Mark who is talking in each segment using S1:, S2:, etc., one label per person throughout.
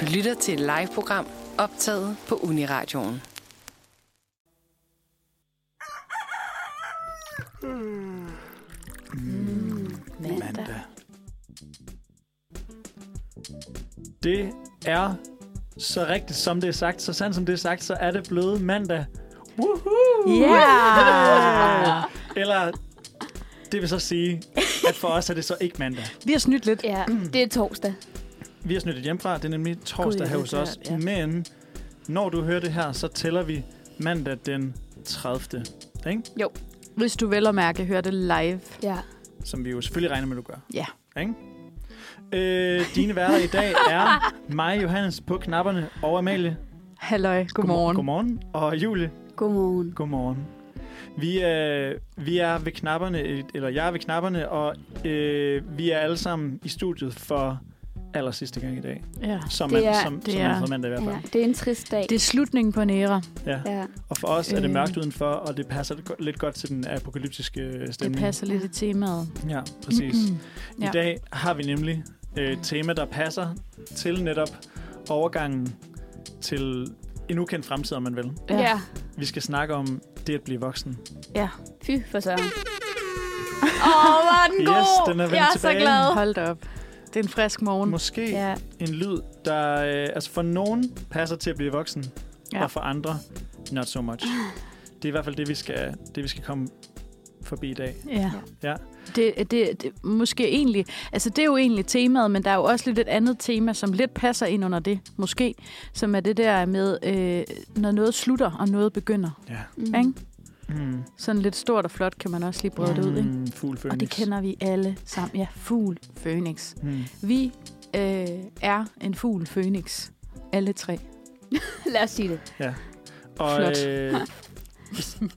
S1: Du lytter til et live-program optaget på Uniradioen.
S2: mandag. Det er så rigtigt, som det er sagt. Så sandt som det er sagt, så er det blevet mandag. Woohoo!
S3: Yeah!
S2: Eller det vil så sige, at for os er det så ikke mandag.
S3: Vi har snydt lidt.
S4: Ja, det er torsdag.
S2: Vi har snyttet hjemmefra. Det er nemlig
S3: Gud,
S2: torsdag
S3: jeg
S2: her
S3: ved
S2: hos
S3: det
S2: os.
S3: her, ja.
S2: Men når du hører det her, så tæller vi mandag den 30. Ikke?
S3: Hvis du vel og mærke hører det live.
S4: Ja.
S2: Som vi jo selvfølgelig regner med, du gør.
S3: Ja.
S2: Ikke? Øh, dine værter i dag er mig, Johannes, på knapperne, og Amalie
S3: Halløj, godmorgen.
S2: Godmorgen. Og Julie,
S4: Godmorgen.
S2: godmorgen. Vi er, vi er ved knapperne, eller jeg er ved knapperne, og øh, vi er alle sammen i studiet for aller sidste gang i dag.
S3: Ja.
S2: Som
S4: Det
S2: man,
S4: er-
S2: som,
S3: det
S2: som
S3: er-
S2: man mandag i hvert
S4: Ja,
S2: fald.
S4: det er en trist dag.
S3: Det er slutningen på en æra.
S2: Ja. ja.
S4: Ja.
S2: Og for os er det
S3: Øh.
S2: mørkt udenfor, og det passer go- lidt godt til den apokalyptiske øh,
S3: Det
S2: stemning.
S3: passer lidt i temaet.
S2: Ja, præcis. Mm-hmm. I
S3: Ja.
S2: dag har vi nemlig øh, et tema, der passer til netop overgangen til en ukendt fremtid, om man vil.
S4: Ja. ja.
S2: Vi skal snakke om det at blive voksen.
S3: ja.
S4: Fy for søren. Åh, oh, hvor er den
S2: Yes,
S4: god.
S2: den er vendt
S4: Jeg er så
S2: tilbage.
S4: glad.
S3: Hold da op. Det er en frisk morgen.
S2: Måske ja.
S4: Ja.
S2: en lyd, der øh, altså for nogen passer til at blive voksen, ja.
S3: Ja.
S2: og for andre not so much. Det er i hvert fald det, vi skal, det, vi skal komme forbi i dag.
S3: Ja.
S2: Ja.
S3: Det, det, det, måske egentlig, altså det er jo egentlig temaet, men der er jo også lidt et andet tema, som lidt passer ind under det, måske, som er det der med, øh, når noget slutter, og noget begynder.
S2: ja.
S4: Mm.
S3: Ikke?
S2: Mm.
S3: Sådan lidt stort og flot kan man også lige brøde det ud, ikke?
S2: Mm, fugl
S3: Og det
S2: Phoenix.
S3: kender vi alle sammen. Ja, fugl, fønix.
S2: Mm.
S3: Vi øh, er en fugl, fønix. Alle tre.
S4: Lad os sige det.
S2: Og
S3: Flot.
S2: øh,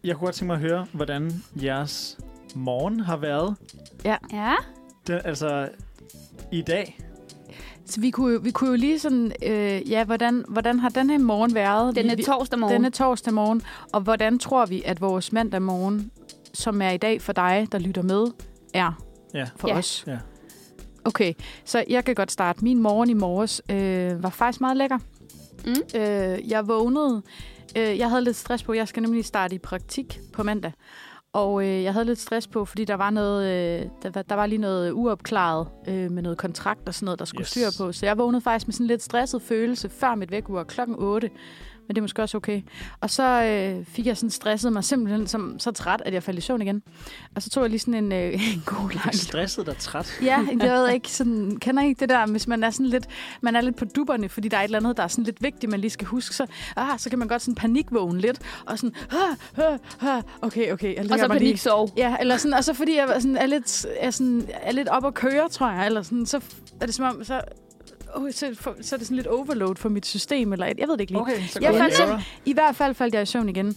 S2: jeg kunne godt tænke mig at høre, hvordan jeres morgen har været.
S4: Ja.
S2: Den, altså, i dag.
S3: Så vi kunne, jo, vi kunne jo lige sådan, øh, ja, hvordan, hvordan har den her morgen været?
S4: Den
S3: Vi-
S4: er
S3: vi,
S4: torsdag morgen.
S3: Denne torsdag morgen. Og hvordan tror vi, at vores mandag morgen, som er i dag for dig, der lytter med, er
S2: Ja.
S3: for
S4: Ja.
S3: os?
S2: Ja.
S3: Okay, så jeg kan godt starte. Min morgen i morges øh, var faktisk meget lækker.
S4: Mm.
S3: Øh, jeg vågnede. Øh, jeg havde lidt stress på. Jeg skal nemlig starte i praktik på mandag. Og øh, jeg havde lidt stress på, fordi der var noget, øh, der, var- der var lige noget uopklaret øh, med noget kontrakt og sådan noget, der skulle
S2: Yes.
S3: yes. styr på. Så jeg vågnede faktisk med sådan en lidt stresset følelse før mit vækkeur klokken 8. Men det er måske også okay. Og så øh, fik jeg sådan stresset mig simpelthen som, så træt, at jeg faldt i søvn igen. Og så tog jeg lige sådan en, øh, en god lang
S2: Stresset dig træt.
S3: Ja, jeg ved ikke, sådan, kender I ikke det der, hvis man er sådan lidt, man er lidt på dupperne, fordi der er et eller andet, der er sådan lidt vigtigt, man lige skal huske, så, ah, så kan man godt sådan panikvågne lidt, og sådan, ah, ah, ah, okay, okay, jeg lægger
S4: Og så
S3: mig lige-
S4: panik sove.
S3: Ja, eller sådan, og så fordi jeg var sådan, er, lidt, er, sådan, er lidt op at køre, tror jeg, eller sådan, så er det som om, så, oh, så, for, så er det sådan lidt overload for mit system, eller et, jeg ved det ikke lige.
S2: Okay, så
S3: Jeg
S2: går
S3: fandt
S2: det.
S3: selv- I hvert fald faldt jeg i søvn igen,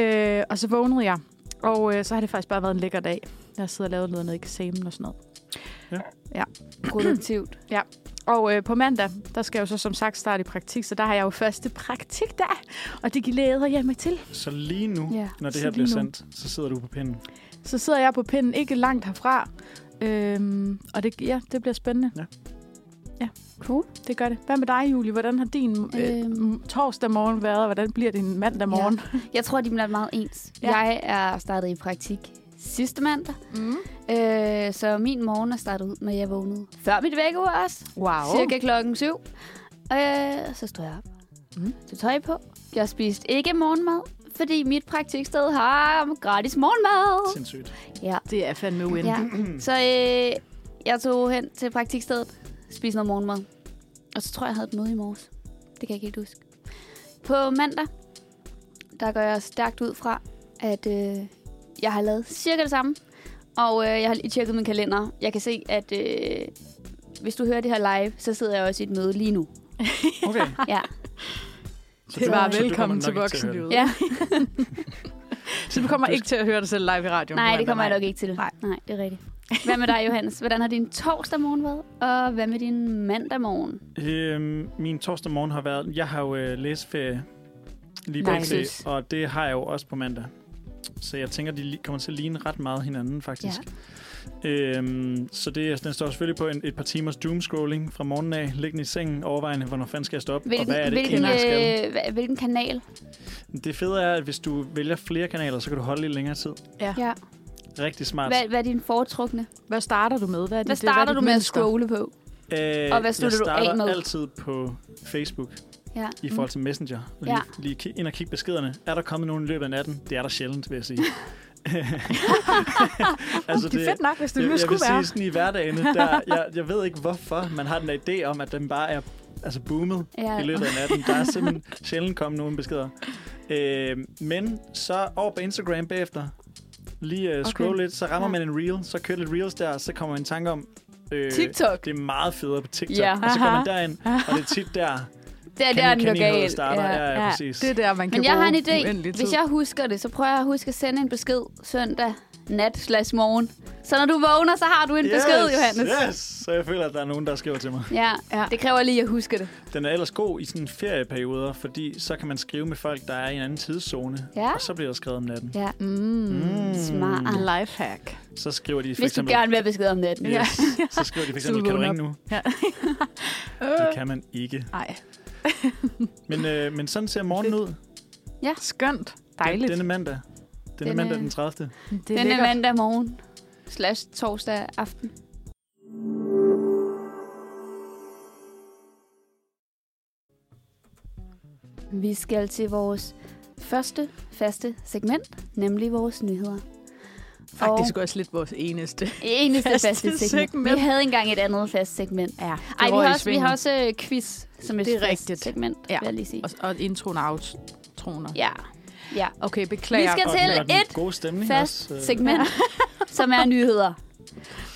S3: øh, og så vågnede jeg, og øh, så har det faktisk bare været en lækker dag. Jeg sidder og lavet noget, noget eksamen og sådan noget.
S4: Produktivt.
S3: Og øh, på mandag, der skal jeg jo så som sagt starte i praktik, så der har jeg jo første praktikdag, og det glæder jeg mig til.
S2: Så lige nu,
S4: Ja,
S2: når det
S3: så
S2: her bliver
S3: lige nu.
S2: sendt, så sidder du på pinden.
S3: Så sidder jeg på pinden ikke langt herfra, øhm, og det, ja, det bliver spændende.
S2: Ja.
S3: Ja,
S4: Cool.
S3: det gør det. Hvad med dig, Julie? Hvordan har din øh,
S4: Øhm.
S3: m- torsdag morgen været, og hvordan bliver din mandag morgen?
S4: Jeg tror, de bliver meget ens.
S3: Ja.
S4: Ja. Jeg er startet i praktik sidste mandag,
S3: Ja. Mm.
S4: øh, så min morgen er startet ud med, at jeg vågnede før mit vækkeur også.
S3: Wow.
S4: Cirka klokken syv. Øh, så stod jeg op.
S3: Mm.
S4: Mm. Så tøj på. Jeg spiste ikke morgenmad, fordi mit praktiksted har gratis morgenmad.
S2: Sindssygt.
S4: Ja.
S3: Det er fandme win.
S4: ja. Så øh, jeg tog hen til praktikstedet, spiste noget morgenmad. Og så tror jeg, jeg havde et møde i morges. Det kan jeg ikke helt huske. På mandag, der går jeg stærkt ud fra, at øh, jeg har lavet cirka det samme. Og øh, jeg har lige tjekket min kalender. Jeg kan se, at øh, hvis du hører det her live, så sidder jeg også i et møde lige nu.
S2: Okay.
S4: Ja.
S2: Så
S3: Det
S2: du-
S3: var
S2: så du kommer
S3: velkommen
S2: nok
S3: til
S2: ikke at høre det.
S3: voksenlivet.
S4: Ja.
S3: Så du kommer
S2: Du-
S3: ikke til at høre dig selv live i radioen?
S4: Nej,
S3: på
S4: det kommer jeg
S3: mandag,
S4: nok ikke til.
S3: Nej.
S4: Nej, det er rigtigt. Hvad med dig, Johannes? Hvordan har din torsdag morgen været? Og hvad med din mandag morgen?
S2: Øhm, min torsdag morgen har været... Jeg har jo øh, læseferie lige
S3: Nej,
S2: pt.
S4: præcis.
S2: og det har jeg jo også på mandag. Så jeg tænker, de li- kommer til at ligne ret meget hinanden, faktisk. Øhm, så det, er- den står selvfølgelig på en, et par timers doomscrolling fra morgenen af, liggende i sengen, overvejende, hvornår fanden skal jeg stoppe, og
S4: Hvilken,
S2: hvad er det,
S4: hvilken,
S2: hvilken, skal.
S4: øh, hva- hvilken kanal?
S2: Det fede er, at hvis du vælger flere kanaler, så kan du holde lidt længere tid.
S4: Ja.
S2: Rigtig smart.
S4: Hvad, hvad er din foretrukne?
S3: Hvad starter du med? Hvad, er
S4: Hvad
S3: dit- hvad er
S4: starter
S3: dit
S4: du med at
S3: mønster?
S4: scrolle på?
S2: Øh,
S4: Og hvad slutter
S2: jeg
S4: du af
S2: starter
S4: med?
S2: altid på Facebook
S4: Ja.
S2: i
S3: Mm.
S2: forhold til Messenger. Lige,
S4: Ja.
S2: lige ki- ind og kigge beskederne. Er der kommet nogen i løbet af natten? Det er der sjældent, vil jeg sige.
S3: Altså, det er fedt nok, hvis det
S2: jeg,
S3: nu
S2: jeg vil
S3: skulle være.
S2: sige sådan i hverdagen, der, jeg, jeg ved ikke hvorfor, man har den der idé om, at den bare er altså boomet
S4: Ja.
S2: i løbet af natten. Der er simpelthen sjældent kommet nogen beskeder. Øh, men så over på Instagram bagefter, lige uh, scroll
S3: Okay.
S2: lidt, så rammer
S4: Ja.
S2: man en reel, så kører lidt reels der, så kommer man i tanke om, øh,
S4: TikTok.
S2: det er meget federe på TikTok.
S4: Ja.
S2: Og så går man
S3: Aha.
S2: derind, og det er tit der,
S4: Det er der,
S2: Kenny-
S4: den går
S2: Kennyholdet
S4: galt.
S2: starter. Ja, ja,
S3: Ja,
S2: præcis.
S3: det er der, man kan
S4: Men jeg
S3: bruge
S4: har en idé.
S3: uendelig tid.
S4: Hvis jeg husker det, så prøver jeg at huske at sende en besked søndag nat slash morgen. Så når du vågner, så har du en yes, besked, Johannes.
S2: Yes! Så jeg føler, at der er nogen, der skriver til mig.
S4: Ja,
S3: Ja.
S4: ja, det kræver lige at huske det.
S2: Den er ellers god i sådan ferieperioder, fordi så kan man skrive med folk, der er i en anden tidszone.
S4: Ja.
S2: Og så bliver der skrevet om natten.
S4: Ja,
S3: Mm.
S4: smart.
S3: Lifehack.
S2: Så skriver de for
S4: Hvis du
S2: eksempel...
S4: gerne vil have besked om natten.
S3: Ja.
S2: Yes. Så skriver de for
S3: Så du
S2: eksempel, kan du
S3: vågner
S2: ringe nu?
S3: Ja.
S2: Det kan man ikke.
S3: Nej,
S2: Men, øh, men sådan ser morgenen ud.
S3: skønt. Dejligt.
S2: Denne mandag. Denne,
S4: Denne-
S2: mandag den 30.
S3: det
S4: Den er
S3: lækkert.
S4: mandag morgen slash torsdag aften. Vi skal til vores første faste segment, nemlig vores nyheder.
S3: Faktisk også lidt vores eneste.
S4: eneste
S3: faste
S4: faste, faste
S3: segment.
S4: segment. segment. Vi havde engang et andet fast segment.
S3: Ja,
S4: Ej, vi har, også, vi har også øh, quiz som et
S3: Det er
S4: fast
S3: rigtigt.
S4: segment,
S3: Ja.
S4: ja. vil jeg lige sige.
S3: Og, og introen og outroen.
S4: Ja, ja.
S3: Okay, beklager.
S4: Vi skal
S2: Og
S4: til
S2: den- og den
S4: et
S2: gode stemning
S4: fast
S2: også. øh,
S4: segment, som er nyheder.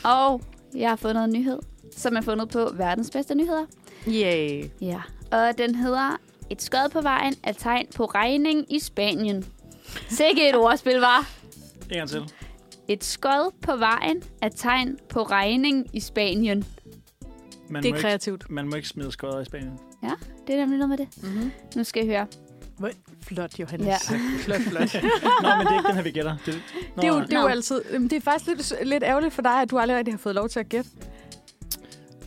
S4: Og jeg har fundet en nyhed, som er fundet på verdens bedste nyheder.
S3: Yay.
S4: Ja. Og den hedder, et skød på vejen er tegn på regning i Spanien. Sikke et ordspil, var.
S2: En gang til.
S4: Et skød på vejen er tegn på regning i Spanien.
S2: Man
S3: Det
S2: må
S3: er
S2: ikke,
S3: kreativt.
S2: man må ikke smide skodder i Spanien.
S4: Det er nemlig noget med det.
S3: Mm-hmm.
S4: Nu skal I høre.
S3: Flot, Johannes.
S4: Ja.
S3: Flot, flot.
S2: Nå, men det er ikke den her, vi gætter. Det, nå,
S3: Det er jo, det er jo
S4: Nå.
S3: altid... Jamen, Det er faktisk lidt, lidt ærgerligt for dig, at du aldrig rigtig har fået lov til at gætte.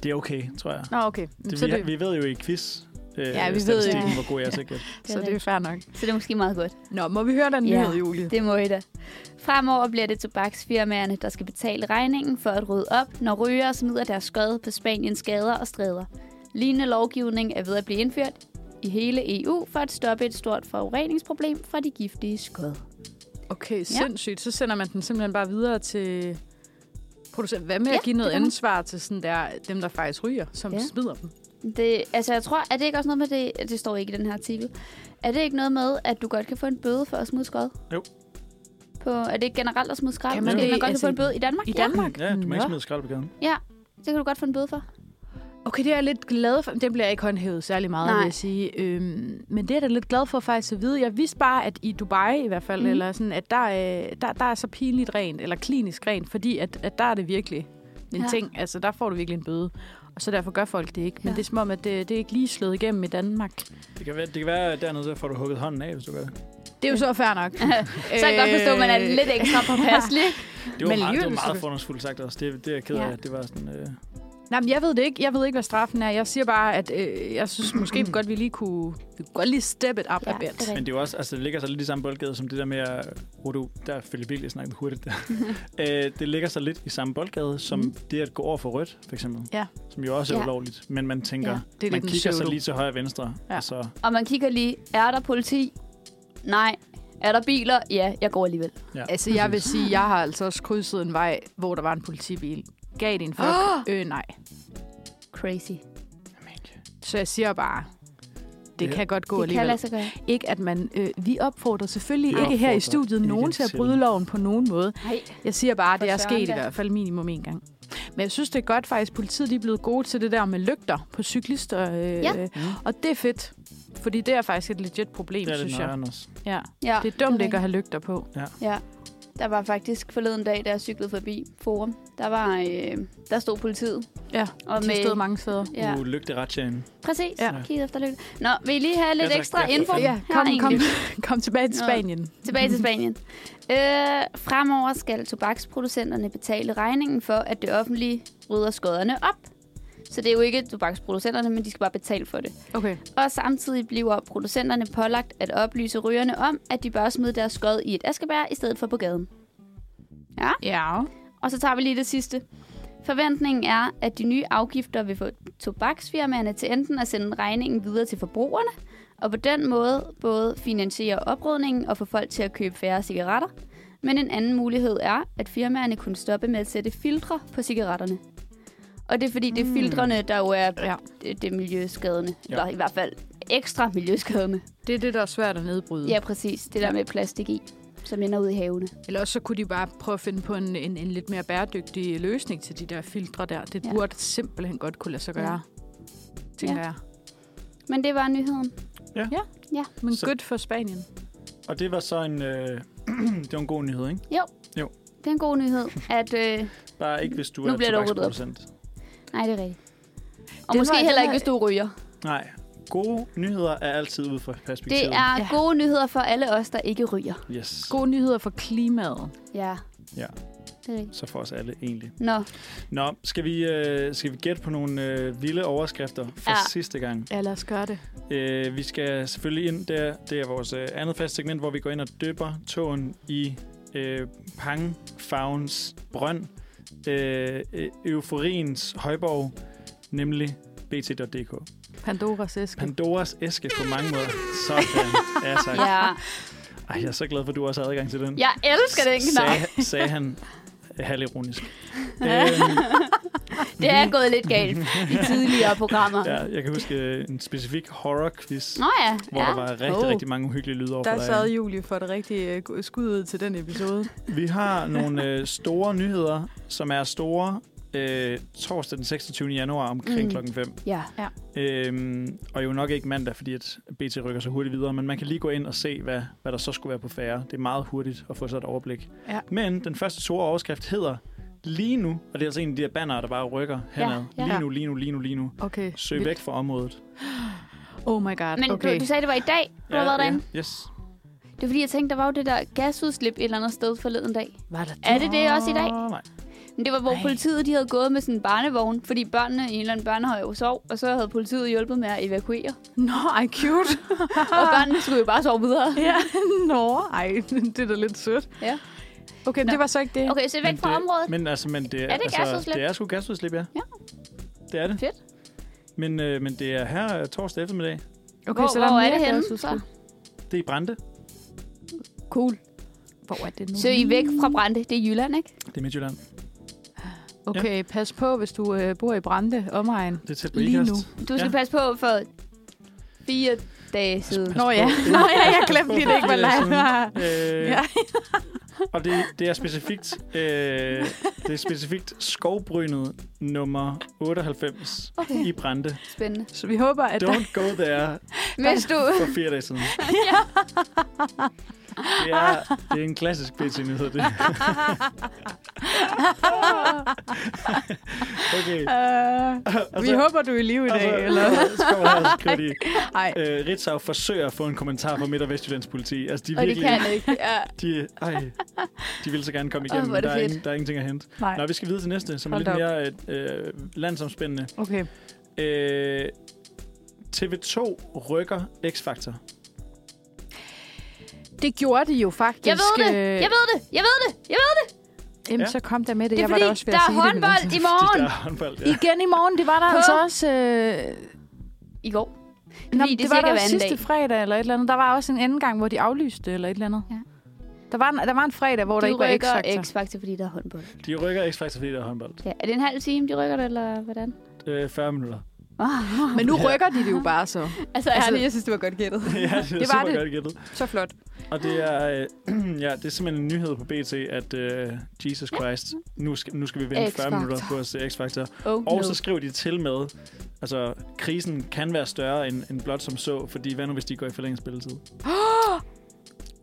S2: det er okay, tror jeg.
S3: Nå, okay.
S2: Det,
S3: så,
S2: vi,
S3: det,
S2: vi ved jo i quiz øh,
S3: Ja, vi ved
S2: statistikken,
S4: jo.
S2: hvor god jeg er til at gætte.
S3: så det er fair nok.
S4: Så det er måske meget godt.
S3: Nå, må vi høre den
S4: Ja.
S3: nyhed, Julie?
S4: Det må I da. Fremover bliver det tobaksfirmaerne, der skal betale regningen for at rydde op, når rygere smider deres skød på Spaniens gader og stræder. Lignende lovgivning er ved at blive indført i hele EU for at stoppe et stort forureningsproblem fra de giftige skød.
S3: Okay, sindssygt. Så sender man den simpelthen bare videre til producent. Hvad med ja,
S4: Ja,
S3: at give noget
S4: det gør man.
S3: ansvar til sådan der, dem, der faktisk ryger, som ja.
S4: Ja.
S3: smider dem?
S4: Det, altså jeg tror, er det ikke også noget med det, det står ikke i den her artikel, er det ikke noget med, at du godt kan få en bøde for at smide skød?
S2: Jo.
S4: På, er det ikke generelt at smide skrald?
S3: Kan
S4: Kan
S3: man
S4: man,
S3: det?
S4: man godt kan
S3: Altså,
S4: få en bøde i Danmark?
S3: I Danmark?
S2: Ja, du må ikke
S3: Nå.
S2: smide skrald på gaden.
S4: Ja, det kan du godt få en bøde for.
S3: Okay, det er jeg lidt glad for. Den bliver ikke håndhævet særlig meget, Nej.
S4: Nej.
S3: vil jeg sige. Øhm, men det er jeg da lidt glad for faktisk at vide. Jeg vidste bare, at i Dubai i hvert fald, mm.
S4: Mhm.
S3: eller sådan, at der, øh, der, der er så pinligt rent, eller klinisk rent, fordi at, at der er det virkelig en ja.
S4: Ja.
S3: ting. Altså, der får du virkelig en bøde. Og så derfor gør folk det ikke. Men ja.
S4: Ja.
S3: det er som om, at det, det er ikke lige slået igennem i Danmark. Det
S2: Det kan være, det kan være at dernede, så får du hugget hånden af, hvis du gør det.
S3: er jo så fair nok. så
S4: Så jeg kan godt forstå, at man er lidt ekstra påpasselig.
S2: Det var, meget,
S3: Men
S2: det var
S3: alligevel, så
S2: meget
S3: det-
S2: fordomsfuldt sagt også. Det, det er jeg ked af.
S4: Ja.
S2: at Det var sådan... Øh,
S3: Nej, men jeg ved det ikke. Jeg ved ikke, hvad straffen er. Jeg siger bare, at øh, jeg synes måske godt, vi lige kunne, vi kunne godt lige step it up
S4: Ja,
S3: a bit.
S4: det er rigtigt.
S2: men det er jo også... Altså, det ligger sig lidt i samme boldgade som det der med at... Hvor du, der Philip virkelig snakket hurtigt der. øh, det ligger sig lidt i samme boldgade som
S3: Mhm.
S2: mm. det at gå over for rødt, for eksempel.
S3: Ja.
S2: Som jo også er
S4: Ja.
S2: ulovligt. Men man tænker...
S4: Ja,
S2: Ja.
S3: Det er
S2: Man
S3: lidt en
S2: kigger sig
S3: pseudo.
S2: lige til højre og venstre.
S3: Ja.
S2: Ja. Og så,
S4: Og man kigger lige, er der politi? Nej. Er der biler? Ja, jeg går alligevel.
S2: ja.
S3: Altså, jeg vil sige, jeg har altså også krydset en vej, hvor der var en politibil. Gav det en fuck? øh, nej.
S4: Crazy.
S3: Så jeg siger bare, det
S2: Ja.
S3: kan godt gå
S4: det kan
S3: alligevel.
S4: lade sig gøre.
S3: Ikke at man, øh, vi opfordrer selvfølgelig
S2: Vi
S3: ikke her i
S2: opfordrer
S3: studiet
S2: ikke
S3: nogen til at
S2: til-
S3: bryde loven på nogen måde.
S4: Nej.
S3: Jeg siger bare, at det
S4: For
S3: er
S4: søren
S3: sket i
S4: da.
S3: hvert fald minimum en gang. Men jeg synes, det er godt faktisk, politiet de er blevet gode til det der med lygter på cyklister. Øh,
S4: Ja.
S3: Og det er fedt, fordi det er faktisk et legit problem,
S2: Det er lidt
S3: synes jeg.
S2: nøjeren også.
S3: Ja.
S4: Ja,
S3: Det er dumt ikke at
S4: rigtigt.
S3: have lygter på.
S4: Ja. Der var faktisk forleden dag, da jeg cyklede forbi Forum, der, var, øh, der stod politiet
S3: Ja,
S4: Og
S3: og de har
S4: med-
S3: stået mange steder.
S4: Ja,
S2: Ja. Uh, lygte retsjagen.
S4: præcis.
S3: Ja.
S4: Ja. Kig efter lykke. Nå, vil I lige have lidt
S2: Ja, tak.
S4: ekstra
S2: Ja, for
S4: info?
S2: fanden.
S3: Ja,
S4: Her er
S3: kom,
S4: en
S3: kom,
S4: lyt.
S3: kom tilbage til
S4: Nå.
S3: Spanien.
S4: Tilbage til Spanien. Øh, fremover skal tobaksproducenterne betale regningen for, at det offentlige rydder skodderne op. Så det er jo ikke tobaksproducenterne, men de skal bare betale for det.
S3: Okay.
S4: Og samtidig bliver producenterne pålagt at oplyse rygerne om, at de bør smide deres skod i et askebær i stedet for på gaden.
S3: Ja.
S4: Og så tager vi lige det sidste. Forventningen er, at de nye afgifter vil få tobaksfirmaerne til enten at sende regningen videre til forbrugerne, og på den måde både finansiere oprydningen og få folk til at købe færre cigaretter. Men en anden mulighed er, at firmaerne kunne stoppe med at sætte filtre på cigaretterne. Og det er fordi, det er filtrene, der jo er
S3: Ja.
S4: det, det er miljøskadende.
S2: Ja.
S4: Ja. Eller i hvert fald ekstra miljøskadende.
S3: Det er det, der er svært at nedbryde.
S4: Ja, præcis. Det der med plastik i, som ender ud i havene.
S3: Eller også så kunne de bare prøve at finde på en, en, en lidt mere bæredygtig løsning til de der filtre der. Det
S4: Ja.
S3: ja. burde simpelthen godt kunne lade sig gøre, tænker
S4: Ja.
S3: ja. jeg.
S4: Men det var nyheden.
S3: Men
S2: Så-
S3: så... good for Spanien.
S2: Og det var så en... Øh, det var en god nyhed, ikke?
S4: Det er en god nyhed, at... Øh,
S2: Bare ikke, hvis du
S4: Nu
S2: er
S4: bliver der ryddet op.
S2: tobaksproducent.
S4: nej, det er rigtigt. Og
S3: Den
S4: måske
S3: var-
S4: heller
S3: den
S4: ikke,
S3: var-
S4: hvis du ryger.
S2: Nej. Gode nyheder er altid ud fra
S4: Det
S2: perspektivet.
S4: er
S3: Ja.
S4: gode nyheder for alle os, der ikke ryger.
S2: Yes.
S3: Gode nyheder for klimaet.
S4: Ja.
S2: Ja.
S4: Det er rigtigt.
S2: Så for os alle, egentlig.
S4: Nå,
S2: Nå, skal vi, øh, skal vi gætte på nogle øh, vilde overskrifter fra
S4: Ja.
S2: ja. sidste gang?
S3: Ja, lad os gøre det.
S2: Øh, vi skal selvfølgelig ind der. Det er vores øh, andet fast segment, hvor vi går ind og døber tåen i øh, pangfarvens brønd. Øh, øh, euforiens højborg, nemlig bt.dk.
S3: Pandoras æske.
S2: Pandoras æske på mange måder. Sådan. Ja, tak.
S4: ja.
S2: Ej, jeg er så glad for, at du også har adgang til den.
S4: Jeg elsker den knap.
S2: Sagde, sagde han halvironisk. øhm,
S4: Det er gået lidt galt i tidligere programmer.
S2: Ja, jeg kan huske øh, en specifik horror-quiz,
S4: Nå ja,
S2: hvor
S4: ja.
S2: der var rigtig,
S3: Oh.
S2: rigtig mange uhyggelige lyde overfor
S3: Der sad
S2: dig.
S3: Julie for det rigtige øh, skud ud til den episode.
S2: Vi har nogle øh, store nyheder, som er store øh, torsdag den 26. januar omkring
S4: Mm.
S2: mm. klokken 5.
S4: Ja,
S2: Øhm, og jo nok ikke mandag, fordi at BT rykker så hurtigt videre, men man kan lige gå ind og se, hvad, hvad der så skulle være på færre. Det er meget hurtigt at få sig et overblik.
S3: Ja.
S2: Men den første store overskrift hedder lige nu, og det er altså en af de der banner, der bare rykker
S4: Ja,
S2: henad.
S4: ja.
S2: Lige nu, lige nu, lige nu, lige nu.
S3: Okay.
S2: Søg væk fra området.
S3: Oh my god.
S4: men okay.
S3: okay.
S4: du, du sagde, det var i dag, du har været derinde.
S2: Yes.
S4: Det er fordi, jeg tænkte, der var jo det der gasudslip et eller andet sted forleden dag.
S3: Var der
S4: Er det det også i dag?
S2: Åh, Ah, nej.
S4: Men det var, hvor
S3: Ej.
S4: politiet de havde gået med sådan en barnevogn, fordi børnene i en eller anden børnehøj sov, og så havde politiet hjulpet med at evakuere.
S3: Nå, ej, cute.
S4: Og børnene skulle jo bare sove videre.
S3: ja, nå, ej, det er da lidt sødt.
S4: Ja.
S3: Okay, men
S4: Nå.
S3: det var så ikke det.
S4: Okay, så væk
S2: Men
S4: fra
S2: det-
S4: området.
S2: Men altså, men det, er,
S4: det
S2: altså,
S4: gasudslip?
S2: det er sgu gasudslip, ja.
S4: Ja.
S2: Det er det.
S4: Fedt.
S2: Men, øh, men det er her øh, torsdag eftermiddag.
S3: okay
S4: Hvor, hvor er
S3: mere
S4: det henne? Så?
S3: gasudslip.
S2: Det er i Brande.
S4: Cool.
S3: Hvor er det nu?
S4: Så I er væk fra Brande. Det er Jylland, ikke?
S2: Det er Midtjylland.
S3: Mm. Okay, pas på, hvis du øh, bor i Brande, omegn.
S2: Det er tæt på
S3: Lige
S2: Ikast.
S3: nu.
S4: Du skal
S2: Ja.
S4: passe på for fire dage siden.
S2: Pas
S3: Nå
S2: på.
S3: ja. Nå ja, jeg glemte lige, det ikke var live.
S2: Øh,
S3: Ja.
S2: og det, det er specifikt, øh, det er specifikt skovbrynet nummer 98
S4: Okay.
S2: i Brande.
S4: Spændende.
S3: Så vi håber, at der...
S2: Don't go there
S4: Hvis du...
S2: for fire dage siden. Det er, det er en klassisk BT-nyhed, det. okay.
S3: Uh,
S2: Og
S3: vi
S2: så-
S3: håber, du er i live i
S2: og
S3: dag,
S2: så-
S3: eller?
S2: Så kommer her, så skriver de,
S3: Nej,
S2: øh, Ritzau forsøger at få en kommentar fra Midt- og Vestjyllands politi. Altså, de er
S4: Og det
S2: virkelig...
S4: kan jeg ikke. Ja.
S2: de, ej, de vil så gerne komme
S4: Åh,
S2: igennem,
S4: hvor er
S2: men der,
S4: det
S2: er
S4: fedt.
S2: ingen, der er ingenting at hente.
S3: nej.
S2: Nå, vi skal videre til næste, som er
S3: Hold
S2: lidt mere øh, øh, landsomspændende.
S3: Okay.
S2: Øh, TV2 rykker X-Factor.
S3: Det gjorde de jo faktisk.
S4: Jeg ved det.
S3: øh,
S4: Jeg ved det. Jeg ved det. Jeg ved det.
S3: Jamen,
S2: Ja.
S3: så kom der med det.
S4: Det er
S3: jeg var
S4: fordi,
S3: da også ved
S4: der
S3: at sige
S4: er
S3: det, men
S4: håndbold
S3: altså-
S4: i
S2: De
S4: morgen.
S2: der håndbold, ja.
S3: Igen i morgen, det var der
S4: På-
S3: altså også... Øh,
S4: I går.
S3: Nå,
S4: fordi det
S3: det, var
S4: cirka
S3: der
S4: hver
S3: også
S4: anden
S3: sidste
S4: dag.
S3: fredag eller et eller andet. Der var også en anden gang, hvor de aflyste det eller et eller andet.
S4: Ja.
S3: Der var en, der var en fredag, hvor der
S4: De
S3: ikke var
S4: rykker
S3: X-Factor.
S4: X-Factor, fordi der er håndbold.
S2: De rykker X-Factor, fordi der er håndbold.
S4: Ja, er det en halv time, de rykker det, eller hvordan?
S2: Øh, 40 minutter.
S3: Men nu rykker de det jo bare så.
S4: Altså, ærligt, jeg synes, det var godt gættet.
S2: ja, det er super
S3: var det.
S2: godt gættet.
S3: Så flot.
S2: Og det er, øh, ja, det er simpelthen en nyhed på BT, at øh, Jesus Christ, nu skal, nu skal vi vente 40
S4: X-Factor.
S2: minutter på at se X-Factor.
S4: Oh,
S2: Og så skriver de til med, altså krisen kan være større end, end blot som så, fordi hvad nu hvis de går i forlænget spilletid?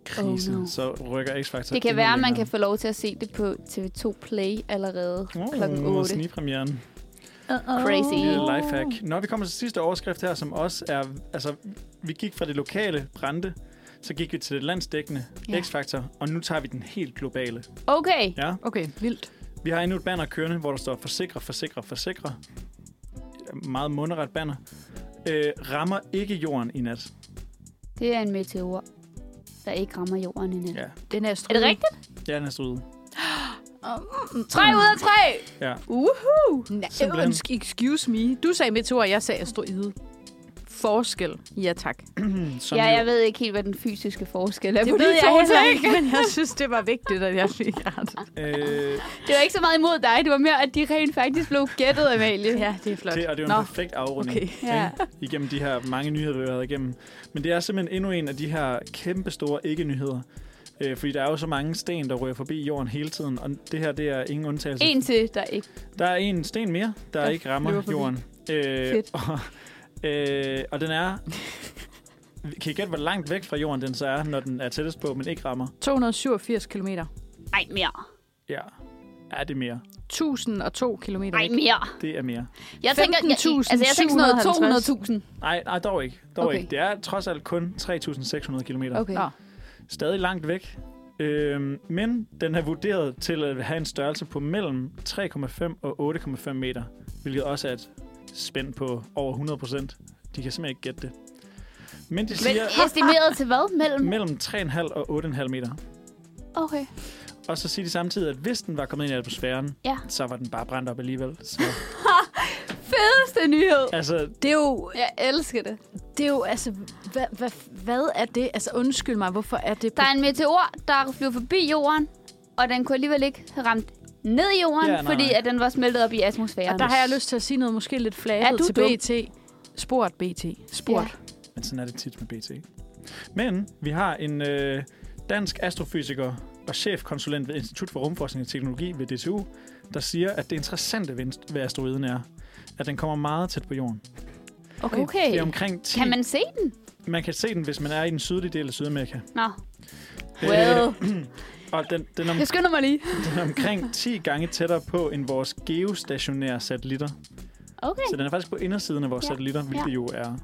S2: Krisen, oh
S4: Oh no.
S2: no. så rykker X-Factor.
S4: Det kan være, at man kan få lov til at se det på TV2 Play allerede oh,
S2: Oh,
S4: kl. 8.
S2: Snigpremieren.
S4: Uh-oh.
S2: Det
S4: Crazy.
S2: er et lifehack. Når vi kommer til sidste overskrift her, som også er... Altså, vi gik fra det lokale brænde, så gik vi til det landsdækkende
S4: Ja.
S2: ja. X-faktor, og nu tager vi den helt globale.
S4: Okay.
S2: Ja.
S3: Okay, vildt.
S2: Vi har endnu et banner kørende, hvor der står forsikre, forsikre, forsikre. Et Meget mundret banner. Øh, rammer ikke jorden i nat.
S4: Det er en meteor, der ikke rammer jorden endnu.
S2: Ja,
S3: Den er,
S4: Er det rigtigt?
S2: ja den er stået ude.
S4: Tre ud af tre!
S2: Ja.
S3: Uhu! Nej,
S2: Simpelthen.
S3: undskyld, excuse me. Du sagde meteor, og jeg sagde asteroide. Forskel. Ja, tak.
S2: Som
S4: ja,
S2: jo-
S4: jeg ved ikke helt, hvad den fysiske forskel er
S3: Det
S4: på
S3: ved
S4: de
S3: jeg
S4: to
S3: heller
S4: ting.
S3: ikke, men jeg synes, det var vigtigt, at jeg fik ret.
S2: Øh,
S4: Det var ikke så meget imod dig, det var mere, at de rent faktisk blev gættet, Amalie.
S3: Ja, det er flot.
S2: det, og det er jo
S3: Nå,
S2: en perfekt afrunding.
S3: okay.
S4: Ja.
S2: ikke? igennem de her mange nyheder, vi har været igennem. Men det er simpelthen endnu en af de her kæmpe store ikke-nyheder. Øh, fordi der er jo så mange sten, der rører forbi jorden hele tiden, og det her det er ingen undtagelse.
S4: En til, der ikke.
S2: Der er en sten mere, der
S3: Der
S2: ikke rammer
S3: løber forbi.
S2: jorden. Øh,
S4: Fedt.
S2: og, øh, og den er... Kan I gætte, hvor langt væk fra jorden den så er, når den er tættest på, men ikke rammer?
S3: 287 kilometer.
S4: Ej, mere.
S2: Ja. Ja, det er mere.
S3: 1002 kilometer.
S4: Ej,
S3: væk.
S4: mere.
S2: Det er mere.
S4: Jeg tænker, jeg,
S3: 15.750.
S4: altså, jeg tænker sådan noget 200.000.
S2: Nej, nej dog ikke. Dog
S4: Okay.
S2: okay. ikke. Det er trods alt kun 3.600 km.
S4: Okay.
S3: Nå,
S2: stadig langt væk. Øhm, men den er vurderet til at have en størrelse på mellem 3,5 og 8,5 meter, hvilket også er et spænd på over 100 procent. De kan simpelthen ikke gætte det. Men de
S4: Men
S2: siger
S4: estimeret til hvad? Mellem?
S2: mellem 3,5 og 8,5 meter.
S4: Okay.
S2: Og så siger de samtidig, at hvis den var kommet ind i atmosfæren,
S4: Ja.
S2: så var den bare brændt op alligevel. Så,
S4: Fedeste nyhed.
S2: altså,
S3: det er jo,
S4: Jeg elsker det.
S3: det er jo altså, hvad, hvad, hvad er det? Altså, undskyld mig, hvorfor er det...
S4: Der er en meteor, der flyver forbi jorden, og den kunne alligevel ikke have ramt ned i jorden,
S2: Ja, nej,
S4: fordi
S2: nej.
S4: at den var smeltet op i atmosfæren.
S3: Og der har jeg lyst til at sige noget måske lidt
S4: Er
S3: flaget
S4: du
S3: til
S4: dum?
S3: BT. Sport, BT. Sport.
S4: Ja.
S2: men sådan er det tit med BT. Men vi har en øh, dansk astrofysiker og chefkonsulent ved Institut for Rumforskning og Teknologi ved DTU, der siger, at det interessante ved- ved asteroiden er, at den kommer meget tæt på jorden.
S4: Okay. okay.
S2: Det er omkring 10.
S4: Kan man se den?
S2: man kan se den, hvis man er i den sydlige del af Sydamerika.
S4: Nå. Well.
S2: og den, den, er om,
S4: Øh, Jeg skynder mig lige.
S2: den er omkring 10 gange tættere på end vores geostationære satellitter.
S4: Okay.
S2: Så den er faktisk på indersiden af vores
S4: Ja.
S2: ja. satellitter, hvilket
S4: Ja.
S2: ja. jo er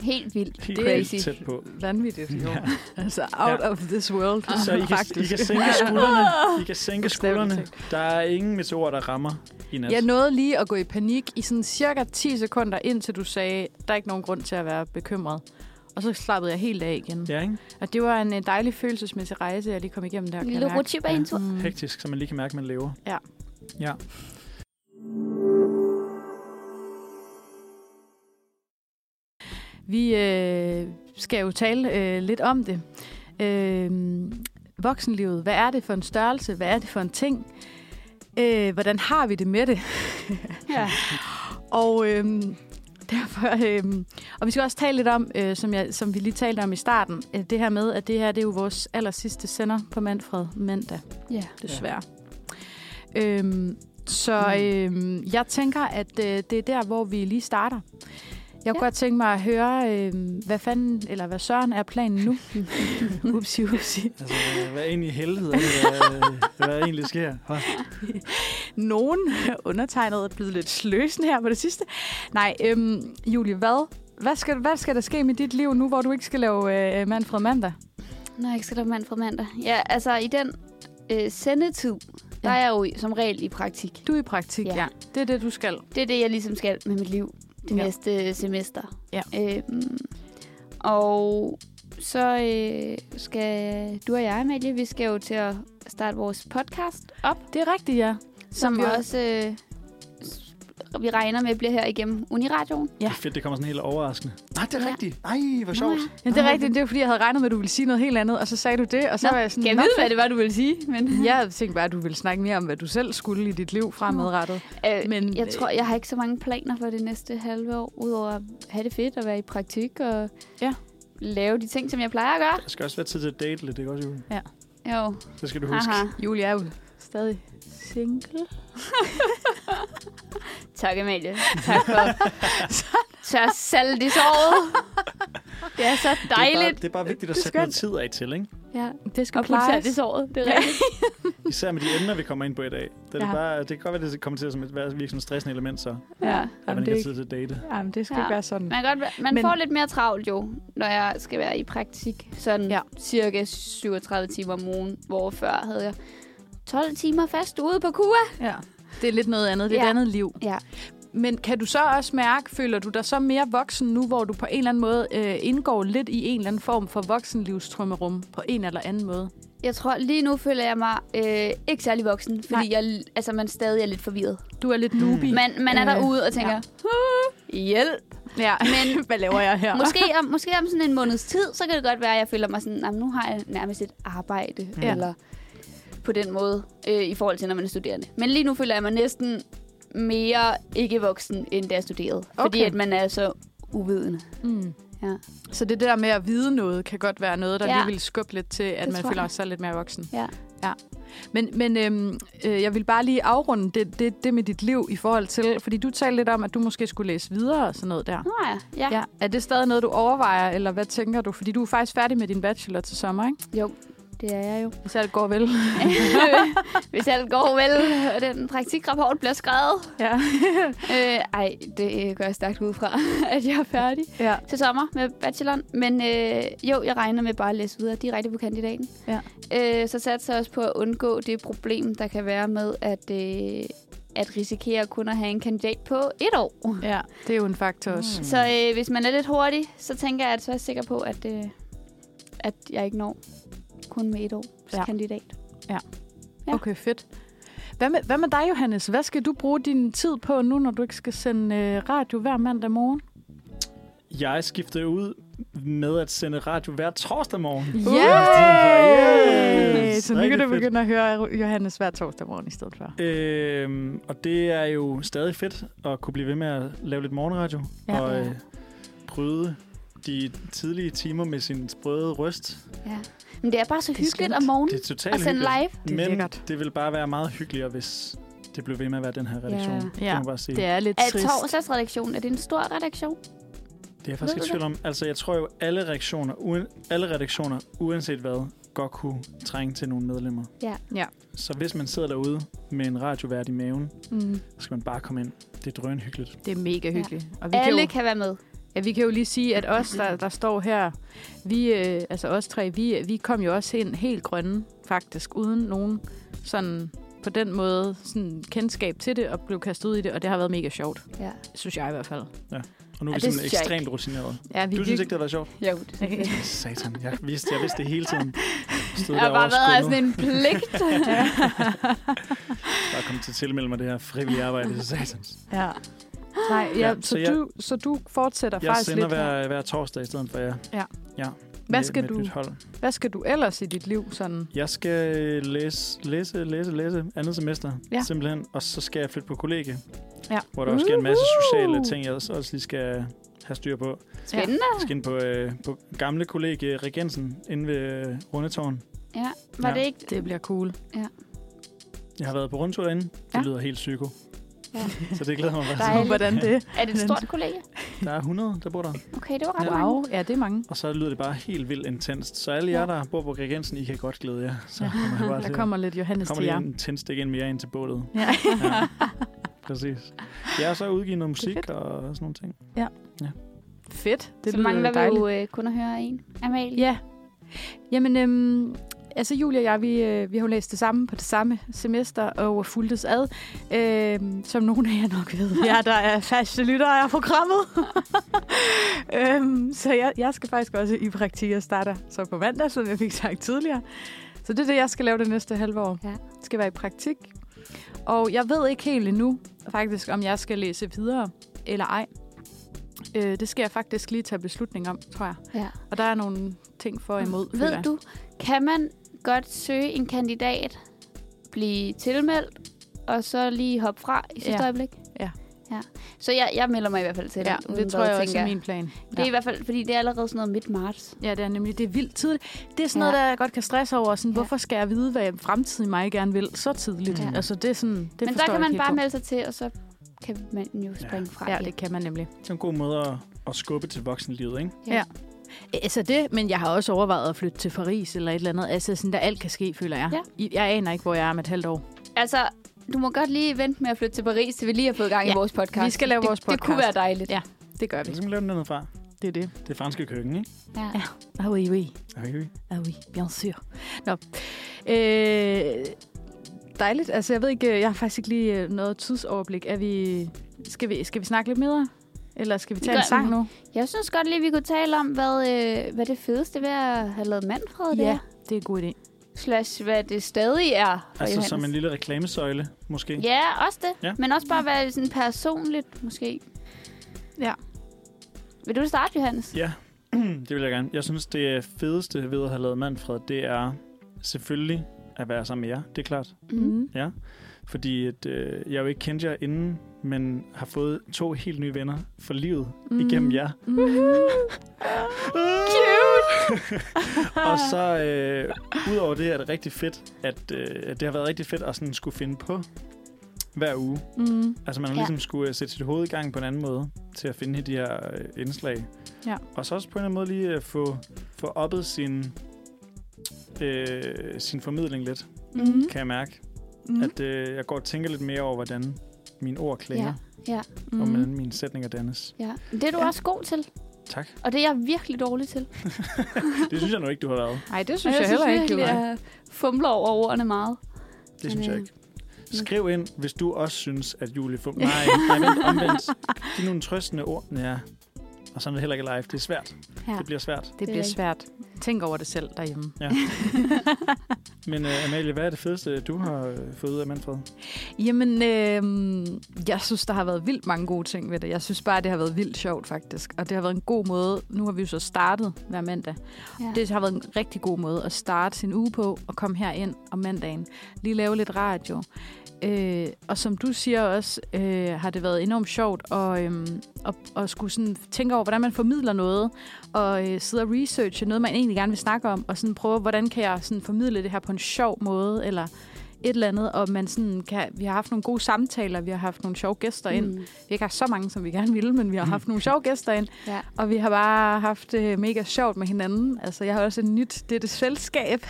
S4: Helt vildt.
S2: helt
S3: Det er
S2: vildt
S4: crazy.
S2: tæt på.
S3: Vanvittigt, jo.
S2: Ja.
S3: Altså, out
S2: Ja.
S3: of this world,
S2: Så I kan, I
S3: faktisk.
S2: kan sænke skuldrene. I kan sænke
S3: Bogstaveligt
S2: skuldrene. Der er ingen meteorer, der rammer i nat.
S3: Jeg nåede lige at gå i panik i sådan cirka 10 sekunder, indtil du sagde, der er ikke nogen grund til at være bekymret. Og så slappede jeg helt af igen. Ja.
S2: Ja, ikke?
S3: Og det var en øh, dejlig følelsesmæssig rejse, jeg lige kom igennem der.
S4: En
S3: kan
S4: lille
S3: jeg mærke.
S4: roadtrip af en tur.
S3: Mm.
S2: Hektisk, så man lige kan mærke, at man lever.
S3: Ja.
S2: Ja.
S3: Vi øh, skal jo tale øh, lidt om det. Øh, voksenlivet, hvad er det for en størrelse? Hvad er det for en ting? Øh, hvordan har vi det med det?
S4: Ja.
S3: Og øhm, derfor, øhm, og vi skal også tale lidt om, øh, som, jeg, som vi lige talte om i starten, øh, det her med, at det her det er jo vores aller sidste sender på Manfred mandag,
S4: Ja.
S3: desværre. Ja. Øhm,
S4: Mm.
S3: så øhm, jeg tænker, at øh, det er der, hvor vi lige starter. Jeg kunne
S4: Ja.
S3: godt tænke mig at høre, øhm, hvad fanden, eller hvad søren er planen nu? upsi, upsi.
S2: Altså, hvad er egentlig helvede? er det? øh, Hvad, hvad egentlig sker? Hå.
S3: Nogen undertegnet er blevet lidt sløsen her på det sidste. Nej, øhm, Julie, hvad? Hvad skal, hvad skal der ske med dit liv nu, hvor du ikke skal lave øh, Manfred Mandag?
S4: Nå, jeg skal da mand fra mandag. Ja, altså i den øh, sendetid, der
S3: Ja.
S4: er jeg jo i- som regel i praktik.
S3: Du er i praktik,
S4: Ja.
S3: ja. ja. Det er det, du skal.
S4: Det er det, jeg ligesom skal med mit liv det
S3: Ja.
S4: ja. næste øh, semester.
S3: Ja.
S4: Øhm, og så øh, skal du og jeg, Amalie, vi skal jo til at starte vores podcast op,
S3: Det er rigtigt, ja.
S4: som
S3: vi
S4: vi
S3: jo-
S4: også øh, s- vi regner med bliver her igennem Uniradioen.
S3: Ja.
S2: Det er fedt, det kommer sådan helt overraskende. Nej, det er
S4: Ja.
S2: rigtigt. Nej, hvor sjovt.
S3: Men det er rigtigt, det er fordi, jeg havde regnet med, at du ville sige noget helt andet, og så sagde du det, og så
S4: Nå,
S3: var jeg sådan...
S4: Skal jeg
S3: "Nå,
S4: vide, hvad
S3: fedt."
S4: det var, du ville sige? Men,
S3: Jeg tænkte bare, at du ville snakke mere om, hvad du selv skulle i dit liv fremadrettet.
S4: øh,
S3: Men,
S4: Men, jeg tror, jeg har ikke så mange planer for det næste halve år, udover at have det fedt og være i praktik og
S3: Ja.
S4: lave de ting, som jeg plejer at gøre.
S2: Der skal også være tid til at date lidt, ikke også, Julie?
S4: Jo,
S2: Det skal du huske.
S4: haha.
S3: Julie er jo stadig single.
S4: Tak, Amalie. Tak for så salt i såret. Det er så
S2: Det er, bare,
S4: dejligt.
S2: det er bare vigtigt at
S3: Det er
S2: sætte noget tid af til, ikke?
S4: Ja.
S3: Det skal
S4: Og putte salt i
S3: plejes.
S4: såret, det er rigtigt.
S2: Især med de emner, vi kommer ind på i dag. Det, ja.
S3: Ja.
S2: er bare, det kan godt være, det kommer til at som et være virkelig sådan stressende element, så at
S3: Ja,
S2: man
S3: jamen,
S2: ikke
S3: det,
S2: har
S3: er
S2: tid
S3: ikke,
S2: til at date.
S3: jamen, det skal
S4: Ja.
S3: ja. ikke være sådan.
S4: Man, kan godt, være-
S3: Men-
S4: man Men... får lidt mere travlt jo, når jeg skal være i praktik. Sådan
S3: Ja.
S4: ja. cirka 37 timer om ugen, hvor før havde jeg 12 timer fast ude på KUA.
S3: Ja. Det er lidt noget andet. Det er ja.
S4: Ja.
S3: et andet liv.
S4: Ja.
S3: Men kan du så også mærke, føler du dig så mere voksen nu, hvor du på en eller anden måde øh, indgår lidt i en eller anden form for voksenlivstrømmerum på en eller anden måde?
S4: Jeg tror, lige nu føler jeg mig øh, ikke særlig voksen, fordi jeg, altså, man stadig er lidt forvirret.
S3: Du er lidt newbie.
S4: Man, man
S3: Øh,
S4: er derude og tænker,
S3: ja.
S4: ja. hjælp.
S3: Ja, men hvad laver jeg her?
S4: Måske om, måske om sådan en måneds tid, så kan det godt være, at jeg føler mig sådan, "Nå, men nu har jeg nærmest et arbejde,
S3: Ja.
S4: ja. eller på den måde, øh, i forhold til, når man er studerende. Men lige nu føler jeg mig næsten mere ikke voksen, end da jeg studerede. Okay. Fordi
S3: Okay.
S4: at man er så uvidende.
S3: Mm.
S4: Ja.
S3: Så det der med at vide noget, kan godt være noget, der ja.
S4: Ja.
S3: lige vil skubbe lidt til, at
S4: Det
S3: det man
S4: tror
S3: føler
S4: jeg.
S3: sig lidt mere voksen.
S4: Ja.
S3: ja. Men, men øhm, øh, jeg vil bare lige afrunde det, det, det med dit liv i forhold til, fordi du talte lidt om, at du måske skulle læse videre og sådan noget der.
S4: Nå ja, ja. ja.
S3: Ja. Er det stadig noget, du overvejer, eller hvad tænker du? Fordi du er faktisk færdig med din bachelor til sommer, ikke?
S4: Jo, det er jeg jo.
S3: Hvis alt går vel.
S4: Hvis alt går vel, og den praktikrapport bliver skrevet.
S3: Ja.
S4: Øh, ej, det øh, gør jeg stærkt ud fra, at jeg er færdig
S3: ja.
S4: til sommer med bacheloren. Men øh, jo, jeg regner med bare at læse videre direkte på kandidaten.
S3: Ja.
S4: Øh, så satte jeg også på at undgå det problem, der kan være med at, øh, at risikere kun at have en kandidat på et år.
S3: ja, det er jo en faktor også.
S4: Så øh, hvis man er lidt hurtig, så tænker jeg, at så er jeg sikker på, at, øh, at jeg ikke når kun med et års
S3: Ja.
S4: ja. kandidat.
S3: Ja.
S4: Ja.
S3: Okay, fedt. Hvad med, hvad med dig, Johannes? Hvad skal du bruge din tid på nu, når du ikke skal sende øh, radio hver mandag morgen?
S2: Jeg skiftede ud med at sende radio hver torsdag morgen.
S3: Yeah!
S2: Uh, yes!
S3: Så nu kan
S2: Rigtig
S3: du
S2: fedt.
S3: begynde at høre Johannes hver torsdag morgen i stedet for.
S2: Øhm, og det er jo stadig fedt at kunne blive ved med at lave lidt morgenradio.
S3: Ja.
S2: Ja. Og øh, bryde de tidlige timer med sin sprøde røst.
S4: Ja. Men det er bare så
S3: er
S4: hyggeligt
S3: skønt.
S4: om morgenen
S2: Det er totalt
S4: at sende
S2: hyggeligt.
S4: live.
S3: Det
S2: Men
S3: er lækkert.
S2: det ville bare være meget hyggeligere, hvis det blev ved med at være den her redaktion.
S4: Ja.
S2: Det må
S3: Ja,
S2: jeg bare sige.
S3: Det er lidt
S4: Er
S3: trist.
S4: torsdagsredaktion, er det en stor redaktion?
S2: Det er jeg faktisk
S4: Ved
S2: ikke i
S4: du
S2: tvivl om. Altså, jeg tror jo, alle redaktioner, uen, alle redaktioner, uanset hvad, godt kunne trænge til nogle medlemmer.
S4: Ja.
S3: Ja.
S2: Så hvis man sidder derude med en radiovært i maven,
S3: Mm,
S2: så skal man bare komme ind. Det er drønhyggeligt.
S3: det er mega hyggeligt. Ja. Og vi kan,
S4: Alle
S3: jo,
S4: kan være med.
S3: ja, vi kan jo lige sige, at os, der, der står her, vi, øh, altså os tre, vi, vi kom jo også ind helt grønne, faktisk, uden nogen sådan på den måde sådan kendskab til det, og blev kastet ud i det, og det har været mega sjovt,
S4: Ja.
S3: synes jeg i hvert fald.
S2: Og nu er
S4: Ja,
S2: vi
S4: det
S2: simpelthen
S4: synes jeg
S2: ekstremt rutineret.
S3: Ja, vi
S2: Du synes ikke, det har været sjovt?
S4: Jo, det er det.
S2: Satan, jeg vidste, jeg vidste det hele tiden. Stod
S4: Jeg har
S2: derovre
S4: bare
S2: og
S4: været af
S2: skummede.
S4: sådan en pligt.
S2: Bare kom til at tilmelde mig det her frivillige arbejde. Så satan.
S3: Ja. Nej, ja,
S2: Ja,
S3: så, så,
S2: så jeg-
S3: du, så du fortsætter
S2: Jeg
S3: faktisk
S2: sender
S3: lidt. her.
S2: hver, hver torsdag i stedet for jer.
S3: Ja.
S2: ja.
S3: Hvad
S2: Med-
S3: skal
S2: med et
S3: du-
S2: nyt Hold.
S3: Hvad skal du ellers i dit liv sådan?
S2: Jeg skal øh, læse, læse, læse, læse andet semester,
S3: Ja.
S2: ja. simpelthen. Og så skal jeg flytte på kollegie,
S3: Ja.
S2: hvor der også sker en masse
S3: Uhu!
S2: sociale ting, jeg også også lige skal have styr på.
S4: Spændende.
S2: Jeg
S3: Ah.
S2: skal ind på, øh, på gamle kollegie Regensen inde ved øh, Rundetårn.
S4: Ja. Var
S2: Ja.
S4: det ikke...
S3: Det bliver cool.
S2: Jeg har været på rundtur derinde. Det
S3: Ja.
S2: ja. lyder helt psyko.
S4: Ja.
S2: Så det glæder mig
S4: Der
S2: bare.
S4: Dejligt.
S3: Hvordan det?
S4: Er det et stort kollega?
S2: Der er 100, der bor der.
S4: Okay, det var ret mange.
S3: Wow, ja, det er mange.
S2: Og så lyder det bare helt vildt intenst. Så alle jer, der bor på Regensen, I kan godt glæde jer. Så kommer jeg bare
S3: Der
S2: til-
S3: kommer lidt Johannes
S2: Altså, kommer
S3: til jer.
S2: lige en tændstik ind mere ind til bålet.
S3: Ja.
S2: Ja. Præcis. Jeg har så udgivet noget musik og sådan nogle ting.
S3: Fedt.
S4: Det
S3: Det
S4: så
S3: lyder
S4: mangler vi
S3: dejligt.
S4: jo øh, kun at høre en. Amalie.
S3: Ja. Jamen, øhm, altså Julia og jeg, vi, øh, vi har jo læst det samme på det samme semester og fuldtes ad, øh, som nogen af jer nok ved. Ja, der er faste lyttere af programmet. øhm, så jeg, jeg skal faktisk også i praktik og starter så på mandag, som jeg fik sagt tidligere. Så det er det, jeg skal lave det næste halve år.
S4: Ja.
S3: Skal være i praktik. Og jeg ved ikke helt endnu, faktisk, om jeg skal læse videre eller ej. Øh, det skal jeg faktisk lige tage beslutning om, tror jeg.
S4: ja.
S3: Og der er nogle ting for og imod. føler
S4: Ved
S3: jeg.
S4: du, kan man godt søge en kandidat, blive tilmeldt, og så lige hoppe fra i sidste
S3: Ja.
S4: ja. øjeblik?
S3: Ja.
S4: ja. Så jeg, jeg melder mig i hvert fald til
S3: Ja,
S4: den, uden
S3: det tror
S4: hvad,
S3: jeg også
S4: tænker
S3: er min plan.
S4: Det er i hvert fald, fordi det er allerede sådan noget midt marts.
S3: Ja, det er nemlig det er vildt tidligt. Det er sådan noget,
S4: Ja.
S3: der jeg godt kan stresse over. Sådan,
S4: Ja.
S3: Hvorfor skal jeg vide, hvad fremtiden mig gerne vil så tidligt?
S4: Ja.
S3: Altså, det er sådan, det
S4: Men
S3: forstår
S4: der kan
S3: jeg
S4: man
S3: ikke
S4: bare
S3: helt
S4: melde sig til, og så kan man jo springe ja. fra
S3: på. Ja,
S4: igen.
S3: det kan man nemlig.
S2: Det er en god måde at, at skubbe til voksenlivet, ikke?
S3: Ja. Altså det, men jeg har også overvejet at flytte til Paris eller et eller andet. Altså sådan, der alt kan ske, føler jeg.
S4: Ja.
S3: I- Jeg aner ikke, hvor jeg er om et halvt år.
S4: Altså, du må godt lige vente med at flytte til Paris, til vi lige har fået gang
S3: Ja,
S4: i vores podcast.
S3: vi skal lave
S4: det,
S3: vores
S4: Det kunne
S3: podcast.
S4: være dejligt.
S3: Ja. Det gør
S2: Så skal man lave den dernede fra.
S3: Altså, Det er det.
S2: Det franske køkken, ikke?
S4: Ja.
S3: Ah oui, oui.
S2: Okay.
S3: Ah oui, bien sûr. Nå. Øh, dejligt. Altså, jeg ved ikke, jeg har faktisk ikke lige øh, noget tidsoverblik. Er vi, skal, vi, skal vi snakke lidt mere? Eller skal vi tage
S4: gør
S3: en sang
S4: vi.
S3: nu?
S4: Jeg synes godt lige, vi kunne tale om, hvad, øh, hvad det fedeste ved at have lavet Manfred det er.
S3: Ja, det er en god idé.
S4: Slash, hvad det stadig er for
S2: Altså
S4: Johannes.
S2: som en lille reklamesøjle, måske.
S4: Ja, også det.
S2: Ja.
S4: Ja. Men også bare være sådan personligt, måske.
S3: Ja.
S4: Vil du starte, Johannes?
S2: Ja, det vil jeg gerne. Jeg synes, det fedeste ved at have lavet Manfred, det er selvfølgelig at være sammen med jer. Det er klart.
S4: Mm-hmm.
S3: Mm.
S2: Ja, fordi at, øh, jeg jo ikke kendte jer inden, men har fået to helt nye venner for livet mm. igennem jer.
S3: Mm.
S2: Cute! og så, øh, udover det, er det rigtig fedt, at, øh, at det har været rigtig fedt at sådan skulle finde på hver uge.
S3: Mm.
S2: Altså man har
S4: Ja.
S2: ligesom skulle øh, sætte sit hoved i gang på en anden måde til at finde de her øh, indslag.
S3: Ja.
S2: Og så også på en eller anden måde lige øh, få, få oppet sin, øh, sin formidling lidt,
S3: Mm.
S2: kan jeg mærke.
S3: Mm.
S2: At øh, jeg går og tænker lidt mere over, hvordan mine ord klinger,
S3: Mm.
S2: ja. og hvordan mine sætninger dannes.
S4: Ja. Det er du
S3: Ja.
S4: ja. også god til,
S2: Tak.
S4: og det er jeg virkelig dårlig til.
S2: Det synes jeg nu ikke, du har været.
S3: Ej, det
S4: Og
S3: synes jeg, jeg heller ikke,
S4: virkelig,
S3: Johan.
S4: jeg fumler over ordene meget.
S2: Det synes jeg
S4: øh,
S2: ikke. Skriv ind, hvis du også synes, at Julie Fum... Nej, nej vent, omvendt. Giv nogle trøstende ord. Ja. Og sådan er det heller ikke live. Det er svært.
S4: Ja.
S2: Det bliver svært.
S3: Det
S4: er
S3: bliver
S4: rigtigt.
S3: svært. Tænk over det selv derhjemme.
S2: Men uh, Amalie, hvad er det fedeste, du har øh, fået ud af Manfred?
S3: Jamen, øh, jeg synes, der har været vildt mange gode ting ved det. Jeg synes bare, det har været vildt sjovt, faktisk. Og det har været en god måde. Nu har vi jo så startet hver mandag.
S4: Ja.
S3: Det har været en rigtig god måde at starte sin uge på og komme herind om mandagen. Lige lave lidt radio. Øh, og som du siger også, øh, har det været enormt sjovt at, øh, at, at skulle sådan tænke over, hvordan man formidler noget, og øh, sidde og researche noget, man egentlig gerne vil snakke om, og sådan prøve, hvordan kan jeg sådan formidle det her på en sjov måde, eller et eller andet, og man sådan kan, vi har haft nogle gode samtaler, vi har haft nogle sjove gæster ind.
S4: Mm.
S3: Vi har ikke haft så mange, som vi gerne ville, men vi har haft nogle sjove gæster ind.
S4: Ja.
S3: Og vi har bare haft øh, mega sjovt med hinanden. Altså, jeg har også et nyt dette selskab.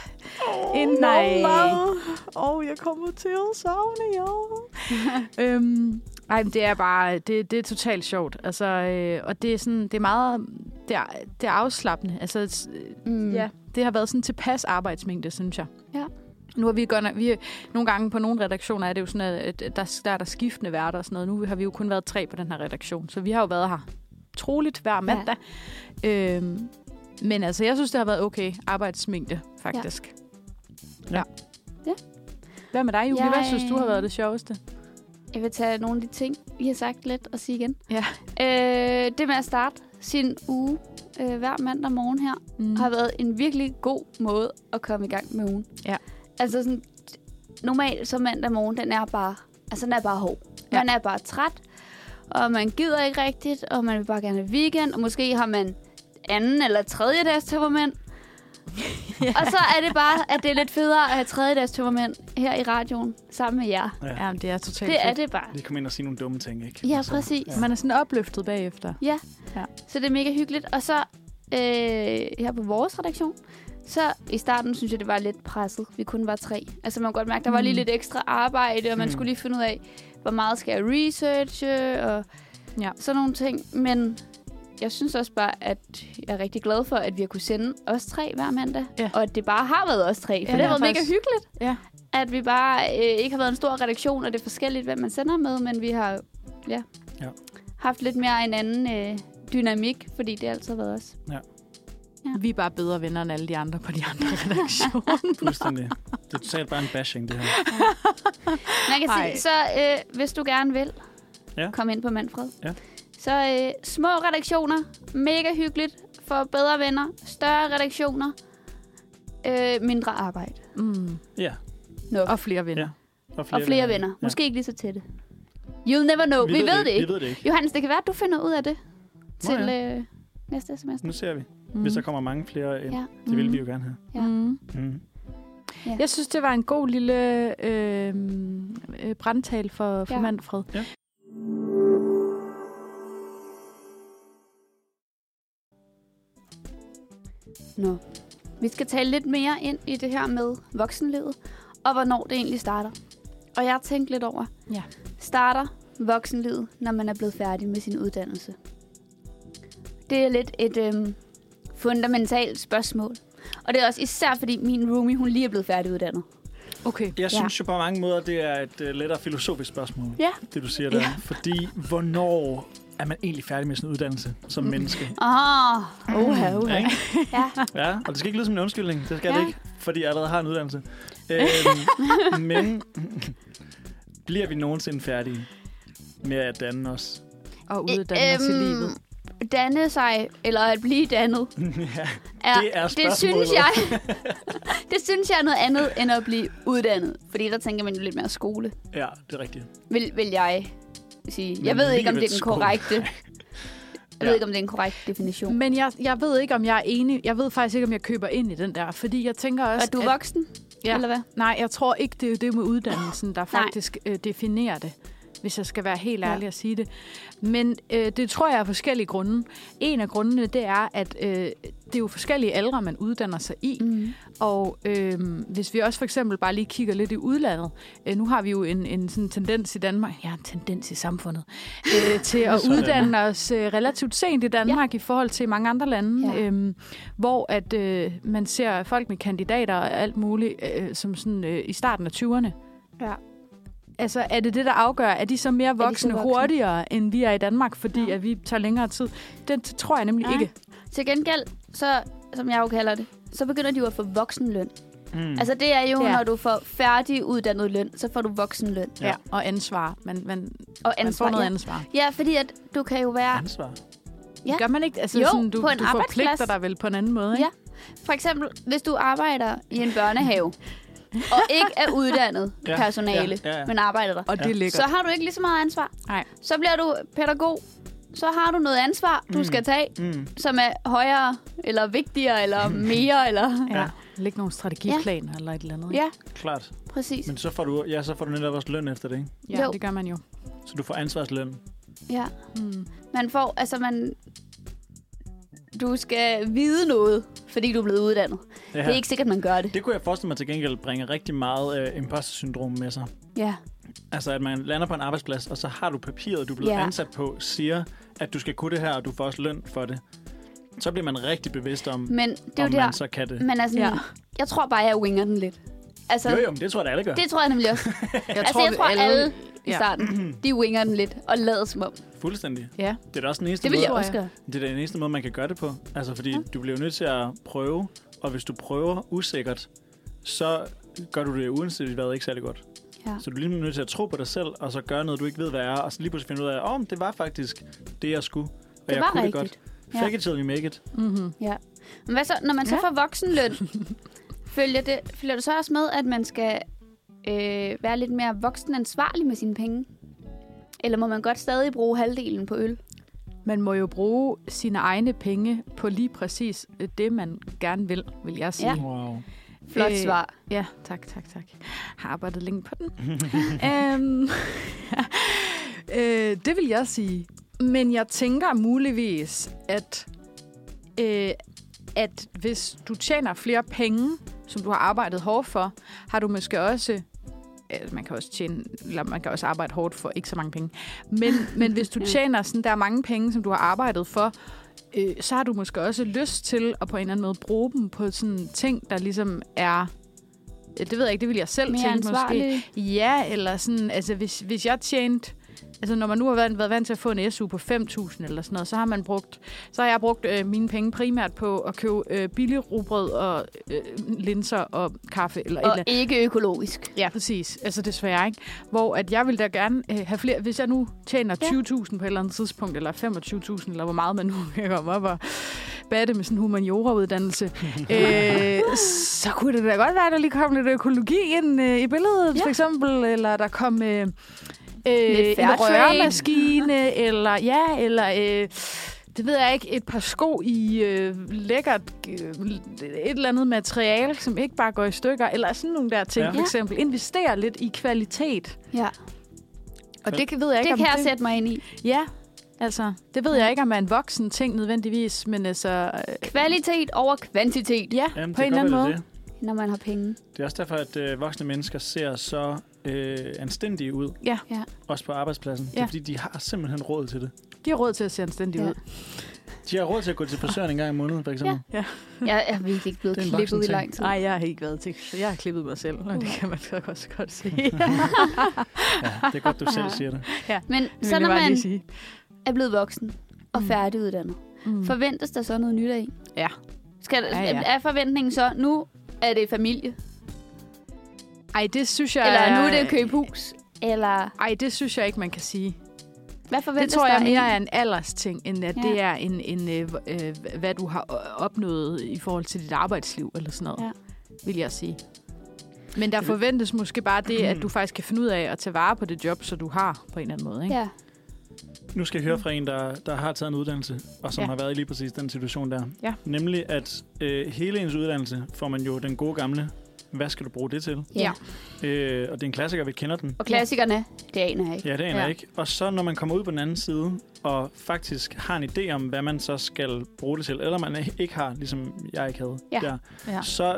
S3: Oh,
S4: nej.
S3: Åh, oh, jeg kommer til at savne jer. øhm, ej, men det er bare, det, det er totalt sjovt. Altså, øh, og det er sådan, det er meget, det er, det er afslappende. Altså, s-
S4: Mm.
S3: Ja, det har været sådan tilpas arbejdsmængde, synes jeg.
S4: Ja.
S3: Nu har vi godt nok, vi, nogle gange på nogle redaktioner er det jo sådan, at at der, der er der skiftende værter og sådan noget. Nu har vi jo kun været tre på den her redaktion, så vi har jo været her troligt hver mandag. Ja. Øhm, men altså, jeg synes, det har været okay arbejdsmængde, faktisk.
S2: Ja.
S4: Ja.
S3: Hvad med dig, Julie?
S4: Jeg- øh,
S3: Hvad synes du har været det sjoveste?
S4: Jeg vil tage nogle af de ting, I har sagt lidt, og sige igen.
S3: Ja.
S4: Øh, det med at starte sin uge øh, hver mandag morgen her,
S3: Mm.
S4: har været en virkelig god måde at komme i gang med ugen.
S3: Ja.
S4: Altså sådan, normalt så mandag morgen, den er bare, altså den er bare hård.
S3: Ja.
S4: Man er bare træt, og man gider ikke rigtigt, og man vil bare gerne have weekend, og måske har man anden eller tredje dags temperament. ja. Og så er det bare, at det er lidt federe at have tredje dags temperament her i radioen sammen med jer.
S3: Ja, men det er totalt
S4: Det er
S3: fedt.
S4: det bare.
S2: Lige kom ind og sige nogle dumme ting, ikke? Altså,
S4: Ja, præcis.
S2: Ja.
S3: Man er sådan opløftet bagefter.
S4: Så det er mega hyggeligt. Og så øh, her på vores redaktion, så i starten synes jeg, det var lidt presset. Vi kun var tre. Altså man kan godt mærke, der var lige
S3: Mm.
S4: lidt ekstra arbejde, og man
S2: Mm.
S4: skulle lige finde ud af, hvor meget skal jeg researche, og
S3: Ja.
S4: sådan nogle ting. Men jeg synes også bare, at jeg er rigtig glad for, at vi har kunne sende os tre hver mandag.
S3: Ja.
S4: Og at det bare har været os tre. For
S3: Ja,
S4: det
S3: det
S4: har
S3: har
S4: været mega
S3: faktisk-
S4: hyggeligt.
S3: Ja.
S4: At vi bare øh, ikke har været en stor redaktion, og det er forskelligt, hvem man sender med, men vi har ja,
S2: Ja.
S4: haft lidt mere en anden øh, dynamik, fordi det har altid har været os. Ja.
S3: Vi er bare bedre venner end alle de andre på de andre redaktioner.
S2: Fuldstændig. Det er totalt bare en bashing, det her.
S4: Man kan
S3: Ej.
S4: sige, så øh, hvis du gerne vil,
S2: Ja.
S4: ja. kom ind på Manfred.
S2: Ja.
S4: Så øh, små redaktioner, mega hyggeligt for bedre venner, større redaktioner, øh, mindre arbejde.
S3: mm.
S2: Ja,
S4: Nok.
S3: Og flere venner.
S2: Ja. og
S4: og flere venner.
S2: Ja.
S4: Måske ikke lige så tætte. You'll never know. Vi, vi ved, det ikke.
S2: Vi ved det ikke.
S4: Johannes, det kan være, at du finder ud af det
S2: Nå
S4: til øh, næste semester.
S2: Nu ser vi,
S3: Mm.
S2: hvis der kommer mange flere ind.
S4: Ja.
S2: Det vil vi jo
S3: Mm.
S2: gerne have.
S4: Ja.
S3: Mm.
S2: Mm.
S3: Jeg synes, det var en god lille øh, øh, brandtal for, for ja.
S4: Ja.
S3: Manfred.
S2: Ja.
S4: Nå. Vi skal tale lidt mere ind i det her med voksenlivet, og hvornår det egentlig starter. Og jeg tænkte lidt over,
S3: Ja.
S4: starter voksenlivet, når man er blevet færdig med sin uddannelse? Det er lidt et øhm, fundamentalt spørgsmål. Og det er også især, fordi min roomie, hun lige er blevet færdiguddannet.
S3: Okay.
S2: Jeg synes jo på mange måder, det er et uh, lettere filosofisk spørgsmål,
S4: Ja.
S2: det du siger der.
S4: Ja.
S2: Fordi, hvornår er man egentlig færdig med sin uddannelse som
S4: Mm.
S2: menneske?
S4: Åh,
S3: Oha,
S2: Ja,
S3: oha.
S2: ikke?
S4: ja.
S2: Ja, og det skal ikke lyde som en undskyldning. Det skal
S4: Ja.
S2: ja. det ikke, fordi jeg allerede har en uddannelse. Øhm, men bliver vi nogensinde færdige med at danne os?
S3: Og uddanne øhm, til livet.
S4: Danne sig, eller at blive dannet.
S2: ja,
S4: Er,
S2: Det er
S4: det synes
S2: spørgsmålet.
S4: jeg. det synes jeg er noget andet, end at blive uddannet. Fordi der tænker man jo lidt mere skole,
S2: ja, det er rigtigt.
S4: vil, vil jeg sige. Jeg
S2: Men
S4: ved ikke, om det er
S2: livets
S4: den
S2: skole.
S4: korrekte... Jeg ved
S2: Ja.
S4: ikke, om det er en korrekt definition.
S3: Men jeg, jeg ved ikke, om jeg er enig. Jeg ved faktisk ikke, om jeg køber ind i den der. Fordi jeg tænker også...
S4: Er du
S3: at-
S4: voksen?
S3: Ja.
S4: Eller hvad?
S3: Nej, jeg tror ikke, det er det med uddannelsen, der faktisk øh, definerer det, hvis jeg skal være helt
S4: Ja.
S3: ærlig og sige det. Men øh, det tror jeg er forskellige grunde. En af grundene, det er, at øh, det er jo forskellige aldre, man uddanner sig i.
S4: Mm.
S3: Og øh, hvis vi også for eksempel bare lige kigger lidt i udlandet. Øh, nu har vi jo en, en sådan tendens i Danmark, ja, en tendens i samfundet, øh, til at
S2: Sådan.
S3: uddanne os øh, relativt sent i Danmark ja. i forhold til mange andre lande.
S4: Ja.
S3: Ja. Øh, hvor at øh, man ser folk med kandidater og alt muligt øh, som sådan øh, i starten af 20'erne.
S4: Ja.
S3: Altså, er det det, der afgør? Er de så mere
S4: så
S3: voksne,
S4: voksne?
S3: hurtigere, end vi er i Danmark, fordi
S4: Ja.
S3: ja. at vi tager længere tid? Det tror jeg nemlig
S4: Nej.
S3: ikke.
S4: Til gengæld, så, som jeg jo kalder det, så begynder de jo at få voksenløn. Mm.
S2: Mm.
S4: Altså det er jo,
S3: Ja.
S4: når du får færdiguddannet løn, så får du voksenløn.
S2: Ja.
S3: Ja. Og ansvar. Man, man,
S4: Og
S3: man
S4: ansvar.
S3: får noget
S4: ja.
S3: ansvar.
S4: ja, fordi at du kan jo være...
S2: Ansvar.
S4: Ja.
S3: Ja. Gør man ikke? Altså,
S4: Jo,
S3: sådan, du,
S4: på en
S3: du
S4: arbejdsplads.
S3: forpligter dig vel på en anden måde, ikke?
S4: Ja. For eksempel, hvis du arbejder i en børnehave, og ikke er uddannet ja.
S2: Ja,
S4: personale,
S2: ja, ja, ja.
S4: men arbejder der,
S3: Og det
S2: Ja.
S3: er lækkert.
S4: så har du ikke lige så meget ansvar.
S3: Nej.
S4: Så bliver du pædagog, så har du noget ansvar, du
S2: Mm.
S4: skal tage,
S2: Mm.
S4: som er højere, eller vigtigere, eller mere, eller...
S3: ja.
S2: Ja.
S3: Læg nogle strategiplaner ja. eller et eller andet. ikke?
S4: Ja,
S2: Klart.
S4: præcis.
S2: Men så får du, ja, så får du netop også løn efter det, ikke?
S3: ja
S4: Jo.
S3: det gør man jo.
S2: Så du får ansvarsløn.
S4: Ja.
S3: Mm.
S4: Man får, altså man... Du skal vide noget, fordi du er blevet uddannet. Ja.
S2: Ja.
S4: Det er ikke sikkert, man gør det.
S2: det kunne jeg forestille mig til gengæld bringer rigtig meget øh, imposter-syndrom med sig.
S4: Ja.
S2: Altså, at man lander på en arbejdsplads, og så har du papiret, du er blevet
S4: Ja.
S2: ja. ansat på, siger, at du skal kunne det her, og du får også løn for det. Så bliver man rigtig bevidst om,
S4: Men det er
S2: om
S4: jo
S2: man
S4: der...
S2: så kan det.
S4: Men altså, ja.
S3: Ja.
S4: jeg tror bare, jeg winger den lidt. Altså,
S2: Jo, jo, men det tror jeg, da alle gør.
S4: det tror jeg nemlig også.
S3: Jeg
S4: altså, jeg
S3: vi
S4: tror, alle, alle i
S3: Ja.
S4: starten, de winger den lidt og lader som om.
S2: Fuldstændig.
S3: Ja.
S2: Det er da også den eneste,
S4: Det vil
S2: måde,
S4: jeg
S3: tror
S4: også
S3: jeg.
S4: gøre.
S2: det er da den eneste måde, man kan gøre det på. Altså, fordi ja. du bliver jo nødt til at prøve, og hvis du prøver usikkert, så gør du det uanset hvad ikke særlig godt.
S4: Ja.
S2: Så du er ligesom nødt til at tro på dig selv, og så gøre noget, du ikke ved, hvad er, og så lige pludselig finde ud af, om oh, det var faktisk det, jeg skulle. Og
S4: Det
S2: jeg
S4: var
S2: kunne
S4: rigtigt.
S2: det
S4: Ja.
S2: godt. Fake it till you make it.
S3: Mm-hmm.
S4: Men hvad så, når man så ja.
S3: Ja.
S4: får voksenløn, følger det, følger det så også med, at man skal øh, være lidt mere voksenansvarlig med sine penge? Eller må man godt stadig bruge halvdelen på øl?
S3: Man må jo bruge sine egne penge på lige præcis øh, det, man gerne vil, vil jeg sige.
S4: Ja.
S2: Wow.
S4: Flot
S3: Øh,
S4: svar.
S3: Ja, tak, tak, tak. Har arbejdet længe på den. øhm, øh, det vil jeg sige. Men jeg tænker muligvis, at, øh, at hvis du tjener flere penge, som du har arbejdet hårdt for, har du måske også øh, man kan også tjene, eller man kan også arbejde hårdt for ikke så mange penge. Men, men hvis du tjener sådan der mange penge, som du har arbejdet for, øh, så har du måske også lyst til at på en eller anden måde bruge dem på sådan ting, der ligesom er... Det ved jeg ikke, det vil jeg selv
S4: Mere
S3: tænke måske.
S4: ansvarlig.
S3: Ja, eller sådan, altså hvis, hvis jeg tjente, altså når man nu har været, været vant til at få en SU på 5.000 eller sådan noget, så har man brugt, så har jeg brugt øh, mine penge primært på at købe øh, billig rugbrød og øh, linser og kaffe eller et
S4: Og
S3: eller andet.
S4: ikke økologisk.
S3: Ja, præcis. Altså desværre ikke. Hvor at jeg vil da gerne øh, have flere, hvis jeg nu tjener
S4: Ja.
S3: 20.000 på et eller andet tidspunkt, eller 25.000, eller hvor meget man nu kan komme op og batte med sådan en humaniora-uddannelse, øh, så kunne det da godt være, at der lige kom lidt økologi ind øh, i billedet,
S4: Ja.
S3: ja. for eksempel, eller der kom... Øh, øh,
S4: Lidt
S3: en
S4: fair trade.
S3: rørmaskine, eller ja, eller øh, det ved jeg ikke, et par sko i øh, lækkert øh, et eller andet materiale, som ikke bare går i stykker, eller sådan nogle der ting,
S2: Ja.
S3: ja.
S4: Ja.
S3: for eksempel. Investere lidt i kvalitet.
S4: Ja,
S3: Og det kan- ved jeg
S4: det
S3: ikke, om
S4: kan jeg sætte mig ind i.
S3: Ja, Altså, det ved jeg ikke, om er en voksen ting nødvendigvis, men altså, øh,
S4: Kvalitet over kvantitet,
S3: ja,
S2: Jamen,
S3: på
S2: det
S3: en
S2: kan godt
S3: eller anden
S2: være,
S3: måde.
S2: det er
S4: når man har penge.
S2: Det. det er også derfor, at øh, voksne mennesker ser så øh, anstændige ud.
S3: Ja.
S4: Ja.
S2: Også på arbejdspladsen. Det
S3: Ja.
S2: er fordi, de har simpelthen råd til det.
S3: De har råd til at se anstændige
S4: Ja.
S3: ud.
S2: De har råd til at gå til frisøren en gang i måneden, for eksempel.
S4: Jeg er virkelig ikke blevet
S2: Det er en voksen
S4: klippet i
S2: ting.
S4: lang tid.
S3: Nej, jeg har ikke været til, så jeg har klippet mig selv, og det kan man godt også godt se.
S2: Ja, det er godt, du selv siger det.
S4: Men
S3: Det
S4: så
S3: vil jeg
S4: når
S3: bare
S4: man
S3: lige sige.
S4: er blevet voksen og
S3: Mm.
S4: færdiguddannet,
S3: Mm.
S4: forventes der så noget nyt af en?
S3: Ja.
S4: Skal,
S3: Ja, ja.
S4: Er forventningen så, nu er det familie,
S3: Ej, det synes jeg...
S4: eller nu er det at købe hus, eller
S3: Ej, det synes jeg ikke, man kan sige.
S4: hvad
S3: Det
S4: forventes
S3: tror
S4: der
S3: jeg
S4: af
S3: mere
S4: en?
S3: er en aldersting, end at
S4: Ja.
S3: ja. det er en, en øh, h- øh, hvad du har øh, opnået i forhold til dit arbejdsliv, eller sådan noget,
S4: Ja.
S3: ja. vil jeg sige. Men der forventes måske bare det, at du faktisk kan finde ud af at tage vare på det job, så du har på en eller anden måde. Ikke?
S4: Ja.
S2: Nu skal jeg høre fra en, der, der har taget en uddannelse, og som ja.
S3: Ja.
S2: har været i lige præcis den situation der.
S3: Ja.
S2: Nemlig, at øh, hele ens uddannelse får man jo den gode gamle, hvad skal du bruge det til?
S4: ja.
S3: Ja.
S2: Øh, og det er en klassiker, vi kender den.
S4: Og klassikerne, det aner jeg ikke.
S2: Ja, det aner
S3: Ja.
S2: ja. ikke. Og så når man kommer ud på den anden side, og faktisk har en idé om, hvad man så skal bruge det til, eller man ikke har, ligesom jeg ikke havde
S4: Ja.
S2: der,
S3: Ja.
S2: så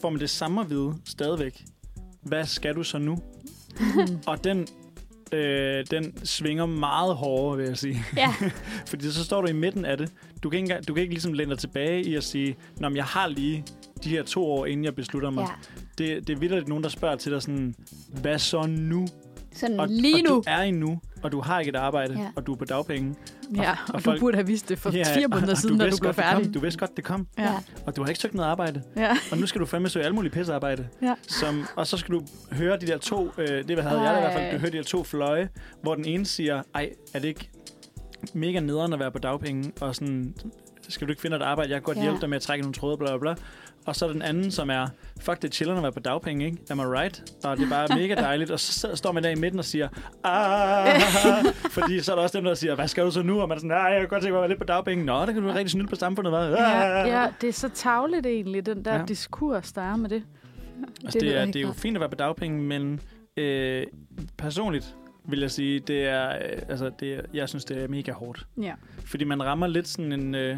S2: får man det samme at vide stadigvæk. Hvad skal du så nu?
S3: Mm.
S2: Og den, øh, den svinger meget hårdere, vil jeg sige.
S4: Ja.
S2: Fordi så står du i midten af det. Du kan ikke, engang- du kan ikke ligesom læne dig tilbage i at sige, Nå, men jeg har lige de her to år, inden jeg beslutter mig.
S4: ja.
S2: Det, det er vildt, nogen, der spørger til dig sådan, hvad så nu?
S4: Sådan
S2: Og,
S4: Øh, lige
S2: og
S4: nu.
S2: du er i nu, og du har ikke et arbejde,
S4: Ja.
S2: ja. og du er på dagpenge.
S3: Ja,
S2: og
S3: og du
S2: folk-
S3: burde have vidst det for fire
S2: og-
S3: måneder
S2: og
S3: siden, når du
S2: vidste
S3: blev
S2: godt, det kom.
S3: færdig.
S2: Du vidste godt, det kom,
S3: Ja.
S2: og du har ikke søgt noget arbejde.
S3: Ja.
S2: Og nu skal du fandme søge alle mulige pissearbejde.
S3: Ja.
S2: Som, og så skal du høre de der to, øh, det hvad havde jeg da i hvert fald, du hører de der to fløje, hvor den ene siger, ej, er det ikke mega nederen at være på dagpenge, og sådan, skal du ikke finde et arbejde, jeg kan godt
S4: Ja.
S2: ja. hjælpe dig med at trække nogle tråde, bla bla bla. Og så den anden, som er, fuck det er chilleren at være på dagpenge, ikke? Am I right? Og det er bare mega dejligt. Og så sidder- står man der i midten og siger, ah, fordi så er der også dem, der siger, hvad skal du så nu? Og man er sådan, nej, jeg kan godt tænke mig at være lidt på dagpenge. Nå, der kan du være rigtig snydt på samfundet, hvad?
S3: Ja, ja, det er så tavligt egentlig, den der
S2: Ja.
S3: ja. diskurs, der er med det.
S2: Altså,
S3: Det
S2: det,
S3: ved
S2: det, er,
S3: jeg ikke
S2: det er jo
S3: noget.
S2: fint at være på dagpenge, men øh, personligt vil jeg sige, det er, øh, altså, det er, jeg synes, det er mega hårdt.
S3: Ja.
S2: Fordi man rammer lidt sådan en øh,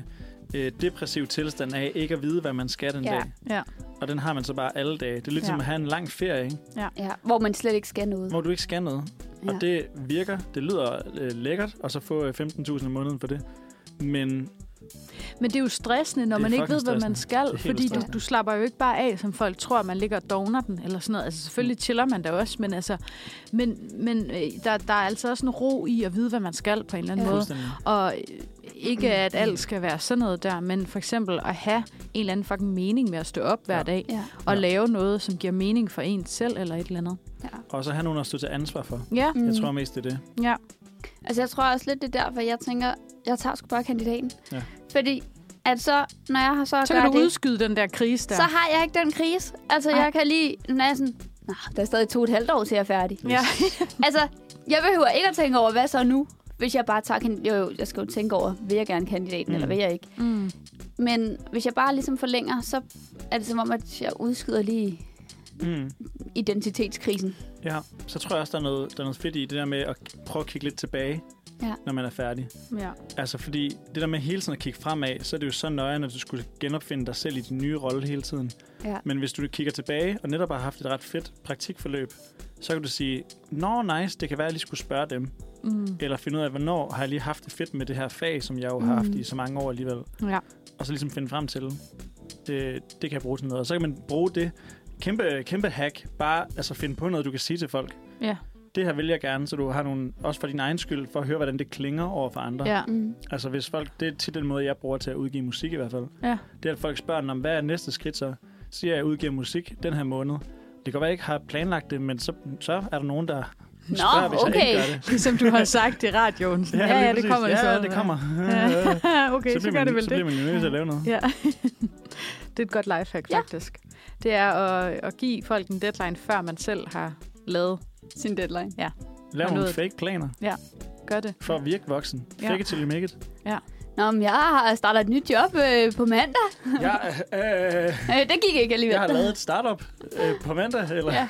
S2: øh, depressiv tilstand af ikke at vide, hvad man skal den
S4: Ja.
S2: ja. dag.
S3: Ja.
S2: Og den har man så bare alle dage. Det er lidt ja. som
S3: Ja. Mm.
S2: at have en lang ferie, ikke?
S4: Ja, hvor man slet ikke skal noget.
S2: hvor du ikke skal noget. Ja.
S4: Ja.
S2: Og det virker, det lyder øh, lækkert, og så få øh, 15.000 om måneden for det. Men
S3: Men det er jo stressende, når
S2: Det er
S3: man ikke
S2: fucking
S3: ved, hvad man
S2: stressende.
S3: skal,
S2: Det er helt
S3: fordi du,
S2: stressende.
S3: du slapper jo ikke bare af, som folk tror, man ligger og dogner den, eller sådan noget. Altså selvfølgelig chiller man da også, men, altså, men, men øh, der, der er altså også en ro i at vide, hvad man skal på en eller anden
S4: Ja.
S3: ja. måde.
S2: fuldstændig.
S3: Og øh, ikke at alt skal være sådan noget der, men for eksempel at have en eller anden fucking mening med at stå op hver
S2: Ja.
S3: dag,
S4: Ja.
S3: og
S2: Ja.
S3: lave noget, som giver mening for en selv, eller et eller andet.
S2: Og så have nogen at stå til ansvar for.
S3: Ja,
S2: Jeg tror mest, det er det.
S3: ja.
S4: Mm. Altså, jeg tror også lidt, det er derfor, jeg tænker, jeg tager sgu bare kandidaten.
S2: Ja.
S4: Fordi, at så, når jeg har så at
S3: Så
S4: gøre
S3: kan du
S4: det,
S3: udskyde den der krise der.
S4: så har jeg ikke den krise. Altså,
S3: Ej.
S4: jeg kan lige, når jeg er sådan, "Nå, der er stadig to og et halvt år til jeg er færdig.
S3: Ja.
S4: Altså, jeg behøver ikke at tænke over, hvad så nu? Hvis jeg bare tager kandidaten, jo, jo, jeg skal jo tænke over, vil jeg gerne kandidaten, mm.
S2: Mm.
S4: eller vil jeg ikke?
S3: Mm.
S4: Men hvis jeg bare ligesom forlænger, så er det som om, at jeg udskyder lige
S2: Mm.
S4: identitetskrisen.
S2: Ja, så tror jeg også, der er, noget, der er noget fedt i det der med at k- prøve at kigge lidt tilbage,
S4: Ja.
S2: når man er færdig.
S3: Ja.
S2: Altså fordi det der med hele tiden at kigge fremad, så er det jo så nøje, når du skulle genopfinde dig selv i din nye rolle hele tiden.
S4: Ja.
S2: Men hvis du kigger tilbage og netop har haft et ret fedt praktikforløb, så kan du sige, nå nice, det kan være, at jeg lige skulle spørge dem.
S3: Mm.
S2: Eller finde ud af, hvornår har jeg lige haft det fedt med det her fag, som jeg jo har haft
S3: Mm.
S2: i så mange år alligevel.
S3: ja.
S2: Og så ligesom finde frem til, det, det kan jeg bruge til noget. Og så kan man bruge det kæmpe, kæmpe hack, bare altså finde på noget, du kan sige til folk
S3: Ja.
S2: det her vil jeg gerne, så du har nogle, også for din egen skyld, for at høre, hvordan det klinger over for andre.
S3: ja.
S4: Mm.
S2: Altså hvis folk, det er tit den måde, jeg bruger til at udgive musik i hvert fald.
S3: Ja.
S2: Det er, at folk spørger, om hvad er næste skridt så? Siger jeg, at jeg udgiver musik den her måned. Det kan godt være, jeg ikke har planlagt det, men så, så er der nogen, der
S4: Nå,
S2: spørger, hvis jeg
S4: okay.
S2: ikke gør det.
S3: Ligesom du har sagt i radioen. Sådan, ja, ja,
S2: lige
S3: det
S2: præcis.
S3: kommer det
S2: ja,
S3: så.
S2: det kommer.
S3: Ja. okay, så, så
S2: bliver
S3: gør
S2: man,
S3: det vel
S2: så bliver
S3: det.
S2: man jo nødt til at lave noget.
S3: Ja. det er et godt lifehack,
S4: Ja.
S3: ja. faktisk. Det er at, at give folk en deadline, før man selv har lavet.
S4: Sin deadline.
S2: Lav
S3: Og
S2: nogle
S3: noget.
S2: fake planer
S3: Gør det.
S2: for at virke voksen.
S3: Ja.
S2: Fake it till you make it.
S4: Nå, men jeg har- starter et nyt job øh, på mandag.
S2: Jeg, øh,
S4: Øh, det gik ikke alligevel.
S2: jeg har lavet et startup øh, på mandag. Eller?
S4: Ja.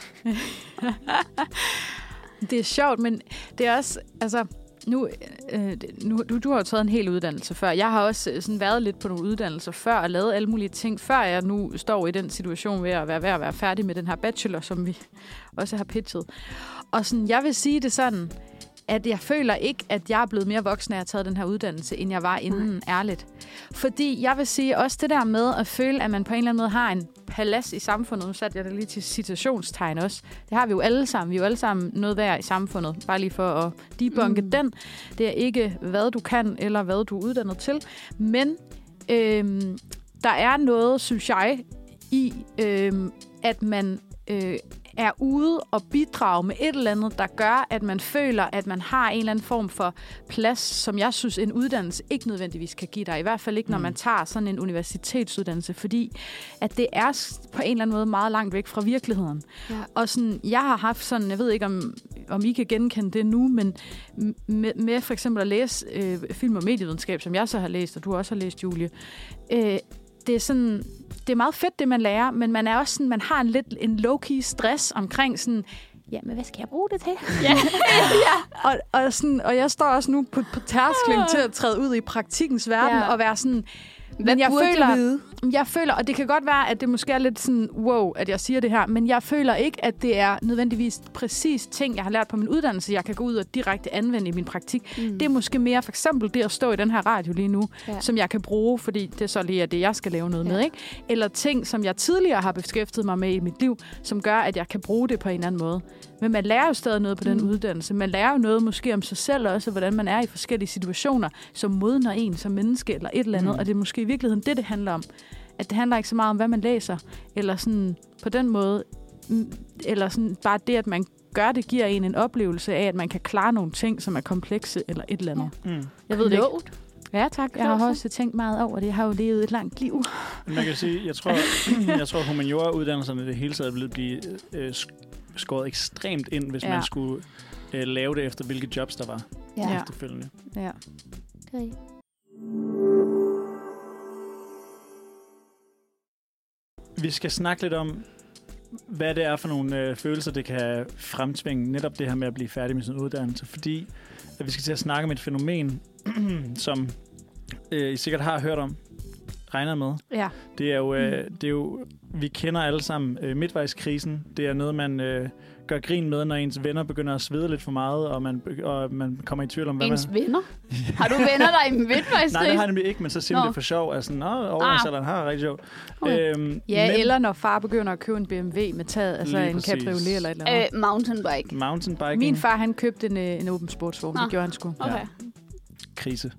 S3: Det er sjovt, men det er også... Altså, nu, øh, nu du, du har jo taget en hel uddannelse før. Jeg har også øh, sådan været lidt på nogle uddannelser før og lavet alle mulige ting, før jeg nu står i den situation ved at være ved at være færdig med den her bachelor, som vi også har pitchet. Og sådan, jeg vil sige det sådan, at jeg føler ikke, at jeg er blevet mere voksen, af at jeg har taget den her uddannelse, end jeg var inden, ærligt. Fordi jeg vil sige også det der med at føle, at man på en eller anden måde har en palads i samfundet. Nu satte jeg det lige til citationstegn også. Det har vi jo alle sammen. Vi er jo alle sammen noget værd i samfundet. Bare lige for at debunke mm. den. Det er ikke, hvad du kan, eller hvad du er uddannet til. Men øhm, der er noget, synes jeg, i, øhm, at man øh, er ude og bidrage med et eller andet, der gør, at man føler, at man har en eller anden form for plads, som jeg synes, en uddannelse ikke nødvendigvis kan give dig. I hvert fald ikke, når man tager sådan en universitetsuddannelse, fordi at det er s- på en eller anden måde meget langt væk fra virkeligheden.
S4: Ja.
S3: Og sådan, jeg har haft sådan, jeg ved ikke, om, om I kan genkende det nu, men m- med, med for eksempel at læse øh, film- og medievidenskab, som jeg så har læst, og du også har læst, Julie, øh, det er sådan, det er meget fedt, det man lærer, men man er også sådan, man har en lidt en low-key stress omkring sådan, ja, men hvad skal jeg bruge det til?
S4: Ja.
S3: og, og, sådan, og jeg står også nu på, på tærsklen til at træde ud i praktikkens verden
S4: Ah. Ja.
S3: og være sådan,
S4: Hvad
S3: men jeg
S4: burde
S3: føler,
S4: jeg vide?
S3: jeg føler, og det kan godt være, at det måske er lidt sådan, wow, at jeg siger det her, men jeg føler ikke, at det er nødvendigvis præcis ting, jeg har lært på min uddannelse, jeg kan gå ud og direkte anvende i min praktik. Mm. Det er måske mere for eksempel det at stå i den her radio lige nu,
S4: Ja.
S3: ja. som jeg kan bruge, fordi det så lige er det, jeg skal lave noget
S4: Ja.
S3: ja. med. Ikke? Eller ting, som jeg tidligere har beskæftiget mig med i mit liv, som gør, at jeg kan bruge det på en eller anden måde. Men man lærer jo stadig noget på den
S4: Mm.
S3: uddannelse. Man lærer jo noget måske om sig selv også, og hvordan man er i forskellige situationer, som modner en som menneske eller et eller andet.
S2: Mm.
S3: Mm. Og det er måske i virkeligheden det, det handler om. At det handler ikke så meget om, hvad man læser, eller sådan på den måde, mm, eller sådan bare det, at man gør det, giver en en oplevelse af, at man kan klare nogle ting, som er komplekse eller et eller andet.
S2: Mm.
S3: Jeg ved det ikke.
S4: Klogt.
S3: Ja, tak. Jeg
S4: Klogt,
S3: har
S4: så.
S3: også tænkt meget over det. Jeg har jo levet et langt liv.
S2: Man kan sige, jeg tror, jeg tror humaniora-uddannelserne i det hele taget ville blive øh, sk- skåret ekstremt ind, hvis ja.
S3: Ja.
S2: man skulle øh, lave det efter, hvilke jobs der var
S4: Ja.
S2: ja.
S4: ja.
S2: efterfølgende.
S3: Ja.
S4: Det er rigtigt.
S2: Vi skal snakke lidt om, hvad det er for nogle øh, følelser, det kan fremtvinge netop det her med at blive færdig med sin uddannelse. Fordi at vi skal til at snakke om et fænomen, som øh, I sikkert har hørt om, regner jeg med.
S3: Ja.
S2: Det er jo, øh, det er jo vi kender alle sammen øh, midtvejskrisen. Det er noget, man øh, gør grin med, når ens venner begynder at svede lidt for meget, og man, be- og man kommer i tvivl om, hvad
S4: Ens
S2: man...
S4: venner? Har du venner, der er i midtvejs?
S2: Nej, det har jeg nemlig ikke, men så siger man
S4: Nå.
S2: det for sjov. Altså, nå, overgangsalderen har rigtig sjov.
S4: Okay.
S2: Øhm,
S3: Ah. Ja,
S2: men
S3: eller når far begynder at købe en BMW med taget, altså
S2: Lige
S3: en
S2: præcis.
S3: cabriolet eller et eller andet.
S4: Øh, mountainbike.
S2: mountainbiking...
S3: Min far, han købte en, øh, en open sportsvogn.
S4: Nå.
S3: Det gjorde han sgu.
S4: Okay.
S2: krise.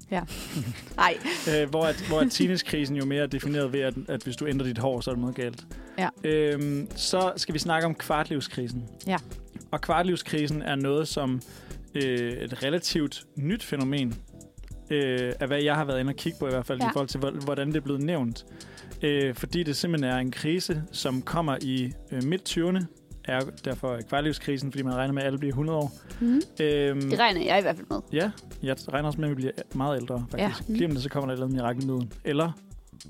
S4: Nej.
S2: Øh, hvor at, hvor at teenagekrisen jo mere er defineret ved, at, at hvis du ændrer dit hår, så er det noget galt.
S3: Ja.
S2: Øhm, så skal vi snakke om kvartlivskrisen.
S3: Ja.
S2: Og kvartlivskrisen er noget som øh, et relativt nyt fænomen, øh, af hvad jeg har været inde og kigge på i hvert fald, ja. i
S4: Ja.
S2: forhold til, hvor- hvordan det er blevet nævnt. Øh, fordi det simpelthen er en krise, som kommer i øh, midt-20'erne, er derfor er kvartlivskrisen, fordi man regner med, at alle bliver 100 år.
S4: Mm.
S2: Øhm,
S4: Det regner jeg i hvert fald med.
S2: Ja, jeg regner også med, at vi bliver meget ældre, faktisk. Ja.
S4: Ja.
S2: Lige om lidt, så kommer der et eller andet mirakelmiddel. Eller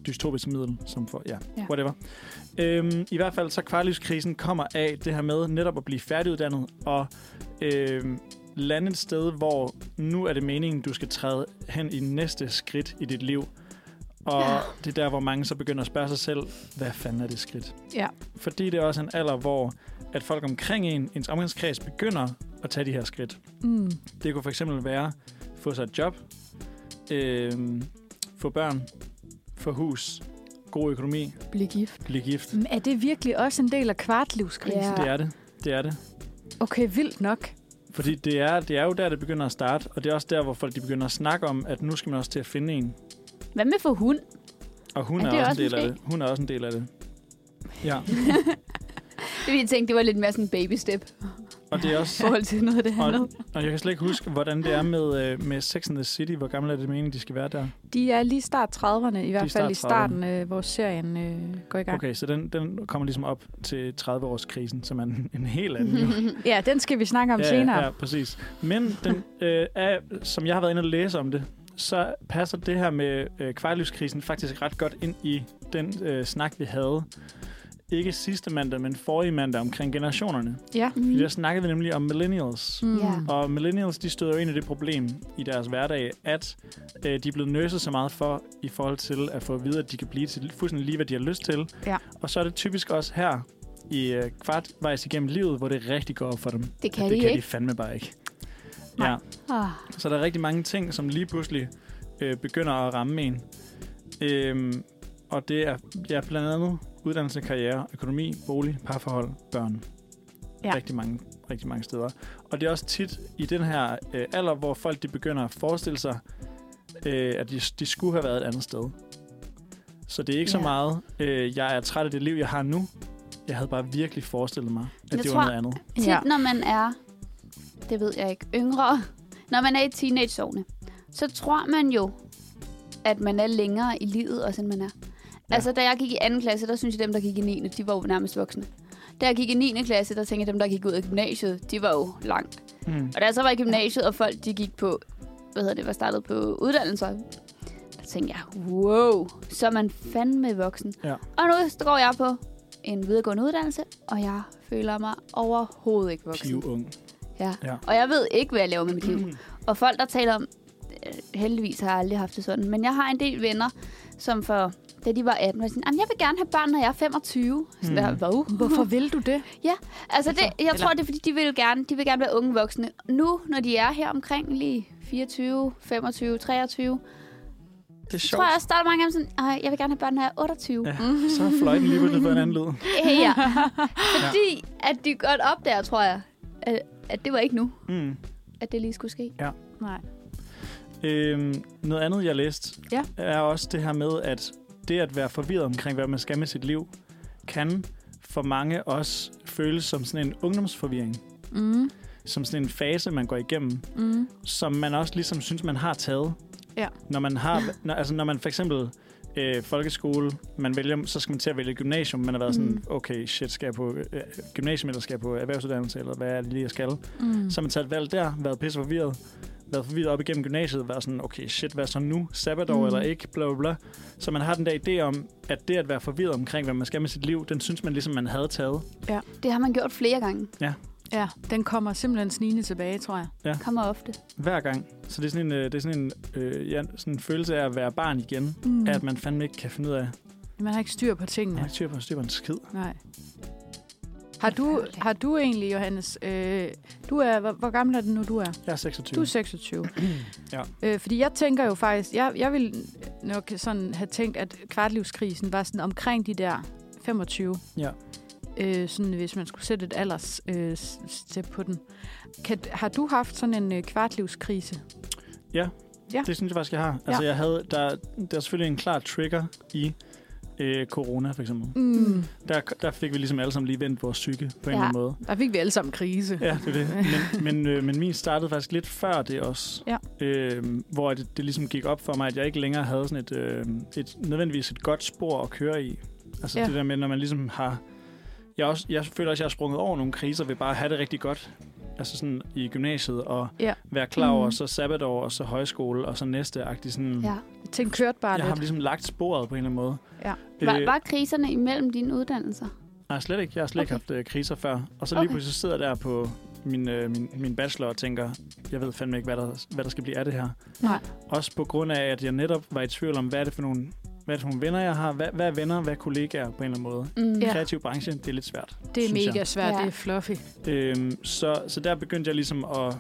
S2: dystopisk middel, som for... Ja, ja.
S3: Ja.
S2: whatever. Øhm, I hvert fald, så kvartlivskrisen kommer af det her med netop at blive færdiguddannet og øhm, lande et sted, hvor nu er det meningen, du skal træde hen i næste skridt i dit liv. Og ja.
S4: Ja.
S2: det er der, hvor mange så begynder at spørge sig selv, hvad fanden er det skridt?
S3: Ja.
S2: Fordi det er også en alder, hvor at folk omkring en, ens omgangskreds, begynder at tage de her skridt.
S3: Mm.
S2: Det kunne for eksempel være at få sig et job, øh, få børn, få hus, god økonomi,
S4: Blive gift.
S2: blive gift.
S3: Men Mm, Er det virkelig også en del af kvartlivskrisen?
S4: Ja.
S2: Ja. Det er det. Det er det.
S3: Okay, vildt nok.
S2: Fordi det er, det er jo der, det begynder at starte, og det er også der, hvor folk de begynder at snakke om, at nu skal man også til at finde en.
S4: Hvad med for hund?
S2: Og hun
S4: Ja,
S2: er,
S4: det er
S2: også en
S4: også
S2: del af
S4: måske.
S2: det. Hun er også en del af det. Ja,
S4: Det ville jeg tænke, det var lidt mere sådan en baby-step
S2: og det er
S4: i
S2: også...
S4: forhold til noget af det andet.
S2: Og, og jeg kan slet ikke huske, hvordan det er med, øh, med Sex and the City. Hvor gamle er det meningen, de skal være der?
S3: De er lige start 30'erne, i hvert
S2: er
S3: fald
S2: start
S3: i
S2: 30'erne.
S3: starten, øh, hvor serien øh, går i gang.
S2: Okay, så den, den kommer ligesom op til 30-årskrisen, som er en, en helt anden jo.
S3: Ja, den skal vi snakke om
S2: ja,
S3: senere.
S2: Ja, ja, præcis. Men den, øh, er, som jeg har været inde og læse om det, så passer det her med øh, kvartlivskrisen faktisk ret godt ind i den øh, snak, vi havde ikke sidste mandag, men forrige mandag omkring generationerne.
S3: Ja.
S4: Mm.
S2: Fordi der snakkede vi nemlig om millennials.
S3: Mm.
S4: Ja.
S2: Og millennials, de støder jo ind i det problem i deres hverdag, at øh, de er blevet nøset så meget for, i forhold til at få at vide, at de kan blive til fuldstændig lige, hvad de har lyst til.
S3: Ja.
S2: Og så er det typisk også her, i øh, kvartvejs igennem livet, hvor det rigtig går op for dem.
S4: Det kan
S2: at
S4: de
S2: det kan de
S4: ikke.
S2: fandme bare ikke.
S3: Nej.
S2: Ja,
S4: Ah.
S2: så der er rigtig mange ting, som lige pludselig øh, begynder at ramme en. Øhm, og det er ja, blandt andet uddannelse, karriere, økonomi, bolig, parforhold, børn.
S3: Ja.
S2: Rigtig, mange, rigtig mange steder. Og det er også tit i den her øh, alder, hvor folk de begynder at forestille sig, øh, at de, de skulle have været et andet sted. Så det er ikke ja. så
S4: Ja.
S2: meget, øh, jeg er træt af det liv, jeg har nu. Jeg havde bare virkelig forestillet mig, at
S4: Jeg
S2: det
S4: tror-
S2: var noget andet.
S4: Tit,
S3: Ja.
S4: Mhm. ja. når man er, det ved jeg ikke, yngre, når man er i teenageårene, så tror man jo, at man er længere i livet, også end man er.
S2: Ja.
S4: Ja. Altså, da jeg gik i 2. klasse, der synes jeg, dem, der gik i 9. de var jo nærmest voksne. Da jeg gik i 9. klasse, der tænkte jeg, dem, der gik ud af gymnasiet, de var jo langt.
S2: Mm.
S4: Og da jeg så var i gymnasiet, og folk, de gik på, hvad hedder det, var startet på uddannelser, der tænkte jeg, wow, så er man fandme voksen.
S2: Ja.
S4: Og nu så går jeg på en videregående uddannelse, og jeg føler mig overhovedet ikke voksen.
S2: Piv ung.
S4: Ja.
S2: Ja. Mm.
S4: ja. Og jeg ved ikke, hvad jeg laver med mit liv. Og folk, der taler om, øh, heldigvis har jeg aldrig haft det sådan, men jeg har en del venner, som for, da de var 18, var sådan, "Jamen, jeg vil gerne have børn, når jeg er 25. Så
S2: Mm.
S4: mm. der, wow.
S3: Hvorfor vil du det?
S4: Altså, det, jeg
S3: Eller-
S4: tror, det er, fordi de vil, gerne, de vil gerne være unge voksne. Nu, når de er her omkring lige 24, 25, 23,
S2: Det er
S4: så tror
S2: sjovt.
S4: jeg også, der er mange af dem sådan, "Ej, jeg vil gerne have børn, når jeg er 28.
S2: Ja, så har fløjten lige pludselig fået en anden lyd.
S4: ja. Fordi at de godt opdager, tror jeg, at, at det var ikke nu,
S2: Mm.
S4: at det lige skulle ske.
S3: Nej.
S2: Øhm, noget andet, jeg læste,
S3: Ja.
S2: er også det her med, at det at være forvirret omkring, hvad man skal med sit liv, kan for mange også føles som sådan en ungdomsforvirring.
S3: Mm.
S2: Som sådan en fase, man går igennem,
S3: Mm.
S2: som man også ligesom synes, man har taget.
S3: Ja.
S2: Når man har, når, altså når man for eksempel øh, folkeskole, man vælger, så skal man til at vælge gymnasium. Man har været sådan,
S3: Mm.
S2: okay, shit, skal jeg på øh, gymnasium, eller skal jeg på erhvervsuddannelse, eller hvad er det lige, jeg skal?
S3: Mm.
S2: Så har man taget et valg der, været pisse forvirret, været forvirret op igennem gymnasiet, været sådan, okay, shit, hvad så nu? Sabbatår mm.
S3: Mm.
S2: eller ikke? Bla, bla, bla. Så man har den der idé om, at det at være forvirret omkring, hvad man skal med sit liv, den synes man ligesom, man havde taget.
S4: Det har man gjort flere gange.
S3: Ja, den kommer simpelthen snigende tilbage, tror jeg.
S4: Kommer ofte.
S2: Hver gang. Så det er sådan en, øh, det er sådan en, øh, ja, sådan en følelse af at være barn igen. Mm.
S3: Mm.
S2: At man fandme ikke kan finde ud af, at
S3: Man har ikke styr på tingene.
S2: man ikke styr på, styr på en skid.
S3: Nej. Har du,
S4: Forfærdeligt.
S3: har du egentlig, Johannes, øh, du er, hvor, hvor gammel er det nu, du er?
S2: Jeg er 26.
S3: Du er 26.
S2: Ja.
S3: Øh, fordi jeg tænker jo faktisk, jeg, jeg ville nok sådan have tænkt, at kvartlivskrisen var sådan omkring de der 25.
S2: Ja.
S3: Øh, sådan, hvis man skulle sætte et alders øh, s- step på den. Kan, har du haft sådan en øh, kvartlivskrise?
S2: Det synes jeg faktisk, jeg har. Altså, jeg havde, der, der er selvfølgelig en klar trigger i øh, corona, for eksempel.
S3: Mm.
S2: Der, der fik vi ligesom alle sammen lige vendt vores psyke på en
S4: Ja.
S2: eller anden måde.
S3: Der fik vi alle sammen krise.
S2: Ja, det er det. Men, men, øh, men min startede faktisk lidt før det også.
S3: Ja.
S2: Øh, hvor det, det ligesom gik op for mig, at jeg ikke længere havde sådan et, øh, et nødvendigvis et godt spor at køre i. Altså
S3: Ja.
S2: ja. det der med, når man ligesom har... Jeg, er også, jeg føler også, at jeg har sprunget over nogle kriser ved bare at have det rigtig godt. Altså sådan i gymnasiet og
S3: Ja.
S2: være klar over,
S4: Mhm.
S2: så sabbatår, og så højskole, og så næste agtig sådan...
S4: Ja.
S3: Tænk kørt bare
S2: Jeg har
S3: lidt.
S2: ligesom lagt sporet på en eller anden måde.
S3: Ja.
S4: Var, var kriserne imellem dine uddannelser?
S2: Nej, slet ikke. Jeg har slet okay. ikke
S4: Okay.
S2: haft øh, kriser før. Og så lige
S4: Okay.
S2: pludselig sidder jeg der på min, øh, min, min bachelor og tænker, jeg ved fandme ikke, hvad der, hvad der skal blive af det her.
S3: Nej.
S2: Også på grund af, at jeg netop var i tvivl om, hvad er det for nogle, hvad er det for nogle venner, jeg har? Hvad, hvad er venner? Hvad er kollegaer på en eller anden måde?
S4: Mm.
S3: Ja.
S2: Ja. Kreativ branche, det er lidt svært.
S3: Det er
S2: synes jeg.
S3: mega svært,
S4: Ja.
S3: det er fluffy.
S2: Øhm, så, så der begyndte jeg ligesom at,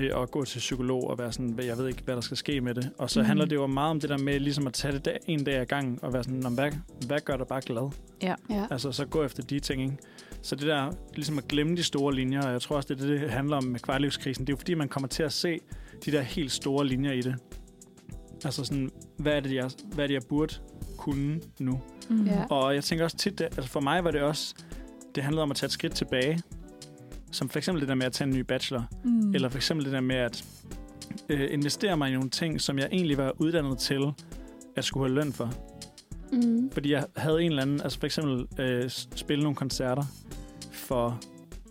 S2: øh, at gå til psykolog og være sådan, "Hvad- jeg ved ikke, hvad der skal ske med det. Og så
S3: Mhm.
S2: mm. handler det jo meget om det der med ligesom at tage det dag, en dag ad gangen og være sådan, "Nå, men hvad, hvad gør dig bare glad?
S4: Ja.
S2: Altså, så gå efter de ting, ikke? Så det der, ligesom at glemme de store linjer, og jeg tror også, det er det, det handler om med kvartlivskrisen, det er jo fordi, man kommer til at se de der helt store linjer i det. Altså sådan, hvad er det, jeg, hvad er det, jeg burde kunne nu?
S3: Mm.
S4: Ja.
S2: Og jeg tænker også tit, det, altså for mig var det også, det handlede om at tage et skridt tilbage. Som for eksempel det der med at tage en ny bachelor.
S3: Mm.
S2: Mm. Eller for eksempel det der med at øh, investere mig i nogle ting, som jeg egentlig var uddannet til at skulle have løn for.
S4: Mm.
S2: Fordi jeg havde en eller anden, altså for eksempel øh, s- spille nogle koncerter for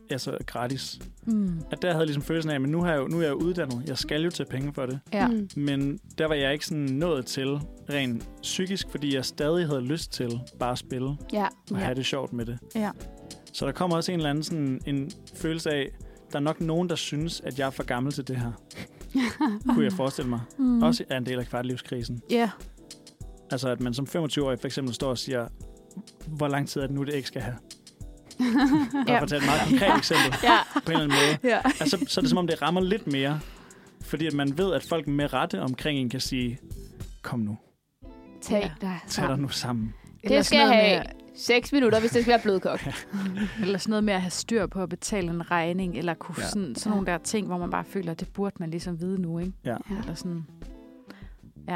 S2: altså gratis.
S3: Mm.
S2: At der havde jeg ligesom følelsen af, at nu, har jeg jo, nu er jeg jo uddannet. Jeg skal jo tage penge for det.
S3: Ja.
S4: Mm.
S2: Men der var jeg ikke sådan nået til rent psykisk, fordi jeg stadig havde lyst til bare at spille og
S4: ja.
S2: ja.
S3: Ja.
S2: have det sjovt med det.
S3: Ja.
S2: Så der kommer også en eller anden sådan, en følelse af, der er nok nogen, der synes, at jeg er for gammel til det her. Kunne jeg forestille mig.
S3: Mm.
S2: Også er en del af kvartlivskrisen.
S3: Ja.
S2: Altså at man som 25-årig for eksempel står og siger, hvor lang tid er det nu, det ikke skal have? Bare
S3: Ja.
S2: for at tage et meget konkret eksempel
S3: Ja.
S2: på en eller anden måde.
S3: ja.
S2: Altså, så er det som om, det rammer lidt mere. Fordi at man ved, at folk med rette omkring en kan sige, kom nu,
S4: Tag
S3: Ja.
S4: dig
S2: tag dig
S4: sammen.
S2: nu sammen.
S3: Eller
S4: Det skal jeg
S3: sådan noget
S4: have.
S3: med-
S4: 6 minutter, hvis det skal være blødkogt.
S3: Eller sådan noget med at have styr på at betale en regning, eller kunne
S2: Ja.
S3: ja. sådan, sådan nogle der ting, hvor man bare føler, at det burde man ligesom vide nu, ikke?
S4: Ja.
S3: Eller sådan.
S4: ja.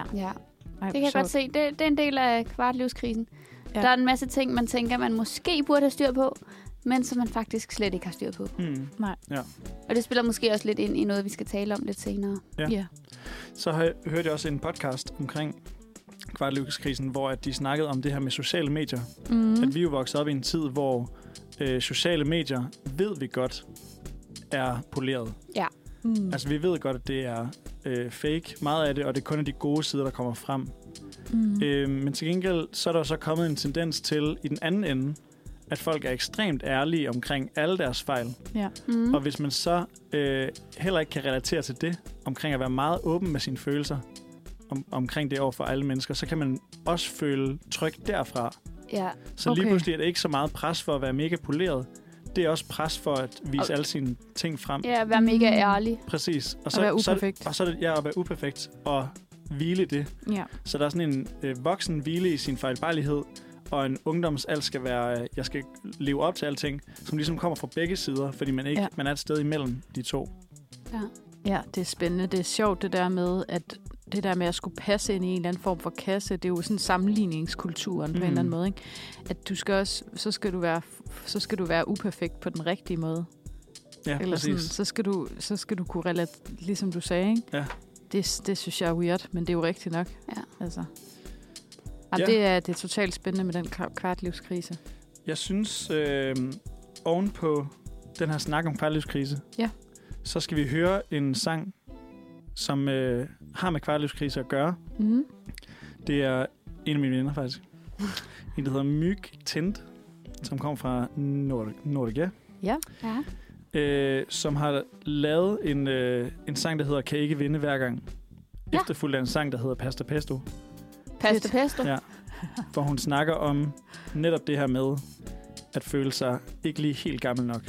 S3: Ej,
S4: Det kan jeg
S3: så-
S4: godt se. Det, det er en del af kvartlivskrisen.
S3: Ja.
S4: Ja. Der er en masse ting, man tænker, man måske burde have styr på, men som man faktisk slet ikke har styr på.
S3: Hmm.
S2: Mm.
S4: Og det spiller måske også lidt ind i noget, vi skal tale om lidt senere.
S2: Ja.
S3: Ja.
S2: Så har jeg, hørte jeg også en podcast omkring kvartlivskrisen, hvor at de snakkede om det her med sociale medier.
S3: Mm.
S2: Mm. At vi jo voksede op i en tid, hvor øh, sociale medier, ved vi godt, er poleret.
S3: Mm.
S2: Altså vi ved godt, at det er øh, fake, meget af det, og det kun er de gode sider, der kommer frem.
S3: mm.
S2: Øh, men til gengæld, så er der jo så kommet en tendens til, i den anden ende, at folk er ekstremt ærlige omkring alle deres fejl. Mm.
S4: Mm.
S2: Og hvis man så øh, heller ikke kan relatere til det, omkring at være meget åben med sine følelser, om, omkring det over for alle mennesker, så kan man også føle tryk derfra.
S4: Ja.
S2: Så okay. lige
S3: Okay.
S2: pludselig er det ikke så meget pres for at være mega poleret. Det er også pres for at vise
S4: Og-
S2: alle sine ting frem.
S4: ja, vær mega
S3: Mm.
S4: ærlig.
S2: Præcis. Og
S3: At være
S2: så, er det-
S3: uperfekt.
S2: og så er det ja, at være uperfekt og hvile i det.
S3: Ja.
S2: Så der er sådan en øh, voksen hvile i sin fejlbarlighed, og en ungdoms alt skal være, øh, jeg skal leve op til alting, som ligesom kommer fra begge sider, fordi man, ikke, ja.
S3: Ja.
S2: man er et sted imellem de to.
S3: ja, det er spændende. Det er sjovt det der med, at det der med at skulle passe ind i en eller anden form for kasse, det er jo sådan sammenligningskulturen mm. på en
S2: Mm.
S3: eller anden måde, ikke? At du skal også, så skal du være, så skal du være uperfekt på den rigtige måde.
S2: Ja,
S3: Eller sådan,
S2: præcis.
S3: så, skal du, så skal du kunne relatere, ligesom du sagde, ikke?
S2: Ja.
S3: Det, det synes jeg er weird, men det er jo rigtigt nok.
S4: Ja.
S3: Altså.
S2: Ja.
S3: Jamen, ja. det, er, det er totalt spændende med den kva- kvartlivskrise.
S2: Jeg synes, øh, oven på den her snak om kvartlivskrise,
S3: Ja.
S2: så skal vi høre en sang, som øh, har med kvartlivskrise at gøre.
S3: Mm.
S2: Det er en af mine venner, faktisk. En, der hedder Myg Tint, som kommer fra Nor- Norge.
S4: Ja.
S2: øh, som har lavet en, øh, en sang, der hedder Kan ikke vinde hver gang. Ja.
S4: Ja.
S2: Efterfulgt af en sang, der hedder Pasta Pesto,
S4: Pasta pesto.
S2: Ja.
S4: Ja.
S2: hvor hun snakker om netop det her med at føle sig ikke lige helt gammel nok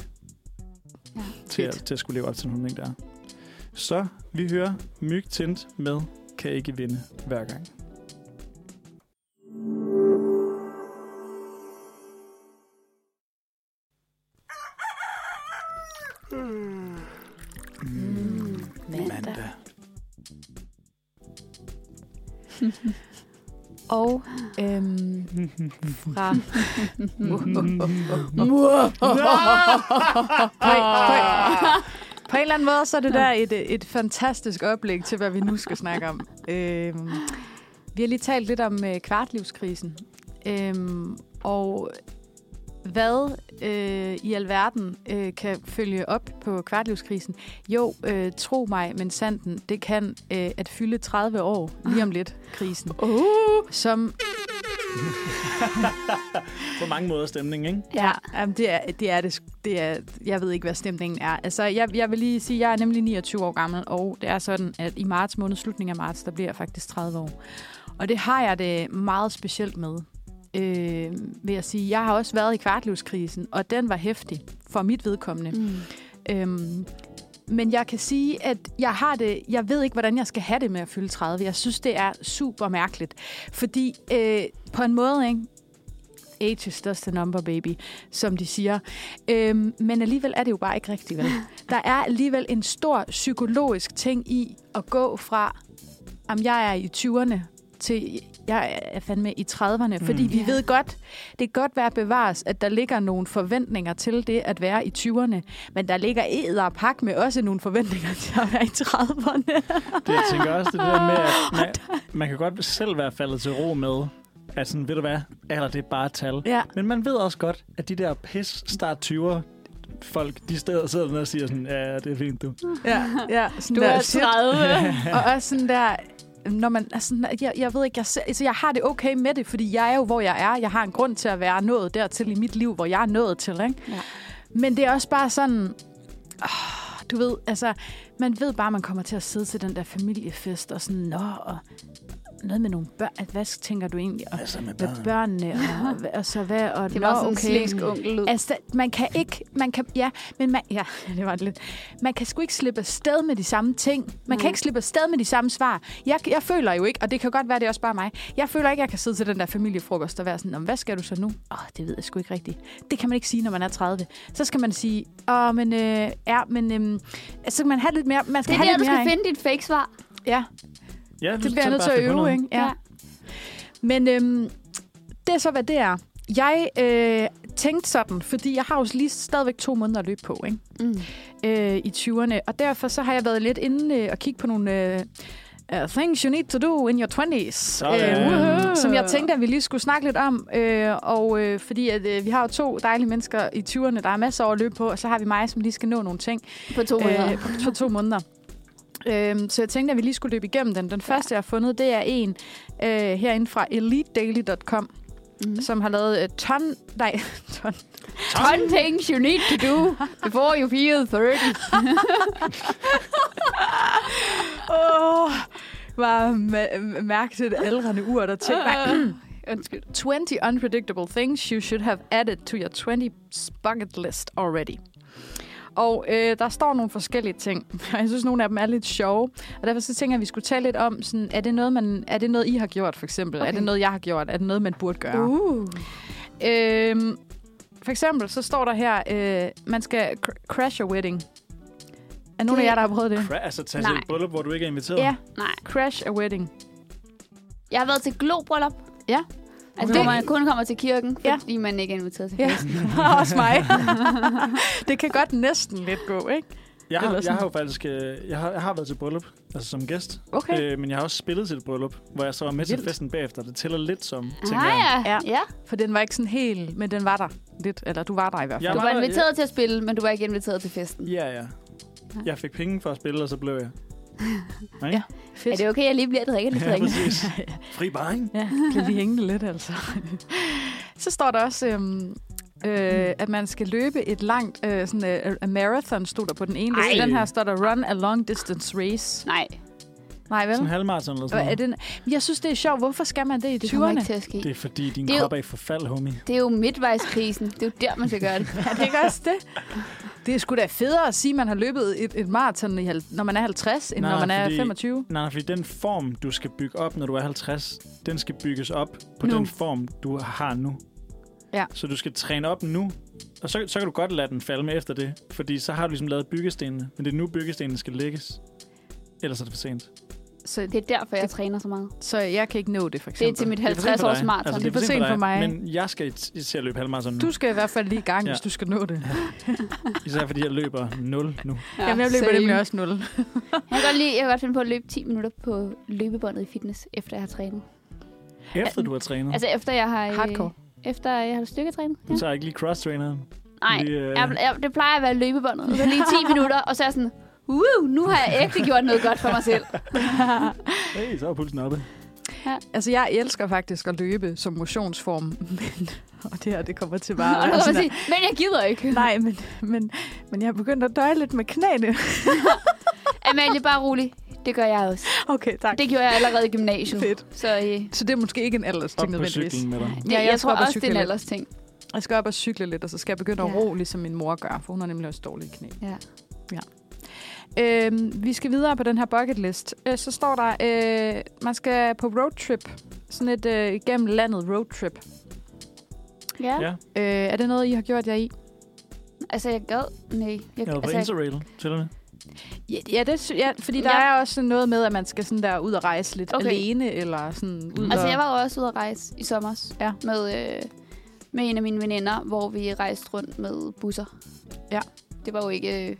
S4: Ja.
S2: til, at,
S3: Fedt.
S2: til at skulle leve op til nogle ting, der er. Så vi hører Myg Tint med Kan ikke vinde hver gang. Mm. Mandag.
S3: Og øhm, fra... På en eller anden måde, så er det der et, et fantastisk oplæg til, hvad vi nu skal snakke om. Øhm, vi har lige talt lidt om øh, kvartlivskrisen. Øhm, og hvad øh, i alverden øh, kan følge op på kvartlivskrisen? Jo, øh, tro mig, men sanden, det kan øh, at fylde 30 år lige om lidt, krisen. Oh. Som
S2: På mange måder stemning, ikke?
S4: ja.
S3: Jamen, det er det. Er det, sgu- det er, jeg ved ikke, hvad stemningen er. Altså, jeg, jeg vil lige sige, at jeg er nemlig 29 år gammel, og det er sådan, at i marts måned, slutningen af marts, der bliver jeg faktisk 30 år. Og det har jeg det meget specielt med, øh, vil jeg sige. Jeg har også været i kvartlivskrisen, og den var hæftig for mit vedkommende.
S4: Mm.
S3: Øhm, men jeg kan sige, at jeg har det. Jeg ved ikke, hvordan jeg skal have det med at fylde 30. Jeg synes, det er super mærkeligt. Fordi øh, på en måde, ikke? Age is just a number, baby, som de siger. Øhm, men alligevel er det jo bare ikke rigtigt, vel? Der er alligevel en stor psykologisk ting i at gå fra, om jeg er i 20'erne, til jeg er fandme i 30'erne. Mm. Fordi vi
S4: Ja.
S3: ved godt, det kan godt være bevares, at der ligger nogle forventninger til det at være i 20'erne. Men der ligger æderpak med også nogle forventninger til at være i 30'erne.
S2: Det, jeg tænker også det der med, at man, man kan godt selv være faldet til ro med, at sådan, ved du hvad, alder det er bare et tal.
S3: Ja.
S2: Men man ved også godt, at de der pis start 20'er, folk, de steder sidder der og siger sådan, ja, ja, det er fint, du.
S3: Ja, ja, sådan
S4: Du
S3: der,
S4: er
S3: shit.
S4: 30.
S3: Og også sådan der, når man, altså, sådan, jeg, jeg ved ikke, jeg, ser, altså, jeg har det okay med det, fordi jeg er jo, hvor jeg er. Jeg har en grund til at være nået dertil i mit liv, hvor jeg er nået til. Ikke?
S4: Ja.
S3: Men det er også bare sådan, oh, du ved, altså, man ved bare, at man kommer til at sidde til den der familiefest og sådan, nå, og noget med nogle børn. At, Hvad tænker du egentlig? Og,
S2: Altså med
S3: med børnene, og, og, og så hvad, og
S4: Det
S3: nå,
S4: var sådan
S3: okay.
S4: okay. en slæsk onkel ud.
S3: Altså, der- man kan ikke, man kan, ja, men man, ja, det var det lidt. Man kan sgu ikke slippe afsted med de samme ting. Man mm. kan
S4: Nej.
S3: ikke slippe afsted med de samme svar. Jeg, jeg føler jo ikke, og det kan godt være, det er også bare mig, jeg føler ikke, jeg kan sidde til den der familiefrokost og være sådan, "Nå, men hvad skal du så nu? Åh, oh, det ved jeg sgu ikke rigtigt. Det kan man ikke sige, når man er 30. Så skal man sige, åh, men, øh, ja, men, øh, så kan man have lidt mere, man
S4: det
S3: skal
S4: er
S3: have
S4: der,
S3: lidt
S4: du
S3: mere,
S4: skal finde dit fake svar.
S3: Ikke? Ja,
S2: Ja,
S3: det bliver jeg nødt til at øve, ikke? Ja.
S4: Ja.
S3: Men øhm, det er så, hvad det er. Jeg øh, tænkte sådan, fordi jeg har jo lige stadigvæk to måneder at løbe på, ikke?
S4: Mm.
S3: øh, i 20'erne. Og derfor så har jeg været lidt inde øh, og kigge på nogle øh, uh, things you need to do in your 20s.
S2: Sådan.
S3: Øh, som jeg tænkte, at vi lige skulle snakke lidt om. Øh, og øh, fordi at, øh, vi har jo to dejlige mennesker i 20'erne, der er masser over at løbe på. Og så har vi mig, som lige skal nå nogle ting
S4: På to måneder.
S3: øh, på- på to måneder. Øhm, så jeg tænkte, at vi lige skulle løbe igennem den. Den første, jeg har fundet, det er en øh, herinde fra elitedaily.com,
S4: Mm.
S3: som har lavet øh, ton... Nej, ton.
S4: 10 things you need to do before you feel 30.
S3: Åh, var ma- mærkeligt aldrende ur, der tænkte mig.
S4: Undskyld.
S3: 20 øh. unpredictable things you should have added to your 20s bucket list already. Og øh, der står nogle forskellige ting, og jeg synes, nogle af dem er lidt sjove. Og derfor så tænker jeg, at vi skulle tale lidt om, sådan, er, det noget, man, er det noget, I har gjort, for eksempel? Okay. Er
S4: Okay.
S3: det noget, jeg har gjort? Er det noget, man burde gøre?
S4: Uh.
S3: Øhm, for eksempel, så står der her, øh, man skal cr- crash your wedding. Er nogen af
S4: Det-
S3: jer, der har prøvet det?
S2: Cra- altså, tage til
S4: Nej.
S2: et bryllup, hvor du ikke er inviteret.
S3: Ja,
S4: Nej.
S3: crash a wedding.
S4: Jeg har været til globrøllup.
S3: Ja.
S4: Altså,
S2: Det-
S4: hvor man kun kommer til kirken,
S3: Ja.
S4: fordi man ikke er inviteret til
S3: Ja,
S4: kirken.
S3: også mig. det kan godt næsten lidt gå, ikke?
S2: Jeg
S3: Eller
S2: har, jeg
S3: sådan.
S2: har jo faktisk øh, jeg har, jeg har været til bryllup, altså som gæst.
S3: Okay.
S2: Øh, men jeg har også spillet til et bryllup, hvor jeg så var med til
S3: Vildt.
S2: festen bagefter. Det tæller lidt som, tænker
S4: Ah,
S2: jeg.
S4: ja.
S3: Ja.
S4: ja. ja.
S3: For den var ikke sådan helt, men den var der lidt. Eller du var der i hvert fald.
S2: Jeg
S4: Du var
S2: var-
S4: inviteret til at spille, men du var ikke inviteret til festen.
S2: Ja, ja. Jeg fik penge for at spille, og så blev jeg.
S4: Er
S3: Fedt.
S4: det okay, at jeg lige bliver drikket lidt drink?
S2: præcis. Fri bar, ikke?
S3: Ja, blev lige hængende lidt, altså. Så står der også, øhm, øh, at man skal løbe et langt øh, sådan, øh, a marathon, stod der på den ene.
S2: Ej.
S3: liste. Den her står der run a long distance race.
S4: Nej,
S3: Nej, vel?
S2: Sådan en halvmarathon eller
S3: Hvad
S2: sådan
S3: er
S2: noget.
S3: det? Men Jeg synes, det er sjovt. Hvorfor skal man det i
S4: det
S3: 20'erne?
S4: kommer ikke til at ske.
S2: Det er fordi, din
S4: Det er jo-
S2: krop er i forfald, homie.
S4: Det er jo midtvejskrisen. Det er jo der, man skal gøre det.
S3: Er det ikke også det? Det er sgu da federe at sige, at man har løbet et, et maraton, i hal- når man er 50, end
S2: Nej,
S3: når man er
S2: fordi-
S3: 25.
S2: Nej, nej, fordi den form, du skal bygge op, når du er 50, den skal bygges op på
S4: Nu.
S2: den form, du har nu.
S3: Ja.
S2: Så du skal træne op nu, og så, så kan du godt lade den falde med efter det, fordi så har du ligesom lavet byggestenene, men det er nu byggestenene skal lægges. Ellers er det for sent.
S3: Så,
S4: Det er derfor, jeg træner så meget.
S3: så jeg kan ikke nå det, for
S4: Det er
S3: eksempel.
S4: til mit
S2: Det er for sent for
S4: 50 års
S2: dig.
S4: maraton.
S3: det er for sent for mig.
S2: Men jeg skal i- til at løbe halvmarathon nu.
S3: Du skal i hvert fald lige i gang, ja.
S2: Ja.
S3: hvis du skal nå det.
S2: Især fordi jeg løber 0 nu.
S4: Ja,
S3: Jamen, jeg løber
S4: same.
S3: nemlig også 0.
S4: Jeg kan, godt lide, jeg kan godt finde på at løbe 10 minutter på løbebåndet i fitness, efter jeg har trænet.
S2: Efter du har trænet. Altså,
S4: Altså efter jeg har... øh,
S3: Hardcore.
S4: Efter jeg har styrketrænet.
S2: du tager ikke lige cross-traineren.
S4: Nej,
S2: Lige, øh,
S4: jeg, jeg, det plejer at være løbebåndet. Så lige 10 minutter, og så er jeg sådan... Uh, nu har jeg ægte gjort noget godt for mig selv.
S2: hey, så er pulsen oppe.
S3: Altså, jeg elsker faktisk at løbe som motionsform, men, og det her, det kommer til bare...
S4: og nu kan man
S3: sådan
S4: sige, men jeg gider ikke.
S3: at- Nej, men, men, men jeg har begyndt at døje lidt med knæene.
S4: Amalie, bare rolig. Det gør jeg også.
S3: Okay, tak.
S4: Det gjorde jeg allerede i gymnasiet.
S3: Fedt.
S4: Så øh,
S3: Så det er måske ikke en
S2: Op
S3: aldersting,
S2: på
S3: nødvendigvis.
S2: cyklen med dig.
S4: det, ja, jeg,
S3: skal
S4: jeg tror
S3: op og
S4: også, det
S3: cykle
S4: er en
S3: lidt.
S4: alders ting.
S3: Jeg skal op og cykle lidt, og så skal jeg begynde ja. at
S4: Ja.
S3: ro, ligesom min mor gør, for hun har nemlig også dårlige knæ.
S4: Ja.
S3: ja. Øhm, vi skal videre på den her bucket list. Øh, så står der, øh, man skal på roadtrip. Sådan et øh, igennem landet roadtrip.
S4: Ja.
S2: Ja,
S3: Øh, er det noget, I har gjort jer i?
S4: Altså, jeg gad... Nej. Jeg,
S2: jeg var på
S4: altså, jeg,
S2: Interrail til og med.
S3: Ja, ja, det, sy- ja fordi der
S4: Ja.
S3: er også sådan noget med, at man skal sådan der ud og rejse lidt okay.
S4: Okay.
S3: alene, eller sådan ud
S4: altså,
S3: og...
S4: jeg var jo også ude at rejse i sommer
S3: Ja.
S4: med, øh, med en af mine veninder, hvor vi rejste rundt med busser.
S3: Ja.
S4: Det var jo ikke øh,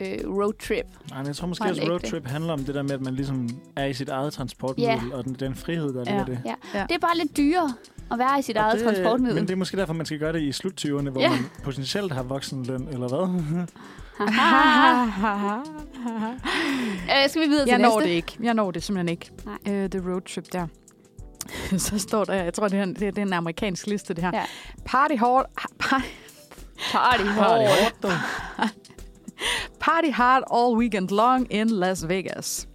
S4: øh, roadtrip.
S2: Nej, men jeg tror måske,
S4: Nej,
S2: at
S4: ikke
S2: roadtrip handler om det der med, at man ligesom er i sit eget transportmiddel, og den, den frihed, der ligger
S3: Ja.
S2: det.
S4: Ja.
S3: Ja.
S4: ja. Det er bare lidt dyrere. at være i sit eget
S2: det,
S4: transportmiddel.
S2: Men det er måske derfor, man skal gøre det i sluttyverne, hvor
S4: Ja.
S2: ja. man potentielt har voksenløn, eller hvad?
S4: øh, skal vi videre til
S3: jeg
S4: næste?
S3: når det ikke. Jeg når det simpelthen ikke.
S4: Nej.
S3: Øh, the road trip der. Så står der, jeg tror, det er, en- det er, det er en amerikansk liste, det her.
S4: Ja.
S3: Party, hard, party, party,
S2: Party
S3: hard.
S2: hårdt, dog.
S3: party hard all weekend long in Las Vegas.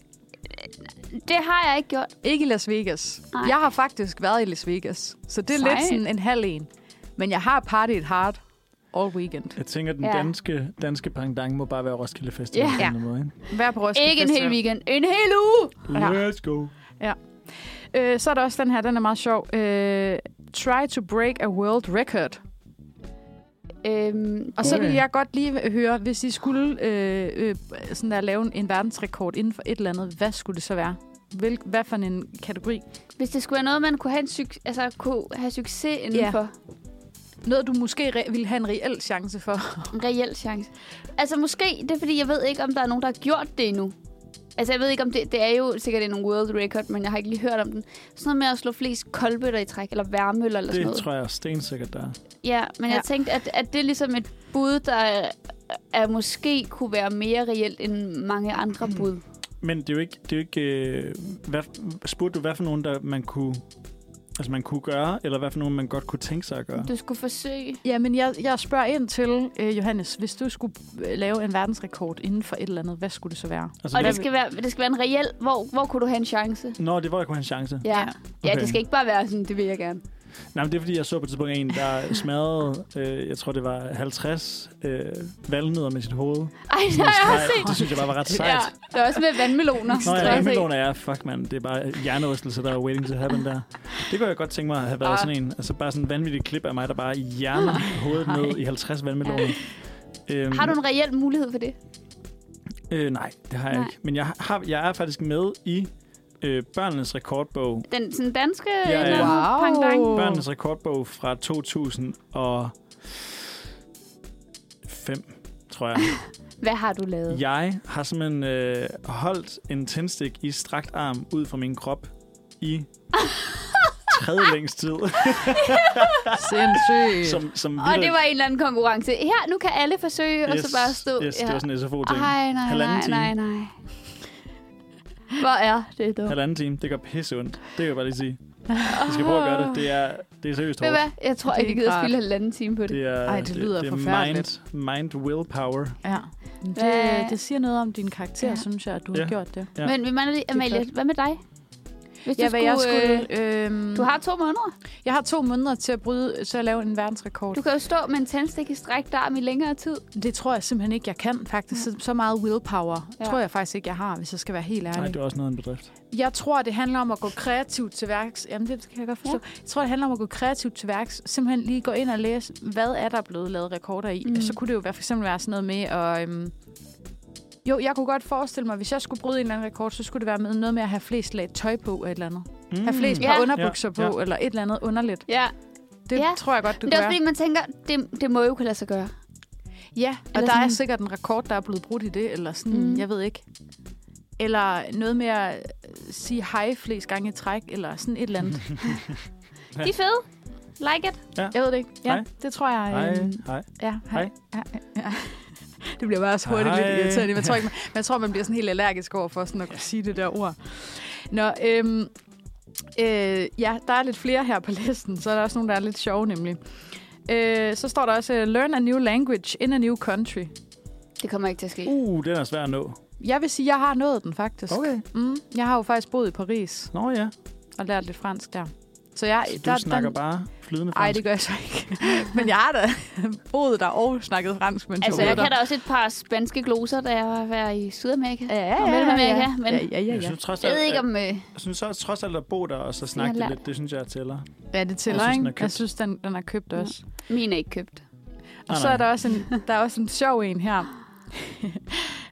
S4: Det har jeg ikke gjort.
S3: Ikke Las Vegas.
S4: Nej.
S3: Jeg har faktisk været i Las Vegas, så det er
S4: Sejt.
S3: lidt sådan en halv en. Men jeg har partiet hard all weekend.
S2: Jeg tænker, den
S4: Ja.
S2: danske, danske pangdang må bare være Roskilde Festival
S4: Ja.
S2: på en eller anden måde. Ikke?
S3: Hver på Roskilde
S4: Ikke en
S3: Festival.
S4: hel weekend. En hel uge!
S3: Ja.
S2: Let's go.
S3: Øh, så er der også den her, den er meget sjov. Øh, try to break a world record.
S4: Øhm,
S3: Og så
S2: Okay.
S3: vil jeg godt lige høre, hvis I skulle øh, øh, sådan der, lave en- en verdensrekord inden for et eller andet, hvad skulle det så være? Hvil, hvad for en kategori?
S4: Hvis det skulle være noget, man kunne have, en suc- altså, kunne have succes indenfor.
S3: Noget, du måske re- ville have en reel chance for.
S4: En reel chance. Altså måske, det er fordi, jeg ved ikke, om der er nogen, der har gjort det endnu. Altså jeg ved ikke, om det, det er jo sikkert en world record, men jeg har ikke lige hørt om den. Sådan noget med at slå flest koldbøtter i træk, eller værmøller eller sådan
S2: Det
S4: noget.
S2: tror jeg stensikkert, der er.
S4: Ja, men ja.
S3: Ja.
S4: jeg tænkte, at, at det er ligesom et bud, der er, er måske kunne være mere reelt end mange andre
S2: Mm.
S4: bud.
S2: Men det er jo ikke... Det er jo ikke øh, hvad, spurgte du, hvad for nogen, der man kunne, altså man kunne gøre, eller hvad for nogen, man godt kunne tænke sig at gøre?
S4: Du skulle forsøge.
S2: Altså,
S3: Ja, men jeg, jeg spørger ind til, øh, Johannes, hvis du skulle øh, lave en verdensrekord inden for et eller andet, hvad skulle det så være?
S2: Altså,
S4: Og
S2: hvad,
S4: det skal, være, det skal være en reel, hvor, hvor kunne du have en chance?
S2: Nå, det var, jeg kunne have en chance.
S4: Ja.
S3: Ja.
S4: ja,
S2: Okay.
S4: det skal ikke bare være sådan, det vil jeg gerne.
S2: Nej, men det er, fordi jeg så på et tidspunkt en, der smadrede, øh, jeg tror, det var 50 øh, valnødder med sit hoved.
S4: Ej, det har jeg også
S2: Nej,
S4: set.
S2: Det synes jeg bare var ret
S4: Ja,
S2: sejt.
S4: det er også med vandmeloner.
S2: Nå,
S4: Det er
S2: ja,
S4: også
S2: Himmelån er, fuck mand, det er bare hjernerystelse, der er waiting to happen der. Det kunne jeg godt tænke mig at have været
S3: Ah.
S2: ah. sådan en. Altså bare sådan en vanvittig klip af mig, der bare hjerner hovedet ned i 50 vandmeloner. Øhm,
S4: ikke- Har du en reel mulighed for det?
S2: øh, nej, det har jeg
S4: Nej.
S2: ikke. Men jeg, har, jeg er faktisk med i øh, børnenes rekordbog.
S4: Den sådan danske
S2: Ja, ja.
S4: eller anden pangdang?
S3: Wow.
S2: Børnenes rekordbog fra 2005, tror jeg.
S4: Hvad har du lavet?
S2: Jeg har simpelthen øh, holdt en tændstik i strakt arm ud fra min krop i tredje længst tid,
S3: Sindssygt.
S2: som, som
S4: Og det var en eller anden konkurrence. Her, nu kan alle forsøge, og så bare stå.
S2: Yes, det var sådan en SFO-ting.
S4: Ej, nej,
S2: Halvanden
S4: nej,
S2: time.
S4: nej, nej. Hvor er det dumt.
S2: Halvanden time, det gør pisse ondt. Det kan jeg bare lige sige. Vi skal prøve at gøre det. Det er, det er seriøst
S4: Ved du
S2: hårdt.
S4: hvad? Jeg tror
S3: Det er
S4: ikke, jeg
S3: ikke
S4: gider
S3: rart.
S4: spille halvanden time på det.
S2: Det er,
S3: Ej, det lyder
S2: det, det er
S3: forfærdeligt.
S2: mind, mind willpower.
S3: Ja.
S4: Hvad-
S3: Det, det siger noget om din karakter,
S4: Ja.
S3: ja. synes jeg, at du ja.
S2: Ja.
S3: har gjort det.
S2: Ja.
S4: Men vi mangler lige,
S3: er
S4: Amalie,
S3: flot.
S4: hvad med dig? Hvis
S3: Ja, hvad jeg skulle...
S4: øh,
S3: Øh,
S4: du har to måneder.
S3: Jeg har to måneder til at bryde, til at lave en verdensrekord.
S4: Du kan jo stå med en tændstik i stræk arm i længere tid.
S3: Det tror jeg simpelthen ikke, jeg kan faktisk. Så, så meget willpower
S4: Ja.
S3: ja. tror jeg faktisk ikke, jeg har, hvis jeg skal være helt ærlig.
S2: Nej, det er også noget af en bedrift.
S3: Jeg tror, det handler om at gå kreativt til værks. Jamen, det kan jeg godt forstå. Jeg tror, det handler om at gå kreativt til værks. Simpelthen lige gå ind og læse, hvad er der blevet lavet rekorder i.
S4: Mm.
S3: Mm. Så kunne det jo være, for eksempel være sådan noget med at... Øhm, jo, jeg kunne godt forestille mig, hvis jeg skulle bryde en eller anden rekord, så skulle det være med noget med at have flest lag tøj på eller et eller andet. Mm. Have flest par
S4: Ja.
S3: underbukser
S2: Ja,
S3: på, eller et eller andet underligt.
S4: Ja,
S3: Det
S4: Ja.
S3: tror jeg godt,
S4: men
S3: du
S4: det er
S3: kan
S4: også fordi, man tænker, det, det må jo kunne lade sig gøre.
S3: Ja, og
S4: Eller
S3: der
S4: sådan-
S3: er sikkert en rekord, der er blevet brudt i det, eller sådan,
S4: Mm.
S3: mm. jeg ved ikke. Eller noget med at øh, sige hej flest gange i træk, eller sådan et eller andet.
S4: De er fede. Like it.
S3: Jeg ved det ikke. Ja,
S2: Hej.
S3: det tror jeg.
S2: Hej,
S3: øhm,
S2: hej.
S3: Ja, hej.
S2: Hej.
S3: Ja, ja. Det bliver bare så hurtigt
S2: Hej.
S3: lidt irriterende. Jeg tror, ikke, man, men jeg tror, man bliver sådan helt allergisk over for sådan at kunne sige det der ord. Nå, øhm, øh, ja, der er lidt flere her på listen, så er der også nogle, der er lidt sjove nemlig. Øh, så står der også, øh, learn a new language in a new country.
S4: Det kommer ikke til at ske.
S2: Uh, den er svær at nå.
S3: Jeg vil sige, jeg har nået den faktisk.
S2: Okay.
S3: Mm, jeg har jo faktisk boet i Paris
S2: Nå ja,
S3: og lært lidt fransk der. Så jeg,
S2: så du
S3: der,
S2: snakker
S3: den,
S2: bare flydende fransk.
S3: Nej, det gør jeg så ikke. Men jeg har da boet der og snakket fransk, mens
S4: Altså,
S2: Okay.
S4: jeg
S3: jeg boede
S4: kan da også et par spanske gloser, da jeg var- var i Sydamerika.
S3: der. Ja,
S4: og Mellemamerika, men-
S3: ja, ja, ja,
S2: Jeg
S3: ja.
S2: synes trods
S4: Jeg
S2: alt,
S4: ved ikke,
S2: at-
S4: om... Øh,
S2: Jeg synes så trods alt at bo der og så snakke
S4: Jeg har
S2: det lidt, det synes jeg tæller.
S3: Ja, det
S2: Jeg
S3: tæller,
S2: synes,
S3: jeg
S2: den er
S3: ikke?
S2: købt.
S3: Jeg synes, den, den er købt
S4: Ja.
S3: også.
S4: min er ikke købt.
S3: Og så er der også en, der er også en sjov en her.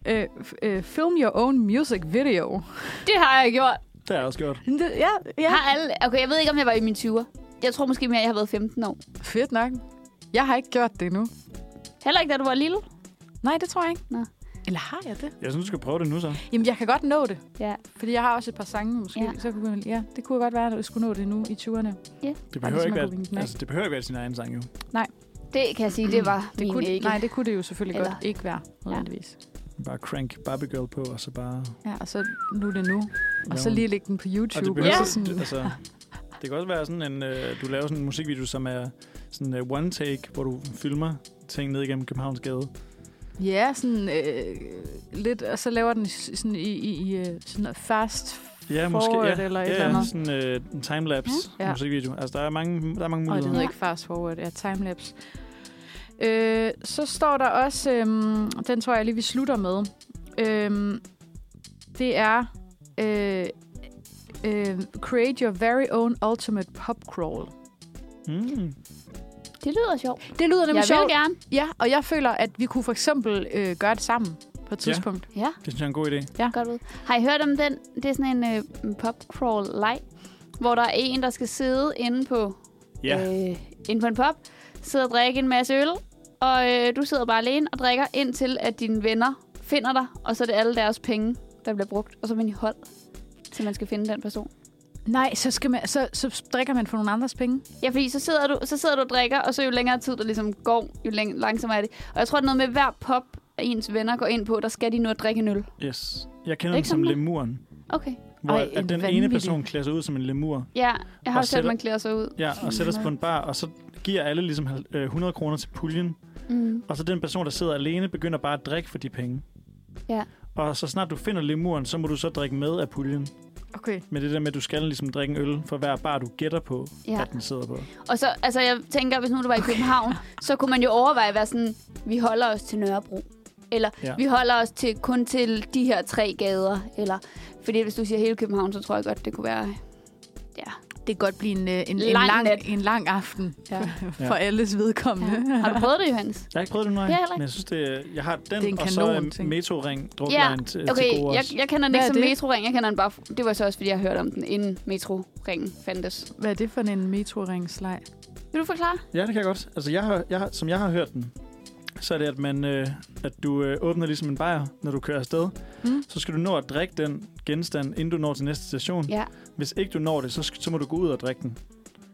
S3: Øh, f- øh, film your own music video.
S4: Det har jeg gjort.
S2: Det har jeg også gjort.
S3: Det- Ja, ja.
S4: Har alle... Okay, jeg ved ikke, om jeg var i mine 20'er. Jeg tror måske mere, jeg har været 15 år.
S3: Fedt nok. Jeg har ikke gjort det endnu.
S4: Heller ikke, da du var lille.
S3: Nej, det tror jeg ikke.
S4: Nå.
S3: Eller har jeg det?
S2: Jeg synes, du skal prøve det nu så.
S3: Jamen, jeg kan godt nå det.
S4: Ja.
S3: Fordi jeg har også et par sange, måske.
S4: Ja.
S3: Ja. Så kunne, ja, det kunne godt være, at jeg skulle nå det nu i 20'erne.
S2: Det
S3: Bare
S2: behøver,
S3: ligesom
S2: ikke
S3: at kunne vinke den
S2: være,
S3: af.
S2: altså, det behøver ikke være sin egen sang, jo.
S4: Det kan jeg sige, det var
S3: Det
S4: min
S3: kunne,
S4: ikke.
S3: Nej, det kunne det jo selvfølgelig Eller. godt
S4: Eller-
S3: ikke være, nødvendigvis. Ja.
S2: Bare crank Barbie Girl på, og så bare...
S3: ja, og så nu er det nu. Og
S2: lave
S3: så
S2: en-
S3: lige lægge den på
S2: Og det,
S3: YouTube.
S2: behøver,
S3: og
S2: ja.
S3: så sådan,
S2: det, altså, det kan også være sådan en... Øh, du laver sådan en musikvideo, som er sådan en one take, hvor du filmer ting ned igennem Københavns gade.
S3: ja, sådan øh, lidt, og så laver den s- sådan i, i, i øh, sådan noget fast
S2: Ja,
S3: forward
S2: måske. Ja,
S3: eller et
S2: ja,
S3: eller andet.
S2: sådan øh, en timelapse
S3: Ja.
S2: ja. musikvideo. Altså, der er mange, der er mange
S3: Og det
S2: muligheder.
S3: hedder ikke fast forward, ja, timelapse. Øh, så står der også, øhm, den tror jeg lige, vi slutter med. Øhm, det er øh, øh, Create Your Very Own Ultimate Pop Crawl.
S2: Mm.
S4: Det lyder sjovt.
S3: Det lyder
S4: Jeg
S3: nemlig
S4: vil
S3: sjovt.
S4: gerne.
S3: Ja, og jeg føler, at vi kunne for eksempel øh, gøre det sammen på et
S2: Ja.
S3: tidspunkt.
S4: Ja,
S2: Det synes jeg er en god idé.
S4: godt ud. Har I hørt om den? Det er sådan en øh, popcrawl-leg, hvor der er en, der skal sidde inde på
S2: Ja.
S4: øh, inde på en pop, sidder og drikker en masse øl, og øh, du sidder bare alene og drikker, indtil at dine venner finder dig, og så er det alle deres penge, der bliver brugt, og så er man i hold, til man skal finde den person.
S3: Nej, så, skal man, så, så drikker man for nogle andres penge.
S4: Ja, fordi så sidder du, så sidder du og drikker, og så jo længere tid der ligesom går, jo læng- langsommere er det. Og jeg tror, det er noget med hver pop, at ens venner går ind på, der skal de nu at drikke en øl.
S2: Yes. Jeg kender
S4: Er
S2: den
S4: ikke
S2: som
S4: sådan,
S2: lemuren.
S4: Okay.
S2: Hvor
S3: Ej,
S2: Ej, at
S3: en
S2: den ene
S3: vanvittig-
S2: person klæder sig ud som en lemur.
S4: Ja, jeg har
S2: Og
S4: også hørt, at
S2: sætter-
S4: man klæder sig ud.
S2: Ja, og sætter sig på en bar, og så giver alle ligesom hal- øh, 100 kroner til puljen.
S4: Mm.
S2: Og så den person, der sidder alene, begynder bare at drikke for de penge.
S4: Ja.
S2: Og så snart du finder lemuren, så må du så drikke med af puljen.
S3: Okay.
S2: Men det der med, at du skal ligesom drikke en øl for hver bar, du gætter på,
S4: Ja.
S2: ja. at den sidder på.
S4: Og så, altså jeg tænker, hvis nu du var i København, så kunne man jo overveje at være sådan, vi holder os til Nørrebro. Eller ja.
S2: Ja.
S4: vi holder os til kun til de her tre gader. Eller, fordi hvis du siger hele København, så tror jeg godt, det kunne være... Ja.
S3: Det kan godt blive en, øh, en, en,
S4: Lang
S3: lang,
S4: nat.
S3: en lang aften
S4: ja.
S3: for alles vedkommende.
S4: ja. Har du prøvet det, Johannes?
S2: Jeg har ikke prøvet det nu,
S4: Det har jeg heller
S2: men jeg synes, det er, jeg har den,
S3: en
S2: og så
S3: kanon-ting.
S2: øh, Metroring
S4: Ja,
S2: drukline ja. til,
S4: Okay,
S2: til gode
S4: jeg,
S2: også.
S4: jeg kender den
S3: Hvad
S4: ikke
S3: er
S4: som
S3: det?
S4: metroring. Jeg kender den bare... Det var så også, fordi jeg hørte om den, inden metroringen fandtes.
S3: Hvad er det for en metroringslej?
S4: Vil du forklare?
S2: Ja, det kan jeg godt. Altså, jeg har, jeg, har- som jeg har hørt den, så er det, at, man, øh, at du øh, åbner ligesom en bajer, når du kører afsted.
S4: Hmm?
S3: Mm.
S2: Så skal du nå at drikke den genstand, inden du når til næste station.
S4: Ja.
S2: Hvis ikke du når det, så, sk- så må du gå ud og drikke den.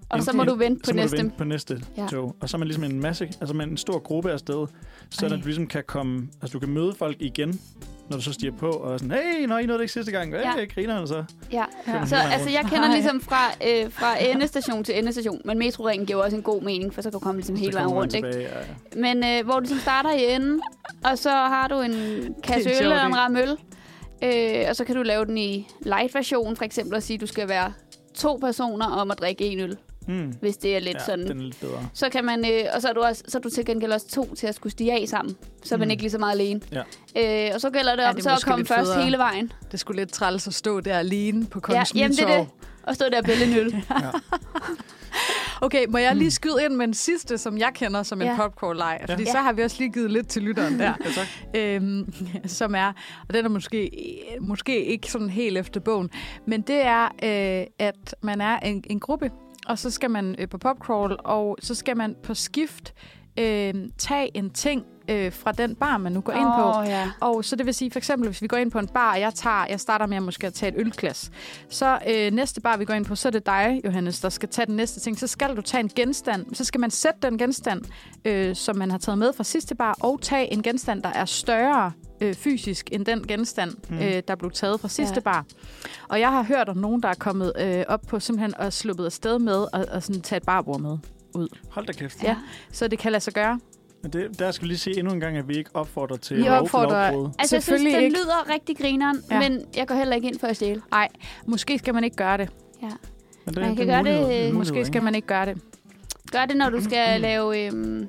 S4: Og så
S2: Inden-
S4: må du
S2: inden-
S4: vente på
S2: så må
S4: næste.
S2: du vente på næste
S4: Ja.
S2: ja. tog. Og så er man ligesom en masse, altså man er en stor gruppe afsted, så
S3: Ej.
S2: at du ligesom kan komme, altså du kan møde folk igen, når du så stiger på, og er sådan, hey, nå, I nåede det ikke sidste gang. Hey,
S4: Ja.
S2: ja. grinerne så.
S4: Ja.
S2: Ja.
S4: Så
S2: Hele vejen
S4: altså, jeg
S3: rundt.
S4: kender
S3: Nej.
S4: ligesom fra, øh, fra endestation til endestation, men metroringen giver jo også en god mening, for så kan du komme ligesom
S2: Så
S4: hele vejen
S2: kommer man
S4: rundt, ikke?
S2: tilbage, ja, ja.
S4: Men øh, hvor du ligesom starter i enden, og så har du en kasse
S3: en sjov
S4: øl og en
S3: idé.
S4: ramme øl. Øh, og så kan du lave den i light-version, for eksempel, og sige, at du skal være to personer om at drikke en øl,
S2: Mm.
S4: hvis det er lidt ja, sådan.
S2: Den er lidt bedre.
S4: Så kan man, øh, og så er, du også, så er du til gengæld også to til at skulle stige af sammen, så er man
S2: Mm.
S4: ikke lige så meget alene.
S2: Ja.
S4: Øh, og så gælder det
S3: Ja,
S4: om
S3: det er
S4: så at
S3: måske
S4: komme
S3: lidt
S4: først
S3: federe.
S4: hele vejen.
S3: Det skulle lidt træls at stå der alene på
S4: Ja,
S3: Kongens ja,
S4: jamen det er det. Og stå der og bælge en øl.
S3: Okay, må jeg lige skyde ind med en sidste, som jeg kender som en
S4: Ja.
S3: ja. popcorn-leg? Fordi
S2: Hmm. Ja.
S3: så har vi også lige givet lidt til lytteren der.
S2: Ja, tak.
S3: øhm, som er, og den er måske, måske ikke sådan helt efter bogen, men det er, øh, at man er en, en gruppe, og så skal man øh, på popcrawl, og så skal man på skift øh, tage en ting øh, fra den bar, man nu går ind på.
S4: Åh, ja.
S3: Og så det vil sige, for eksempel, hvis vi går ind på en bar, og jeg, tager, jeg starter med at måske at tage et ølglas, så øh, næste bar, vi går ind på, så er det dig, Johannes, der skal tage den næste ting. Så skal du tage en genstand. Så skal man sætte den genstand, øh, som man har taget med fra sidste bar, og tage en genstand, der er større øh, fysisk end den genstand, mm. øh, der blev taget fra sidste
S4: Ja.
S3: ja. bar. Og jeg har hørt om nogen, der er kommet øh, op på simpelthen og sluppet afsted med at, at sådan tage et barbord med.
S2: Hold da kæft.
S3: Ja. Så det kan lade sig gøre.
S2: Men det, der skal vi lige sige endnu en gang, at vi ikke opfordrer til
S3: Vi
S2: lov-
S3: opfordrer-
S2: lovbrud.
S4: Altså, jeg synes,
S3: Selvfølgelig
S4: den
S3: ikke.
S4: lyder rigtig grineren,
S3: Ja.
S4: ja. men jeg går heller ikke ind for at stjæle.
S3: Måske skal man ikke gøre det.
S4: Ja.
S2: Men det,
S4: Man
S2: det
S4: kan
S2: er
S4: gøre
S2: en mulighed. er
S4: det,
S2: en
S4: øh,
S2: mulighed,
S3: Måske skal
S2: ikke?
S3: man ikke gøre det.
S4: Gør det, når du skal lave... Øhm,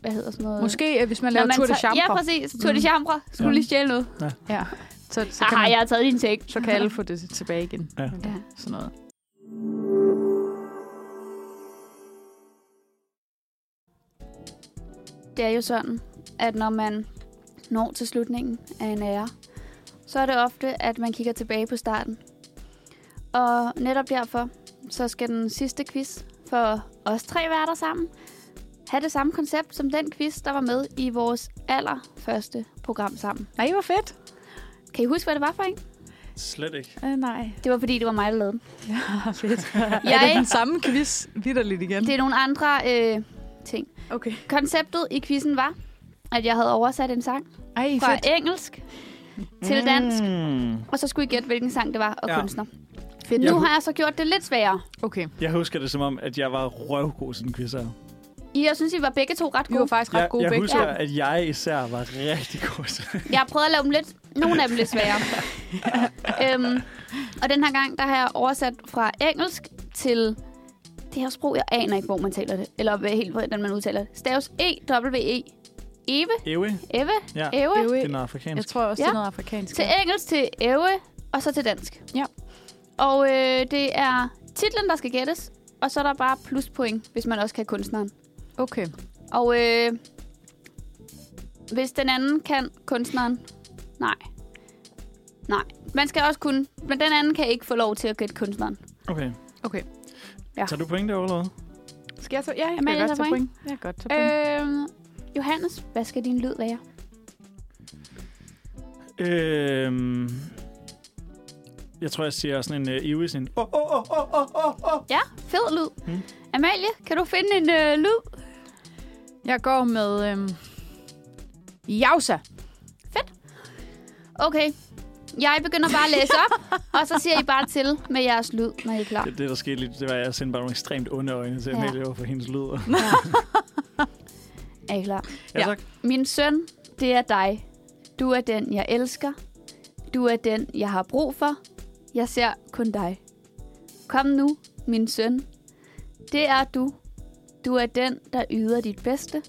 S4: hvad hedder sådan noget?
S3: Måske øh, hvis man
S4: Når
S3: laver
S4: man
S3: tur de
S4: tager- Ja,
S3: chambre.
S4: præcis. Tour de chambre. Skulle
S2: Ja.
S4: lige stjæle noget.
S3: Ja, så, så, kan
S4: Haha,
S3: man,
S4: jeg har taget din ting.
S3: så kan alle få det tilbage igen.
S2: Ja.
S4: Ja.
S3: Sådan noget.
S4: Det er jo sådan, at når man når til slutningen af en ære, så er det ofte, at man kigger tilbage på starten. Og netop derfor, så skal den sidste quiz for os tre værter sammen have det samme koncept som den quiz, der var med i vores allerførste program sammen.
S3: Nej, hvor fedt.
S4: Kan I huske, hvad det var for en?
S2: Slet ikke.
S3: Uh, nej.
S4: Det var, fordi det var mig, der lavede den.
S3: Ja, Ah, fedt.
S4: Jeg
S3: er
S4: er
S3: det den
S4: ikke-
S3: samme quiz vidderligt igen?
S4: Det er nogle andre øh, ting.
S3: Okay.
S4: Konceptet i quizzen var, at jeg havde oversat en sang
S3: Ej,
S4: fra
S3: fedt.
S4: engelsk til dansk,
S2: Mm.
S4: og så skulle I gætte, hvilken sang det var og
S2: Ja.
S4: ja. kunstner.
S3: fedt.
S4: Nu har jeg så gjort det lidt sværere.
S3: Okay.
S2: Jeg husker det som om, at jeg var røvgod som quizzer.
S4: I, jeg synes, I var begge to ret
S3: Vi
S4: gode.
S3: var faktisk ret
S2: Jeg,
S3: gode
S2: jeg
S3: begge.
S2: husker,
S4: Ja.
S2: at jeg især var rigtig god til
S4: Jeg har prøvet at lave dem lidt, nogle af dem lidt sværere. øhm, og den her gang, der har jeg oversat fra engelsk til det her sprog, jeg aner ikke, hvor man taler det. Eller hvad- helt, hvordan man udtaler det. Staves E-W-E. E Eve,
S2: Ewe.
S4: Eve,
S2: Ja,
S4: Eve.
S3: Øve.
S2: det er noget
S3: Jeg
S2: afrikansk.
S3: tror også, det er
S4: Ja.
S3: noget afrikansk.
S4: Til engelsk, til Eve, og så til dansk.
S3: Ja.
S4: Og øh, det er titlen, der skal gættes. Og så er der bare pluspoint, hvis man også kan kunstneren.
S3: Okay.
S4: Og øh, hvis den anden kan kunstneren, nej. Nej, man skal også kunne, men den anden kan ikke få lov til at gætte kunstneren.
S2: Okay.
S3: Okay.
S4: Ja.
S2: Tager du point derovre, eller hvad?
S3: Skal jeg tage? Ja, jeg
S4: Amalie,
S3: kan godt
S4: tager
S3: tage point.
S4: point.
S3: Jeg kan godt tage point.
S4: Øh, Johannes, hvad skal din lyd være?
S2: Øhm, jeg tror, jeg siger sådan en uh, Ewe, sådan en... Oh, oh, oh, oh, oh, oh, oh.
S4: Ja, fed lyd.
S2: Mm.
S4: Mm. Amalie, kan du finde en øh, lyd?
S3: Jeg går med... Øhm, Jausa.
S4: Okay, jeg begynder bare at læse op, og så siger I bare til med jeres lyd, når I er klar.
S2: Det, det, der skete lige, det var, at jeg sendte bare nogle ekstremt onde øjne til
S4: Ja.
S2: Amalie ja. over for hendes lyder.
S4: Er I klar?
S2: Ja,
S3: Ja.
S2: tak.
S4: Min søn, det er dig. Du er den, jeg elsker. Du er den, jeg har brug for. Jeg ser kun dig. Kom nu, min søn. Det er du. Du er den, der yder dit bedste.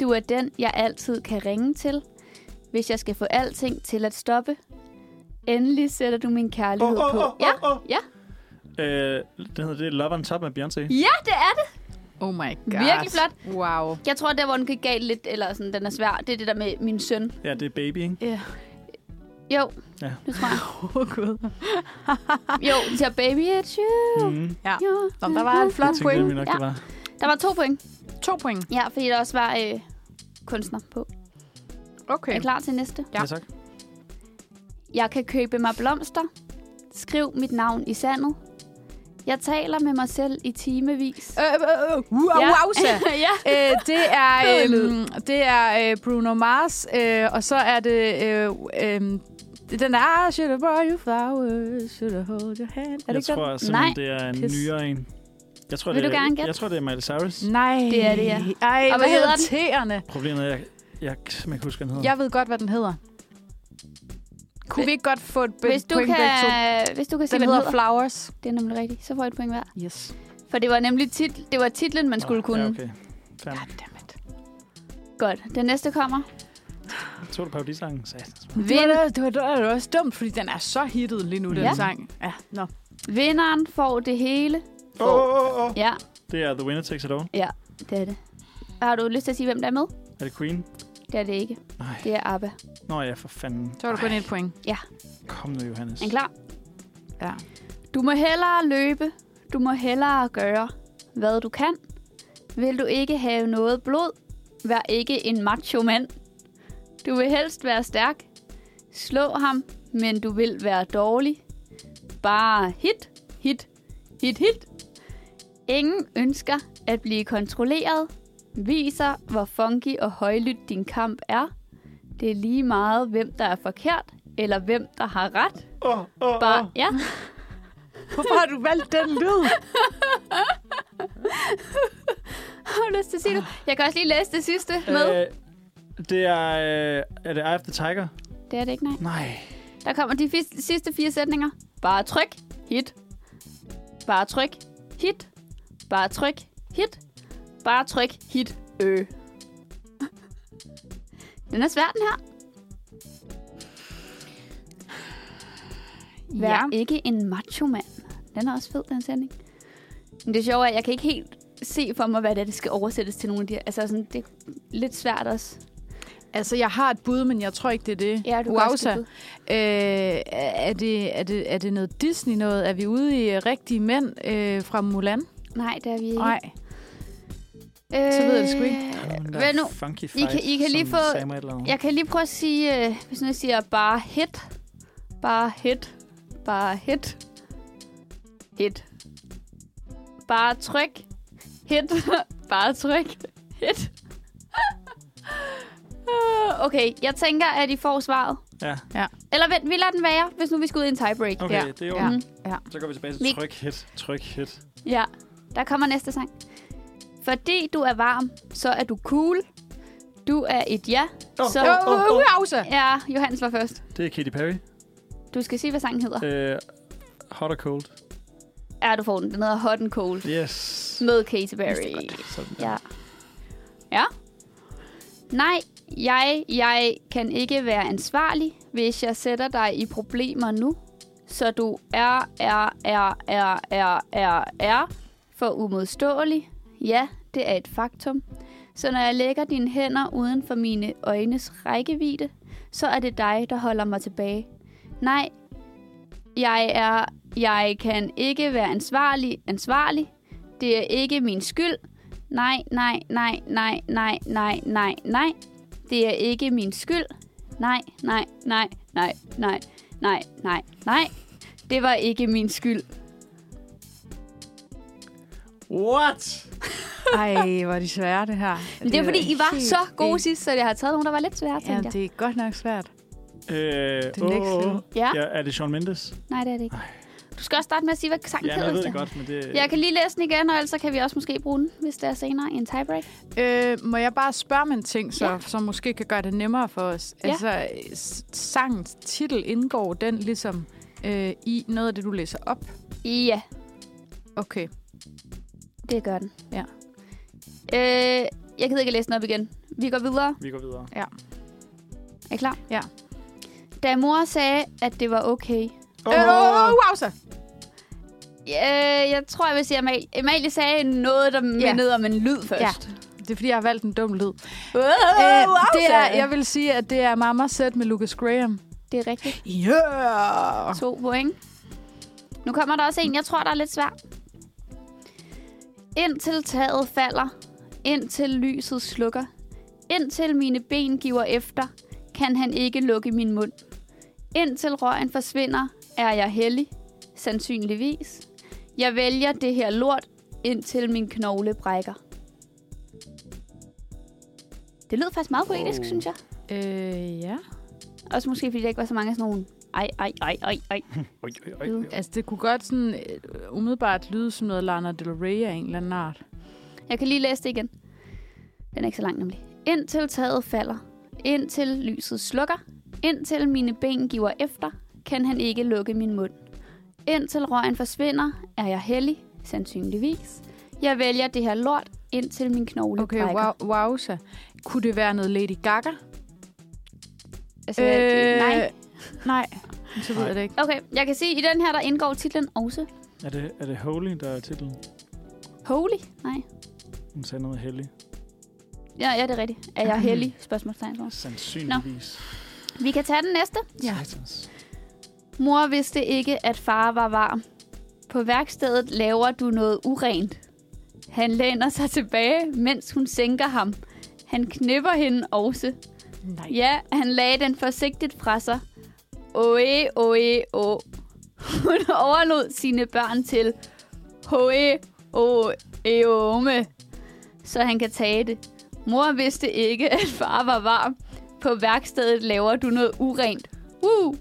S4: Du er den, jeg altid kan ringe til, hvis jeg skal få alting til at stoppe. Endelig sætter du min kærlighed
S2: Åh, åh,
S4: på.
S2: åh, åh,
S4: Ja,
S2: åh.
S4: ja.
S2: Øh, det hedder det Love on Top af Beyoncé.
S4: ja, det er det.
S3: Oh my god.
S4: Virkelig flot.
S3: Wow.
S4: Jeg tror, der hvor den gik galt lidt, eller sådan, den er svær, det er det der med min søn.
S2: Ja, det er Baby, ikke?
S3: Ja.
S4: Jo,
S2: Ja.
S4: det tror jeg.
S3: Åh, oh, gud.
S4: Jo, den siger, baby, it's you.
S2: Mm.
S4: Ja.
S3: Nå, der var et flot
S2: Jeg tænkte
S3: point.
S2: nemlig nok,
S4: Ja.
S2: det var.
S4: Der var to point.
S3: To point.
S4: Ja, fordi der også var øh, kunstner på. Okay.
S3: Okay.
S4: Er I klar til næste?
S2: Ja.
S3: Ja.
S2: ja, tak.
S4: Jeg kan købe mig blomster. Skriv mit navn i sandet. Jeg taler med mig selv i timevis.
S3: Øh, øh, øh, wow,
S4: Ja.
S3: wowza.
S4: ja.
S3: Øh, det er,
S4: Fed lyd.
S3: øhm, det er øh, Bruno Mars, øh, og så er det... Øh, øh, den er I Should have brought you flowers, should have hold your hand. Er det
S2: Jeg
S3: ikke
S2: tror
S3: den?
S2: simpelthen,
S4: Nej.
S2: det er en
S3: Pis.
S2: nyere en. Jeg tror,
S4: Vil
S2: det,
S4: du gerne
S2: jeg,
S4: gætte? Mm.
S2: jeg tror, det er Miley Cyrus.
S3: Nej.
S4: Det er det, ja.
S3: Ej,
S4: Og
S3: hvor
S4: hvad hedder den?
S3: irriterende.
S2: Problemet er, jeg, jeg kan simpelthen ikke huske, hvad den hedder.
S3: Jeg ved godt, hvad den hedder. Kunne vi ikke godt få et
S4: Hvis
S3: point
S4: du,
S3: begge to?
S4: kan, hvis du kan se,
S3: Den
S4: hvad
S3: hedder
S4: hedder.
S3: Flowers.
S4: Det er nemlig rigtigt. Så får I et point hver.
S3: Yes.
S4: For det var nemlig tit, det var titlen, man skulle
S2: Nå,
S4: kunne.
S2: Ja, okay. Fair.
S3: Goddammit.
S4: Godt. Den næste kommer.
S2: Tog du parodislangen? Satans.
S3: Det var, da- det, var, det var da også dumt, fordi den er så hittet lige nu, den
S4: Ja.
S3: sang. Ja, nå.
S4: Vinderen får det hele.
S2: Åh, åh, åh, åh.
S4: Ja,
S2: Det er The Winner Takes It All.
S4: det er det. Har du lyst til at sige, hvem der er med?
S2: Er det Queen?
S4: Det er det ikke.
S2: Nej.
S4: Det er ABBA.
S2: Nå ja, for fanden.
S3: Så var du kun et point.
S2: Ej, Kom nu, Johannes.
S4: Er I klar?
S3: Ja.
S4: Du må hellere løbe. Du må hellere gøre, hvad du kan. Vil du ikke have noget blod, vær ikke en macho mand. Du vil helst være stærk. Slå ham, men du vil være dårlig. Bare hit, hit, hit, hit. Ingen ønsker at blive kontrolleret. Viser, hvor funky og højlydt din kamp er. Det er lige meget, hvem der er forkert, eller hvem der har ret.
S2: Åh, åh, åh.
S4: Bare, ja.
S3: Hvorfor har du valgt den lyd?
S4: Har du lyst til at sige det? Jeg kan også lige læse det sidste med.
S2: Øh, det er... Øh, er det Eye of the Tiger?
S4: Det er det ikke, nej.
S2: Nej.
S4: Der kommer de fis- sidste fire sætninger. Bare tryk, hit. Bare tryk, hit. Bare tryk, hit. Bare tryk, hit, øh. Den er svær, den her. Vær
S3: Ja.
S4: ja. ikke en macho mand. Den er også fed, den sætning. Men det sjove er, at jeg kan ikke helt se for mig, hvad det er, det skal oversættes til nogle af de her. Altså, sådan, det er lidt svært også.
S3: Altså, jeg har et bud, men jeg tror ikke, det er det.
S4: Ja, du kan også
S3: Wowza.
S4: give bud.
S3: Øh, er, det, er, det, er det noget Disney noget? Er vi ude i øh, rigtige mænd øh, fra Mulan?
S4: Nej, det er vi ikke.
S3: Nej.
S4: Øh,
S3: Så ved jeg det sgu ikke.
S2: Der er nogen, der
S4: Hvad
S2: er
S4: nu?
S2: Funky
S4: I kan- I kan lige
S2: som
S4: få-
S2: sagde mig et eller andet.
S4: Jeg kan lige prøve at sige, øh, hvis nu jeg siger bare hit, bare hit, bare hit, hit. Bare tryk, hit, bare tryk, hit. Øh, okay, jeg tænker, at I får svaret.
S2: Ja.
S3: Ja.
S4: Eller vent, vi lader den være, hvis nu vi skal ud i en tiebreak.
S2: Okay,
S3: Ja.
S2: det er
S4: Ja.
S2: ordentligt.
S4: Mm,
S2: Ja. Så går vi tilbage
S4: Vi-
S2: til tryk hit, tryk hit.
S4: ja, der kommer næste sang. Fordi du er varm, så er du cool. Du er et ja.
S2: Åh,
S4: Så,
S2: åh, åh, åh.
S4: ja, Johannes var først.
S2: Det er Katy Perry.
S4: Du skal sige, hvad sangen hedder.
S2: Øh, hot og cold.
S4: Ja, du får den. Den hedder Hot and Cold.
S2: Yes.
S4: Med Katy Perry.
S2: Sådan der.
S4: Ja. Ja. Nej, jeg, jeg kan ikke være ansvarlig, hvis jeg sætter dig i problemer nu. Så du er, er, er, er, er, er, er for umodståelig. Ja, det er et faktum. Så når jeg lægger dine hænder uden for mine øjnes rækkevidde, så er det dig, der holder mig tilbage. Nej, jeg er, jeg kan ikke være ansvarlig, ansvarlig. Det er ikke min skyld. Nej, nej, nej, nej, nej, nej, nej, nej. Det er ikke min skyld. Nej, nej, nej, nej, nej, nej, nej, nej. Det var ikke min skyld.
S2: What?
S3: Ej, hvor er de svære, det her.
S4: Men det er fordi, I var
S3: helt
S4: så gode
S3: vildt.
S4: sidst, så jeg har taget nogen, der var lidt svære,
S3: Jamen,
S4: tænkte jeg.
S3: det er godt nok svært.
S2: Øh,
S3: The next
S2: åh,
S3: level.
S4: Ja,
S2: Ja, er det Sean Mendes?
S4: nej, det er det ikke. Du skal også starte med at sige, hvad sangen
S2: Ja, men jeg ved det
S4: hedder.
S2: godt, men det...
S4: Jeg kan lige læse den igen, og ellers så kan vi også måske bruge den, hvis det er senere i en tiebreak.
S3: Øh, må jeg bare spørge om en ting, så,
S4: Ja.
S3: ja. som måske kan gøre det nemmere for os?
S4: Ja.
S3: Altså, s- sangens titel indgår den ligesom øh, i noget af det, du læser op?
S4: Ja,
S3: Okay.
S4: det gør den.
S3: Ja.
S4: Øh, jeg gider ikke at læse den op igen. Vi går videre.
S2: Vi går videre.
S4: Er I klar?
S3: Ja.
S4: Da mor sagde, at det var okay.
S3: Åh, øh, oh, wow, så.
S4: Øh, jeg tror, jeg vil sige Amalie. Amalie sagde noget, der mindede om en lyd først.
S3: Det er, fordi jeg har valgt en dum lyd. Oh,
S4: Ja. Øh,
S3: det er, jeg vil sige, at det er Mama Set med Lucas Graham.
S4: det er rigtigt.
S3: Yeah!
S4: To point. Nu kommer der også en, jeg tror, der er lidt svær. Indtil taget falder. Indtil lyset slukker. Indtil mine ben giver efter. Kan han ikke lukke min mund. Indtil røgen forsvinder, er jeg heldig. Sandsynligvis. Jeg vælger det her lort, indtil min knogle brækker. Det lød faktisk meget poetisk,
S2: Oh.
S4: oh. synes jeg.
S3: Øh, ja.
S4: Også måske, fordi der ikke var så mange af sådan nogle... Ej, ej, ej, ej, ej.
S2: Oj, oj, oj, oj.
S3: Altså, det kunne godt sådan øh, umiddelbart lyde som noget Lana Del Rey af en eller anden art.
S4: Jeg kan lige læse det igen. Den er ikke så lang nemlig. Indtil taget falder. Indtil lyset slukker. Indtil mine ben giver efter, kan han ikke lukke min mund. Indtil røgen forsvinder, er jeg heldig, sandsynligvis. Jeg vælger det her lort, indtil min knogle
S3: Okay,
S4: brækker.
S3: wow, wow, så. Kunne det være noget Lady Gaga?
S4: Altså, øh... nej.
S3: Nej, så ved
S2: Nej.
S3: jeg det ikke.
S4: Okay, jeg kan sige, at i den her, der indgår titlen også.
S2: Er det, er det Holy, der er titlen?
S4: Holy? Nej.
S2: Hun sagde noget hellig.
S4: Ja, ja, det er rigtigt. Er jeg heldig? Spørgsmålstegn.
S2: Sandsynligvis.
S4: Vi kan tage den næste.
S3: Ja.
S2: Satans.
S4: Mor vidste ikke, at far var varm. På værkstedet laver du noget urent. Han læner sig tilbage, mens hun sænker ham. Han knipper hende også.
S3: Nej.
S4: Ja, han lagde den forsigtigt fra sig. Oe, oe, o. Hun overlod sine børn til Hoe, o, eome. Så han kan tage det. Mor vidste ikke, at far var varm. På værkstedet laver du noget urent. Uh!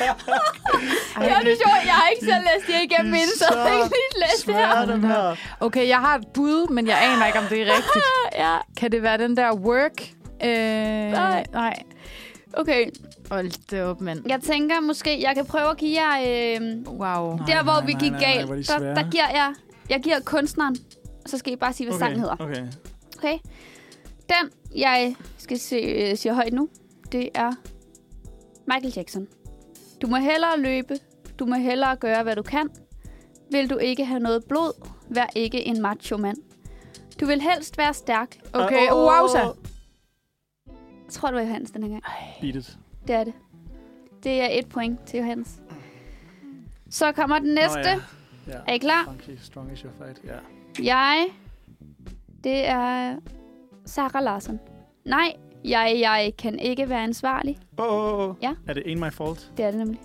S3: Ej,
S4: Ja, det er sjovt. Jeg har ikke selv læst det igennem
S2: de er
S4: inden, så jeg har
S2: så
S4: ikke lige læst det her.
S2: Svære dem her.
S3: Okay, jeg har et bud, men jeg aner ikke, om det er rigtigt.
S4: Ja,
S3: Kan det være den der work? Øh,
S4: Nej.
S3: Nej.
S4: okay.
S3: Hold det op, mand.
S4: Jeg tænker måske, jeg kan prøve at give jer... Øh,
S3: Wow.
S4: der, hvor
S2: nej,
S4: vi
S2: nej,
S4: gik
S2: nej, nej,
S4: galt,
S2: hvor er de
S4: der,
S2: svære.
S4: der giver jeg... Jeg giver kunstneren, og så skal I bare sige, hvad okay. sangen hedder.
S2: Okay.
S4: Okay? Den, jeg skal se, øh, sige højt nu, det er Michael Jackson. Du må hellere løbe. Du må hellere gøre, hvad du kan. Vil du ikke have noget blod, vær ikke en macho mand. Du vil helst være stærk.
S3: Okay,
S4: Åh.
S3: wow, så.
S4: Jeg tror, det var Johannes den her gang.
S2: Beat it.
S4: Det er det. Det er et point til Johannes. Så kommer den næste. Nå,
S2: Nå, ja.
S4: ja.
S2: Ja.
S4: Er I klar?
S2: Funky, strong is your fight. Ja.
S4: Jeg, det er Sarah Larsen. Nej, jeg, jeg kan ikke være ansvarlig.
S2: Åh, oh, oh, oh.
S4: Ja.
S2: Er det Ain't My Fault?
S4: Det er det nemlig.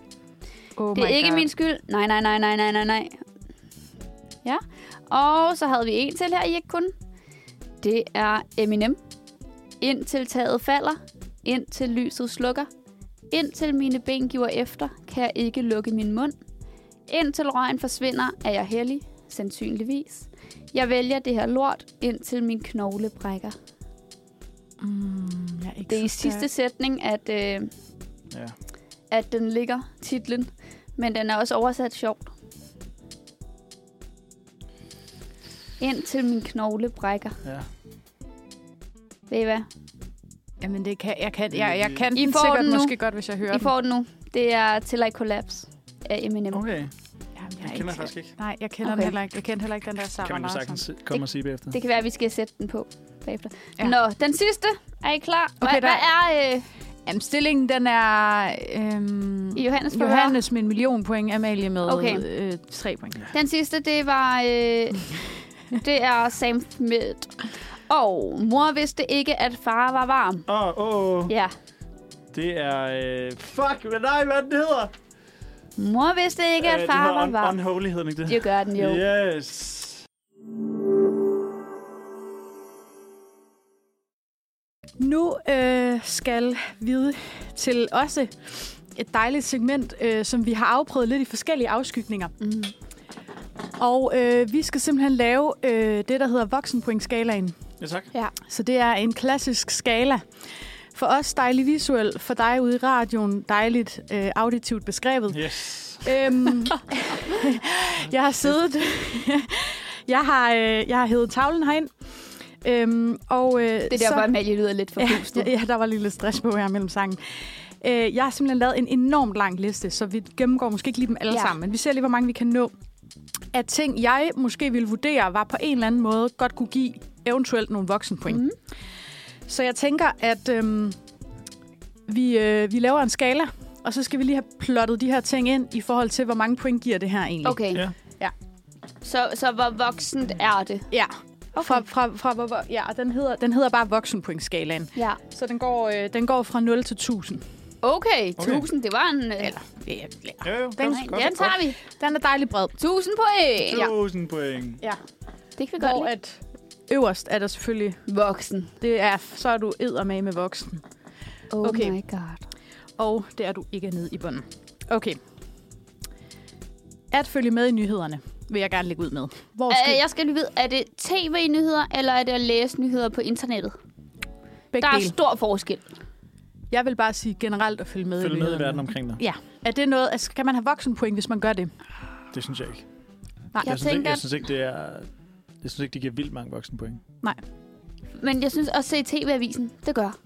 S3: Oh
S4: det er
S3: my
S4: ikke
S3: God.
S4: min skyld. Nej, nej, nej, nej, nej, nej, nej. Ja. Og så havde vi en til her, I ikke kunne. Det er Eminem. Indtil taget falder. Indtil lyset slukker. Indtil mine ben giver efter, kan jeg ikke lukke min mund. Indtil røgen forsvinder, er jeg heldig. Sandsynligvis. Jeg vælger det her lort, indtil min knogle brækker.
S3: Mm, jeg er ikke
S4: Det er i
S3: så
S4: sidste sætning, at, øh,
S2: Ja.
S4: at den ligger titlen. Men den er også oversat sjovt. Indtil min knogle brækker.
S2: ja.
S4: Ved I hvad?
S3: stærk. Jamen, det kan, jeg kan, jeg, jeg kan
S4: I
S3: den
S4: får
S3: sikkert
S4: den nu.
S3: måske godt, hvis jeg hører
S4: I får den nu. Det er Till I Collapse af Eminem. Okay.
S2: Okay.
S3: den. Jamen, jeg,
S2: Jeg
S3: er
S2: kender
S3: ikke,
S2: faktisk ikke.
S3: Nej, jeg kender
S4: Okay.
S3: den heller ikke. Jeg kender heller ikke den der Sarah
S2: Kan man jo
S3: Larsen.
S2: sagtens se- komme og sige bagefter.
S4: Det kan være, at vi skal sætte den på bagefter.
S3: Ja.
S4: Ja. Nå, den sidste. Er I klar? Hvad,
S3: Okay,
S4: okay,
S3: der-
S4: hvad er øh,
S3: Jamen, stillingen, den er... Øhm,
S4: i Johannes forhør? Johannes.
S3: Johannes med en million point, Amalie med
S4: Okay.
S3: øh, tre point.
S4: Den sidste, det var... Øh, det er Sam Smith. Og mor vidste ikke, at far var varm.
S2: Åh, oh, åh, oh,
S4: Ja.
S2: det er... Øh, fuck, hvad- nej, hvad er det, den hedder?
S4: Mor vidste ikke,
S2: Øh,
S4: at
S2: det
S4: far
S2: hedder
S4: var
S2: un-
S4: varm.
S2: Unholy hedder den ikke det?
S4: Det gør den jo.
S2: Yes.
S3: Nu øh, skal vi til også et dejligt segment, øh, som vi har afprøvet lidt i forskellige afskygninger.
S4: Mm.
S3: Og øh, vi skal simpelthen lave øh, det, der hedder voksenpointskalaen.
S2: Ja, tak.
S3: Så det er en klassisk skala. For os dejligt visuelt, for dig ude i radioen dejligt øh, auditivt beskrevet.
S2: Yes.
S3: Øhm, jeg har siddet... jeg, har, øh, jeg har hævet tavlen herind. Øhm, og, øh,
S4: Det er derfor, Amalie lyder lidt forpustet.
S3: ja, ja, der var lige lidt stress på her mellem sangen. Øh, jeg har simpelthen lavet en enormt lang liste, så vi gennemgår måske ikke lige dem alle
S4: Ja.
S3: ja. sammen, men vi ser lige, hvor mange vi kan nå. Af ting, jeg måske ville vurdere, var på en eller anden måde godt kunne give eventuelt nogle voksenpoint.
S4: Mhm.
S3: Mm. Så jeg tænker, at øhm, vi, øh, vi laver en skala, og så skal vi lige have plottet de her ting ind i forhold til, hvor mange point giver det her egentlig.
S4: Okay.
S2: Ja.
S3: Ja.
S4: Så, så hvor voksent er det?
S3: Ja. Okay. Fra, fra, fra, hvor- hvor- ja, og den hedder, den hedder bare voksenpointskalaen.
S4: Ja.
S3: Så den går, øh, den går fra 0 til 1000.
S4: Okay,
S2: Okay.
S4: 1000, det var en... øh,
S3: Eller, ja, ja.
S2: Ja, jo,
S3: Den-
S2: godt, godt,
S4: Den tager vi.
S3: Den er dejlig bred.
S4: 1000 point.
S2: godt. 1000 point.
S3: Ja.
S4: Det kan vi godt
S3: Hvor
S4: lide.
S3: at øverst er der selvfølgelig,
S4: Voksen.
S3: det er, så er du eddermame med voksen.
S4: Oh
S3: Okay.
S4: my god.
S3: Og det er du ikke nede i bunden. Okay. At følge med i nyhederne, vil jeg gerne lægge ud med. Hvor
S4: Øh,
S3: skal
S4: jeg skal lige vide, er det tv-nyheder, eller er det at læse nyheder på internettet?
S3: begge
S4: Der er
S3: dele?
S4: stor forskel.
S3: Jeg vil bare sige generelt at følge med i
S2: Følg med
S3: nyhederne.
S2: i verden omkring dig.
S3: Ja. Er det noget, altså, kan man have voksenpoint, hvis man gør det?
S2: Det synes jeg ikke.
S3: Nej,
S4: Jeg
S2: Jeg, synes ikke,
S4: tænker-
S2: jeg synes ikke, det er... Jeg synes ikke, det giver vildt mange voksne point.
S4: Men jeg synes også, at se tv-avisen, det gør.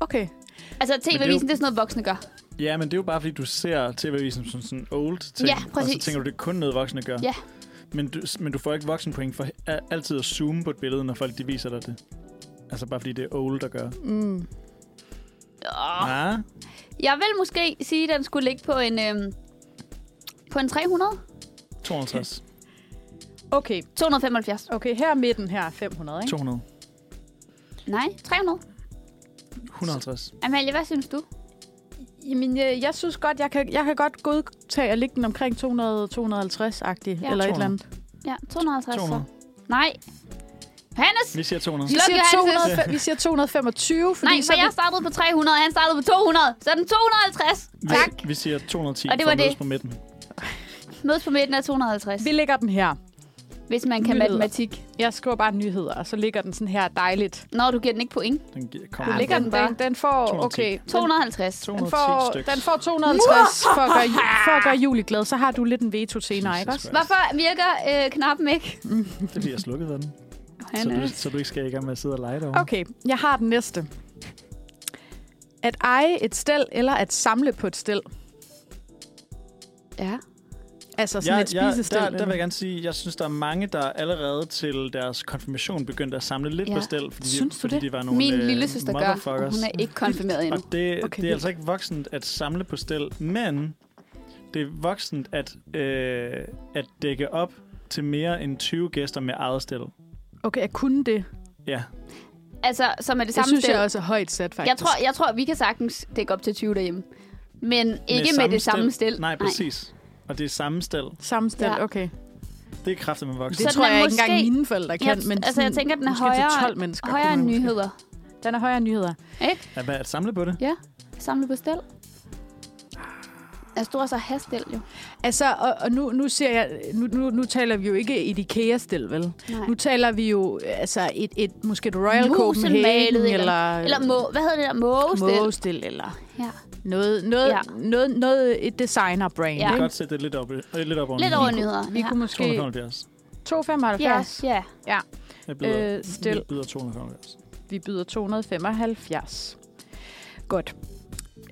S3: Okay.
S4: Altså, tv-avisen, det er sådan noget, voksne gør.
S2: Ja, men det er jo bare, fordi du ser tv-avisen som sådan en old ting.
S4: Ja,
S2: Og
S4: præcis.
S2: så tænker du, det er kun noget, voksne gør.
S4: Ja.
S2: Men du, men du får ikke voksenpoint for a- altid at zoome på et billede, når folk de viser dig det. Altså bare fordi det er old, der gør.
S3: Mm.
S4: Åh.
S2: Ja,
S4: Jeg vil måske sige, at den skulle ligge på en... Øhm, på en 300?
S2: 52.
S3: Okay.
S4: 275.
S3: Okay, her midten her er 500, ikke?
S2: 200.
S4: Nej, 300.
S2: 150.
S4: Amalie, hvad synes du?
S3: Jamen, øh, jeg, jeg synes godt, jeg kan, jeg kan godt godtage at ligge den omkring 200-250-agtig, ja, eller et
S2: 200.
S3: eller andet.
S4: Ja, 250
S2: 200.
S4: så. Nej. Johannes!
S2: Vi siger 200.
S3: Vi
S4: Sluk
S3: siger,
S4: Johannes.
S3: 200, vi siger 225, fordi
S4: Nej,
S3: så
S4: for
S3: er
S4: jeg startede på 300, og han startede på 200. Så er den 250.
S2: Vi,
S4: Tak.
S2: Vi siger 210
S4: Og det var
S2: for at mødes
S4: det.
S2: på midten.
S4: Mødes på midten af
S3: vi,
S4: 250,
S3: vi lægger den her.
S4: hvis man kan
S3: Nyheder.
S4: matematik.
S3: Jeg skriver bare nyheder, og så ligger den sådan her dejligt.
S4: Når du giver den ikke point.
S2: Den gi-
S3: Den
S2: kommer
S4: Ja,
S2: ja,
S4: ligger
S3: ligger
S4: den
S3: den,
S4: bare.
S3: den, den får,
S2: 210.
S3: okay, den-
S4: 250.
S2: 210
S3: den får,
S2: stykker.
S3: den får 250 for at, gøre, ju- for at gøre juli glad. Så har du lidt en veto senere, ikke også?
S4: Hvorfor virker øh, knappen ikke?
S2: Det er fordi, jeg slukkede den. Så du, så du ikke skal i gang med at sidde og lege derovre.
S3: Okay, jeg har den næste. At eje et stel eller at samle på et stel.
S4: Ja.
S3: Altså sådan
S2: Jeg,
S3: et
S2: jeg,
S3: spisestel.
S2: der, der vil jeg gerne sige, jeg synes, der er mange, der allerede til deres konfirmation begyndte at samle lidt
S4: Ja.
S2: ja. på stel, fordi,
S3: Synes du
S2: fordi
S3: det?
S2: de var nogle
S4: Min
S2: øh,
S4: lille søster gør, og
S2: motherfuckers.
S4: hun er ikke konfirmeret endnu.
S2: Og det, altså
S3: Okay,
S2: okay, det
S3: vildt.
S2: er altså ikke voksent at samle på stel, men Det er voksent at, øh, at dække op til mere end 20 gæster med eget stil.
S3: Okay, at kunne det,
S2: Ja,
S4: Altså, som er det
S3: det
S4: samme
S3: synes
S4: stel.
S3: jeg også er højt sat, faktisk.
S4: jeg, tror, jeg tror, vi kan sagtens dække op til 20 derhjemme. Men ikke med, med det samme stil.
S2: Nej, præcis. Og det er samme stil.
S3: Samme stil,
S4: Ja.
S3: okay.
S2: Det er kraftigt med
S3: Det
S2: voksen.
S4: Så
S3: tror
S4: den er
S3: jeg ikke
S4: måske-
S3: engang mine forældre kan.
S4: Jeg-
S3: men
S4: altså,
S3: sådan,
S4: jeg tænker, den er
S3: måske
S4: højere-
S3: til 12 mennesker.
S4: Højere
S3: kunne
S4: end
S3: man måske.
S4: nyheder.
S3: Den er højere end nyheder.
S2: At, hvad, at samle på det?
S4: Samle på stel. Altså, du har så hastel, jo.
S3: Altså, og, og nu, nu, ser jeg, nu, nu, nu taler vi jo ikke et IKEA-stil, vel?
S4: Nej.
S3: Nu taler vi jo altså et, et måske et Royal
S4: Musen
S3: Copenhagen, eller,
S4: malet, eller- Eller må, hvad hedder det der? Mågestil.
S3: Mågestil, eller
S4: Ja.
S3: noget, noget,
S4: Ja.
S3: ja. noget, noget et designer-brand.
S4: Ja.
S2: Ja.
S3: Ja.
S2: kan godt sætte det lidt op, øh, lidt op over
S4: Lidt
S2: en
S4: over
S2: lille
S4: nyheder.
S3: Vi
S4: ja.
S3: kunne måske
S2: 275.
S3: 2,75.
S4: Ja, ja.
S2: Jeg byder,
S3: Øh, stil.
S2: jeg byder 275.
S3: Vi byder 275. Godt.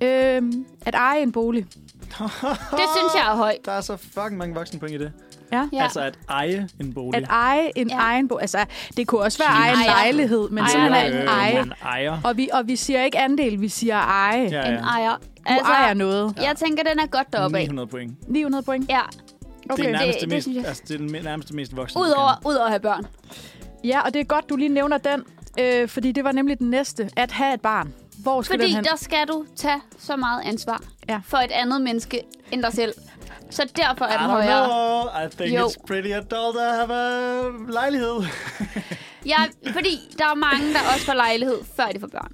S3: Øhm, at eje en bolig.
S4: Det synes jeg er højt.
S2: Der er så fucking mange voksne point i det.
S3: Ja.
S4: Ja.
S2: Ja. Altså at eje en bolig.
S3: At eje en
S4: Ja.
S3: ja. egen bolig. Altså, det kunne også være at eje en
S4: Ejer.
S3: lejlighed, men
S4: Ejer.
S3: simpelthen
S4: Øh,
S3: eje.
S2: Man ejer.
S3: Og vi, og vi siger ikke andel, vi siger eje. Ja.
S2: Ja,
S4: En
S2: ja.
S4: ejer.
S3: Du altså, ejer noget.
S4: jeg tænker, den er godt deroppe af.
S2: 900 point.
S3: 900 point.
S4: Ja,
S2: Okay. Det er
S3: Okay.
S2: nærmest det,
S4: Det- det
S2: det, mest,
S4: synes jeg.
S2: det altså, det er den nærmest det mest voksne. du
S4: udover,
S2: kan.
S4: udover at have børn.
S3: Ja, og det er godt, du lige nævner den. Øh, fordi det var nemlig den næste. At have et barn. Hvor skal
S4: Fordi
S3: den hen?
S4: der skal du tage så meget ansvar
S3: Ja.
S4: for et andet menneske end dig selv. Så derfor er
S2: I
S4: den
S2: don't
S4: højere.
S2: know. I think
S4: Jo.
S2: jo. it's pretty adult at have a lejlighed.
S4: Ja, fordi der er mange, der også får lejlighed, før de får børn.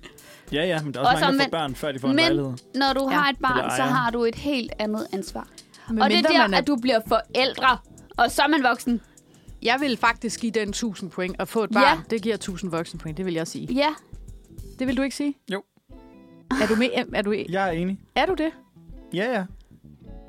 S2: ja, ja, men der er også, også
S4: Også
S2: mange, der
S4: omvendt.
S2: får børn, før de får en
S4: Men
S2: lejlighed.
S4: når du ja.
S3: Ja.
S4: har et barn,
S2: Eller
S4: så
S2: ejer.
S4: har du et helt andet ansvar.
S3: Men
S4: og det er der,
S3: man
S4: at du bliver forældre, og så er man voksen.
S3: Jeg vil faktisk give den 1000 point. Og få et
S4: Ja.
S3: barn, ja. det giver 1000 voksne point. Det vil jeg sige.
S4: Ja,
S3: Det vil du ikke sige?
S2: Jo.
S3: Er du med? Er du,
S2: Jeg er enig.
S3: er du det?
S2: Ja, ja.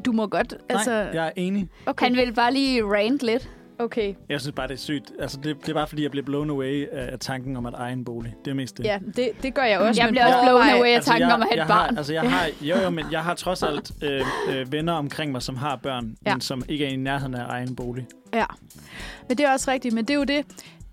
S3: Du må godt. Altså,
S2: Nej, jeg er enig.
S3: okay.
S4: han vil bare lige rant lidt.
S3: okay.
S2: Jeg synes bare, det er sygt. Altså, det, det er bare, fordi jeg blev blown away af af tanken om at eje en bolig. Det er mest det.
S3: Ja, det, det gør jeg også.
S4: Jeg
S3: men
S4: bliver også
S3: prøv at
S4: blown
S3: overveje-
S4: away af tanken om at have
S2: jeg
S4: et barn.
S2: Har, altså, jeg har, jo, jo, men jeg har trods alt øh, øh, venner omkring mig, som har børn,
S3: Ja.
S2: ja. men som ikke er i nærheden af egen bolig.
S3: Ja, men det er også rigtigt. Men det er jo det.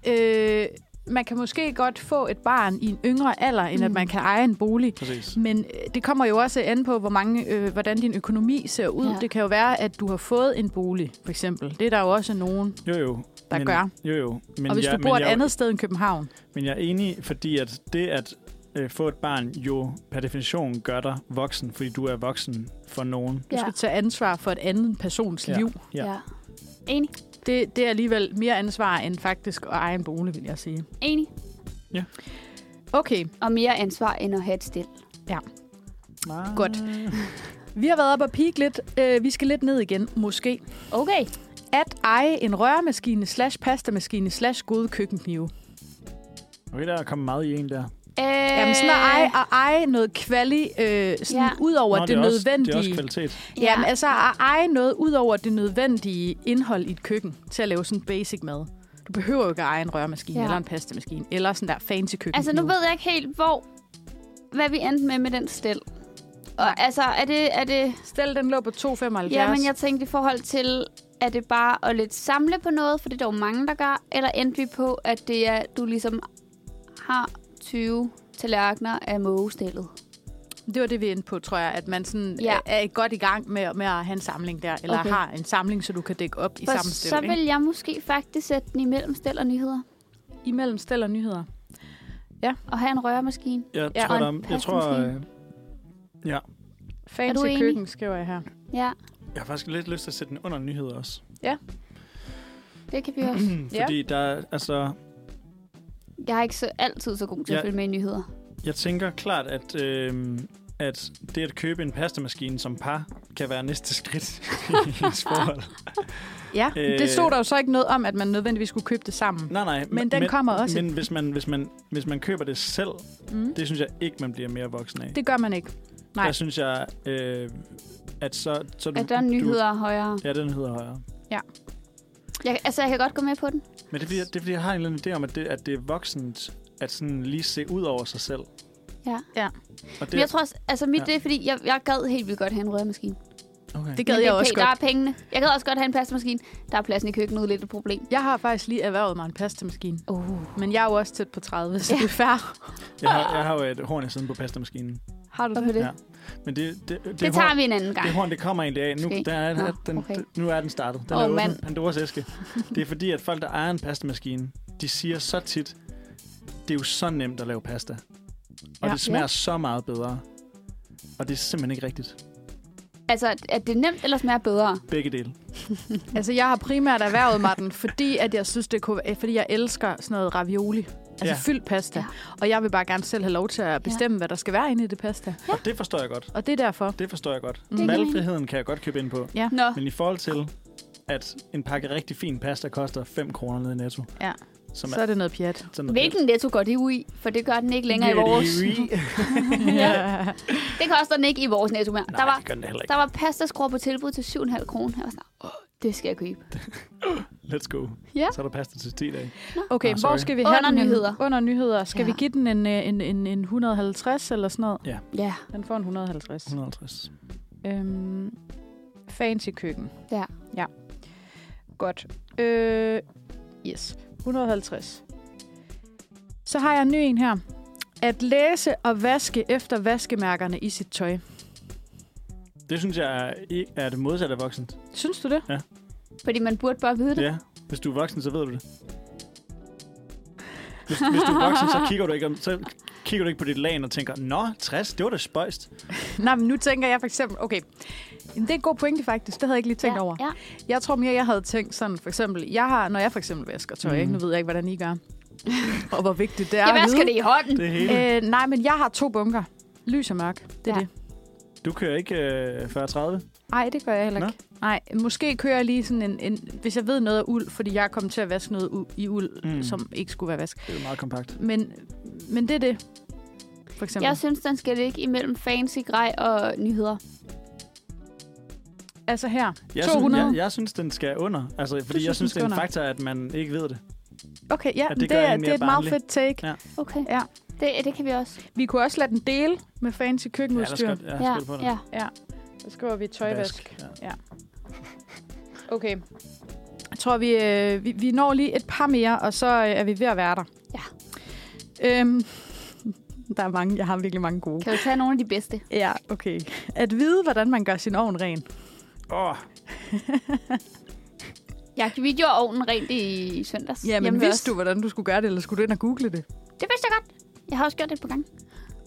S3: Øh, man kan måske godt få et barn i en yngre alder, end mm. at man kan eje en bolig.
S2: Præcis.
S3: Men øh, det kommer jo også an på, hvor mange, øh, hvordan din økonomi ser ud.
S4: Ja.
S3: Ja. Det kan jo være, at du har fået en bolig, for eksempel. Det er der jo også nogen,
S2: Jo, jo.
S3: der
S2: men,
S3: gør.
S2: Jo, jo. Men
S3: Og hvis
S2: jeg,
S3: du bor
S2: men
S3: et
S2: jeg,
S3: andet sted end København.
S2: Men jeg er enig, fordi at det at øh, få et barn jo per definition gør dig voksen, fordi du er voksen for nogen.
S3: Du
S4: Ja.
S3: skal tage ansvar for et andet persons
S2: Ja.
S3: liv.
S2: Ja.
S4: ja. Enig.
S3: Det, det er alligevel mere ansvar end faktisk at eje en bolig, vil jeg sige.
S4: Enig.
S3: Okay,
S4: Og mere ansvar end at have et stil.
S3: Godt. vi har været op og peak lidt. Øh, vi skal lidt ned igen, måske.
S4: Okay.
S3: At eje en rørmaskine slash pastamaskine slash gode køkkenknive.
S2: Okay, der er kommet meget i en der.
S4: Øh,
S3: Øh. Jamen sådan at eje, at eje noget kvali, øh, sådan
S4: Ja.
S3: ja. ud over
S2: Nå,
S3: det, det
S2: er også,
S3: nødvendige.
S2: Det er også kvalitet.
S4: Ja,
S3: Jamen altså at eje noget ud over det nødvendige indhold i et køkken til at lave sådan basic mad. Du behøver jo ikke at eje en rørmaskine
S4: Ja.
S3: ja. eller en pastamaskine eller sådan der fancy køkken.
S4: altså nu ved jeg ikke helt, hvor, hvad vi endte med med den stil. Og altså, er det, er det,
S3: Stel den lå på 2,75.
S4: ja, men jeg tænkte i forhold til, er det bare at lidt samle på noget, for det er der jo mange, der gør, eller endte vi på, at det er, du ligesom har 20 tallerkener af mågestillet?
S3: Det var det, vi endte på, tror jeg, at man sådan
S4: Ja.
S3: ja. er godt i gang med, med at have en samling der, eller
S4: Okay.
S3: okay. har en samling, så du kan dække op i
S4: For
S3: samme
S4: så
S3: stil, vil...
S4: vil jeg måske faktisk sætte den imellem stel og nyheder,
S3: imellem stel og nyheder.
S4: og have en rørmaskine.
S2: Jeg
S3: Ja,
S2: ja, tror,
S4: og
S2: der,
S4: en
S2: er- jeg tror
S4: pastemaskine.
S2: øh,
S3: Fancy
S4: enig?
S3: køkken, skriver jeg her.
S4: Ja,
S2: jeg har faktisk lidt lyst til at sætte den under nyheder også.
S4: det kan vi også.
S3: Ja.
S2: Fordi der er- altså,
S4: Jeg er ikke så altid så god til at
S2: Ja.
S4: følge med i nyheder.
S2: jeg tænker klart, at, øh, at det at købe en pastamaskine som par, kan være næste skridt i ens forhold.
S3: Ja,
S2: Øh.
S3: det stod der jo så ikke noget om, at man nødvendigvis skulle købe det sammen.
S2: Nej, nej.
S3: Men den kommer også.
S2: Men hvis man, hvis, man, hvis man køber det selv,
S3: Mm.
S2: det synes jeg ikke, man bliver mere voksen af.
S3: Det gør man ikke. Nej.
S2: Der synes jeg, øh, at så... så du,
S4: At der er nyheder højere.
S2: Du, ja, den hedder højere.
S4: Jeg, altså, jeg kan godt gå med på den.
S2: Men det er, fordi, det er, fordi jeg har en eller anden idé om, at det, at det er voksent at sådan lige se ud over sig selv.
S4: Ja.
S3: Ja.
S2: Og
S4: Men jeg tror også, altså mit ja.
S2: Ja.
S4: det er, fordi jeg, jeg gad helt vildt godt have en rørmaskine.
S2: okay.
S3: Det
S4: Men
S3: gad
S4: det
S3: jeg
S4: er
S3: også
S4: okay, Der
S3: godt.
S4: er pengene. Jeg gad også godt have en pastamaskine. Der er pladsen i køkkenet lidt et problem.
S3: Jeg har faktisk lige erhvervet mig en pastamaskine,
S4: Oh.
S3: men jeg er jo også tæt på 30, så
S4: Ja.
S3: det er fair.
S2: Jeg, har, jeg har jo et horn i siden på pastamaskinen.
S3: Har du
S4: Hvorfor
S3: det?
S4: det?
S2: Ja. Men det, det, det,
S4: Det, det tager vi en anden gang.
S2: Det horn, det kommer egentlig af. Nu,
S4: Måske.
S2: der er,
S4: Nå,
S2: Nå, den,
S4: okay.
S2: okay. nu er den startet. Den
S4: Åh,
S2: er åben.
S4: mand.
S2: Pandoras æske. Det er fordi, at folk, der ejer en pastamaskine, de siger så tit, det er jo så nemt at lave pasta. Og
S3: Ja.
S2: ja. det smager
S4: Ja.
S2: ja. så meget bedre. Og det er simpelthen ikke rigtigt.
S4: Altså, er det nemt eller smager bedre?
S2: Begge dele.
S3: Altså, jeg har primært erhvervet mig den, fordi, at jeg synes, det kunne, eh, fordi jeg elsker sådan noget ravioli. Altså ja.
S2: Ja.
S3: fyldt pasta.
S4: Ja.
S3: Ja. Og jeg vil bare gerne selv have lov til at bestemme, ja. hvad der skal være inde i det pasta.
S2: Og det forstår jeg godt.
S3: Og det er derfor. Mm.
S2: Det forstår jeg godt.
S3: Det
S4: giver
S2: Valgfriheden kan jeg godt købe ind på.
S4: Nå,
S2: Men i forhold til, at en pakke rigtig fin pasta koster 5 kroner nede i Netto.
S3: Ja.
S2: Som
S3: Så
S2: er,
S3: er det noget pjat.
S2: sådan noget
S4: hvilken netto går det ud i? For det gør den ikke længere i
S2: Ja, det er
S4: vores.
S2: jo i-
S3: ja.
S4: Det koster den ikke i vores netto mere.
S2: Nej,
S4: der var,
S2: det gør den heller ikke.
S4: der var pastaskruer på tilbud til 7,5 kroner. Jeg var sådan, åh, det skal jeg købe.
S2: Let's go.
S4: Ja.
S2: Så er der pasta til 10 dage.
S3: Okay,
S2: Nå,
S3: hvor
S2: sorry.
S3: skal vi
S4: Under
S3: have den? hen?
S4: nyheder.
S3: Under nyheder. Skal
S4: Ja.
S3: ja. vi give den en, øh, en, en, en 150 eller sådan noget?
S4: Ja,
S3: Den får en 150.
S2: 150.
S3: Øhm, fancy køkken.
S4: Ja.
S3: Ja. Godt. Øh, yes. 150. Så har jeg en ny en her. At læse og vaske efter vaskemærkerne i sit tøj.
S2: Det synes jeg er, i- er det modsatte af voksent.
S3: Synes du det?
S4: fordi man burde bare vide det.
S2: Ja. Hvis du er voksen, så ved du det. Hvis, hvis du er voksen, så kigger du ikke, om, så kigger du ikke på dit lagen og tænker, Nå, 60, det var da spøjst.
S3: Nej, men nu tænker jeg for eksempel... Okay, Jamen, det er en god pointe faktisk. Det havde jeg ikke lige tænkt
S4: ja,
S3: over.
S4: Ja.
S3: Jeg tror mere, jeg havde tænkt sådan, for eksempel, jeg har, når jeg for eksempel vasker tøj,
S2: Mhm.
S3: mm. nu ved jeg ikke, hvordan I gør, og hvor vigtigt det er
S4: Jeg
S3: at
S4: vasker
S3: vide.
S4: det i hånden.
S2: Det hele. Øh.
S3: Øh, nej, men jeg har to bunker. Lys og mørk. Det er
S4: Ja.
S3: ja. det.
S2: Du kører ikke øh, 40-30.
S3: Nej, det gør jeg heller
S2: Nå.
S3: ikke. Nej, måske kører jeg lige sådan en, en... Hvis jeg ved noget af uld, fordi jeg er kommet til at vaske noget u- i uld, mm.
S2: Mm.
S3: som ikke skulle være vask.
S2: Det er meget kompakt.
S3: Men, men det er det, for eksempel.
S4: Jeg synes, den skal ligge imellem fancy grej og nyheder.
S3: Altså her.
S2: Jeg
S3: 200.
S2: Synes, jeg, jeg synes, den skal under. Altså, fordi
S3: synes,
S2: jeg synes,
S3: den
S2: det er en
S3: skal
S2: faktor, at man ikke ved det.
S3: Okay, ja,
S2: Ja, det
S3: det, det,
S2: gør
S3: er,
S2: en
S3: det
S2: mere
S3: er et meget
S2: barnlig.
S3: fedt take.
S2: Ja.
S4: Okay.
S3: Ja.
S4: Det, det kan vi også.
S3: Vi kunne også lade den dele med fancy køkkenudstyr.
S2: Ja, der skal, ja, skal på det.
S4: ja.
S3: Så skriver vi tøjvask.
S2: Ja.
S3: Okay. Jeg tror, vi, øh, vi, vi når lige et par mere, og så øh, er vi ved at være der.
S4: Ja.
S3: Øhm, der er mange. Jeg har virkelig mange gode.
S4: Kan du tage nogle af de bedste?
S3: Ja, okay. At vide, hvordan man gør sin ovn ren.
S2: Åh,
S4: Jeg gjorde ovnen rent i søndags.
S3: Ja, men
S4: hjemme ved os.
S3: vidste du, hvordan du skulle gøre det, eller skulle du ind og google det?
S4: Det vidste jeg godt. Jeg har også gjort det på gang.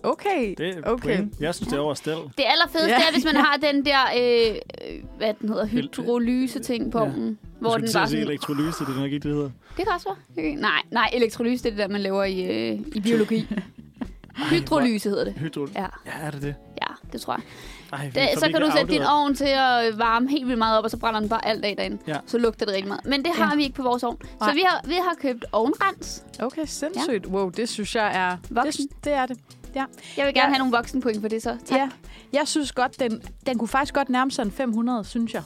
S3: Okay.
S2: det er
S3: Okay.
S2: okay. point. Jeg synes, det er overstel.
S4: Det allerfedeste
S3: Ja.
S4: er, hvis man har den der, øh, øh, hvad den hedder, hydrolyse-ting på
S2: Ja.
S4: ovnen.
S2: Hvor
S4: Hvor den bare sådan,
S2: elektrolyse, det er nok ikke det, det hedder.
S4: det kan også være. Okay. Nej, nej, elektrolyse, det er det der, man laver i, øh, i biologi. Hydrolyse hedder det.
S2: Hydro...
S4: Ja,
S2: Ja, er det det?
S4: ja, det tror jeg.
S2: Ej,
S4: Det, så, kan du sætte din ovn til at øh, varme helt vildt meget op, og så brænder den bare alt af derinde.
S2: Ja.
S4: Så lugter det rigtig meget. Men det har
S3: Ja.
S4: vi ikke på vores ovn. Så
S3: Nej.
S4: vi har, vi har købt ovnrens.
S3: Okay, sindssygt. Ja. Wow, det synes jeg er...
S4: Voksen.
S3: Det, det er det.
S4: Jeg vil gerne
S3: Ja.
S4: have nogle voksenpoint for det så. Tak.
S3: Ja. Jeg synes godt, den, den kunne faktisk godt nærme sig en 500, synes jeg.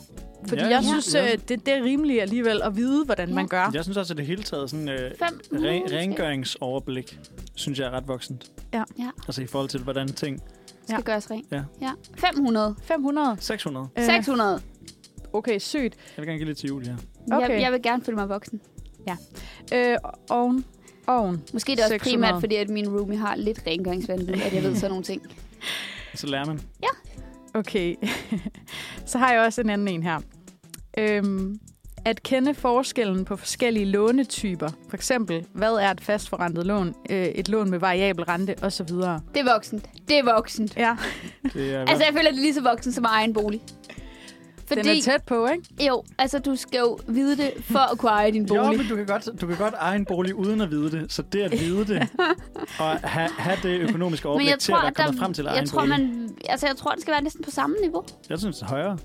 S3: Fordi
S2: Ja,
S3: jeg
S2: ja.
S3: synes,
S2: Ja.
S3: øh, det, det er rimeligt alligevel at vide, hvordan ja.
S4: Ja.
S3: man gør.
S2: Jeg synes også, at det hele taget sådan øh,
S4: 500
S2: re-
S4: måske.
S2: rengøringsoverblik, synes jeg er ret voksent.
S3: Ja.
S4: Ja.
S2: Altså i forhold til, hvordan ting...
S4: skal gøres rent.
S2: Ja.
S4: ja. 500.
S3: 500.
S2: 600.
S3: Øh,
S4: 600.
S3: Okay, sygt.
S2: Jeg vil gerne give lidt til jul, ja.
S4: Okay.
S3: Okay.
S4: Jeg, jeg vil gerne føle mig voksen.
S3: Øh, oven. Oven.
S4: Måske er det også
S3: 600.
S4: 600. primært, fordi at min roomie har lidt rengøringsvanvid, at jeg ved sådan nogle ting.
S2: Så lærer Altså, man.
S3: Okay. Så har jeg også en anden en her. Øhm, at kende forskellen på forskellige lånetyper. For eksempel, hvad er et fastforrentet lån, øh, et lån med variabel rente osv.
S4: Det er voksent. Det er voksent.
S3: Ja,
S2: Det er,
S4: Altså, jeg føler, det er lige så voksen som at eje en bolig.
S3: Fordi...
S4: Fordi,
S3: den er tæt på, ikke?
S4: jo, altså, du skal jo vide det, for at kunne eje din
S2: jo,
S4: bolig.
S2: men du kan, godt, du kan godt eje en bolig uden at vide det, så det at vide det, og have, have det økonomiske overblik til at være kommet frem til at eje
S4: jeg
S2: en
S4: tror,
S2: bolig.
S4: man, altså, jeg tror, det skal være næsten på samme niveau.
S2: Jeg synes, det er højere.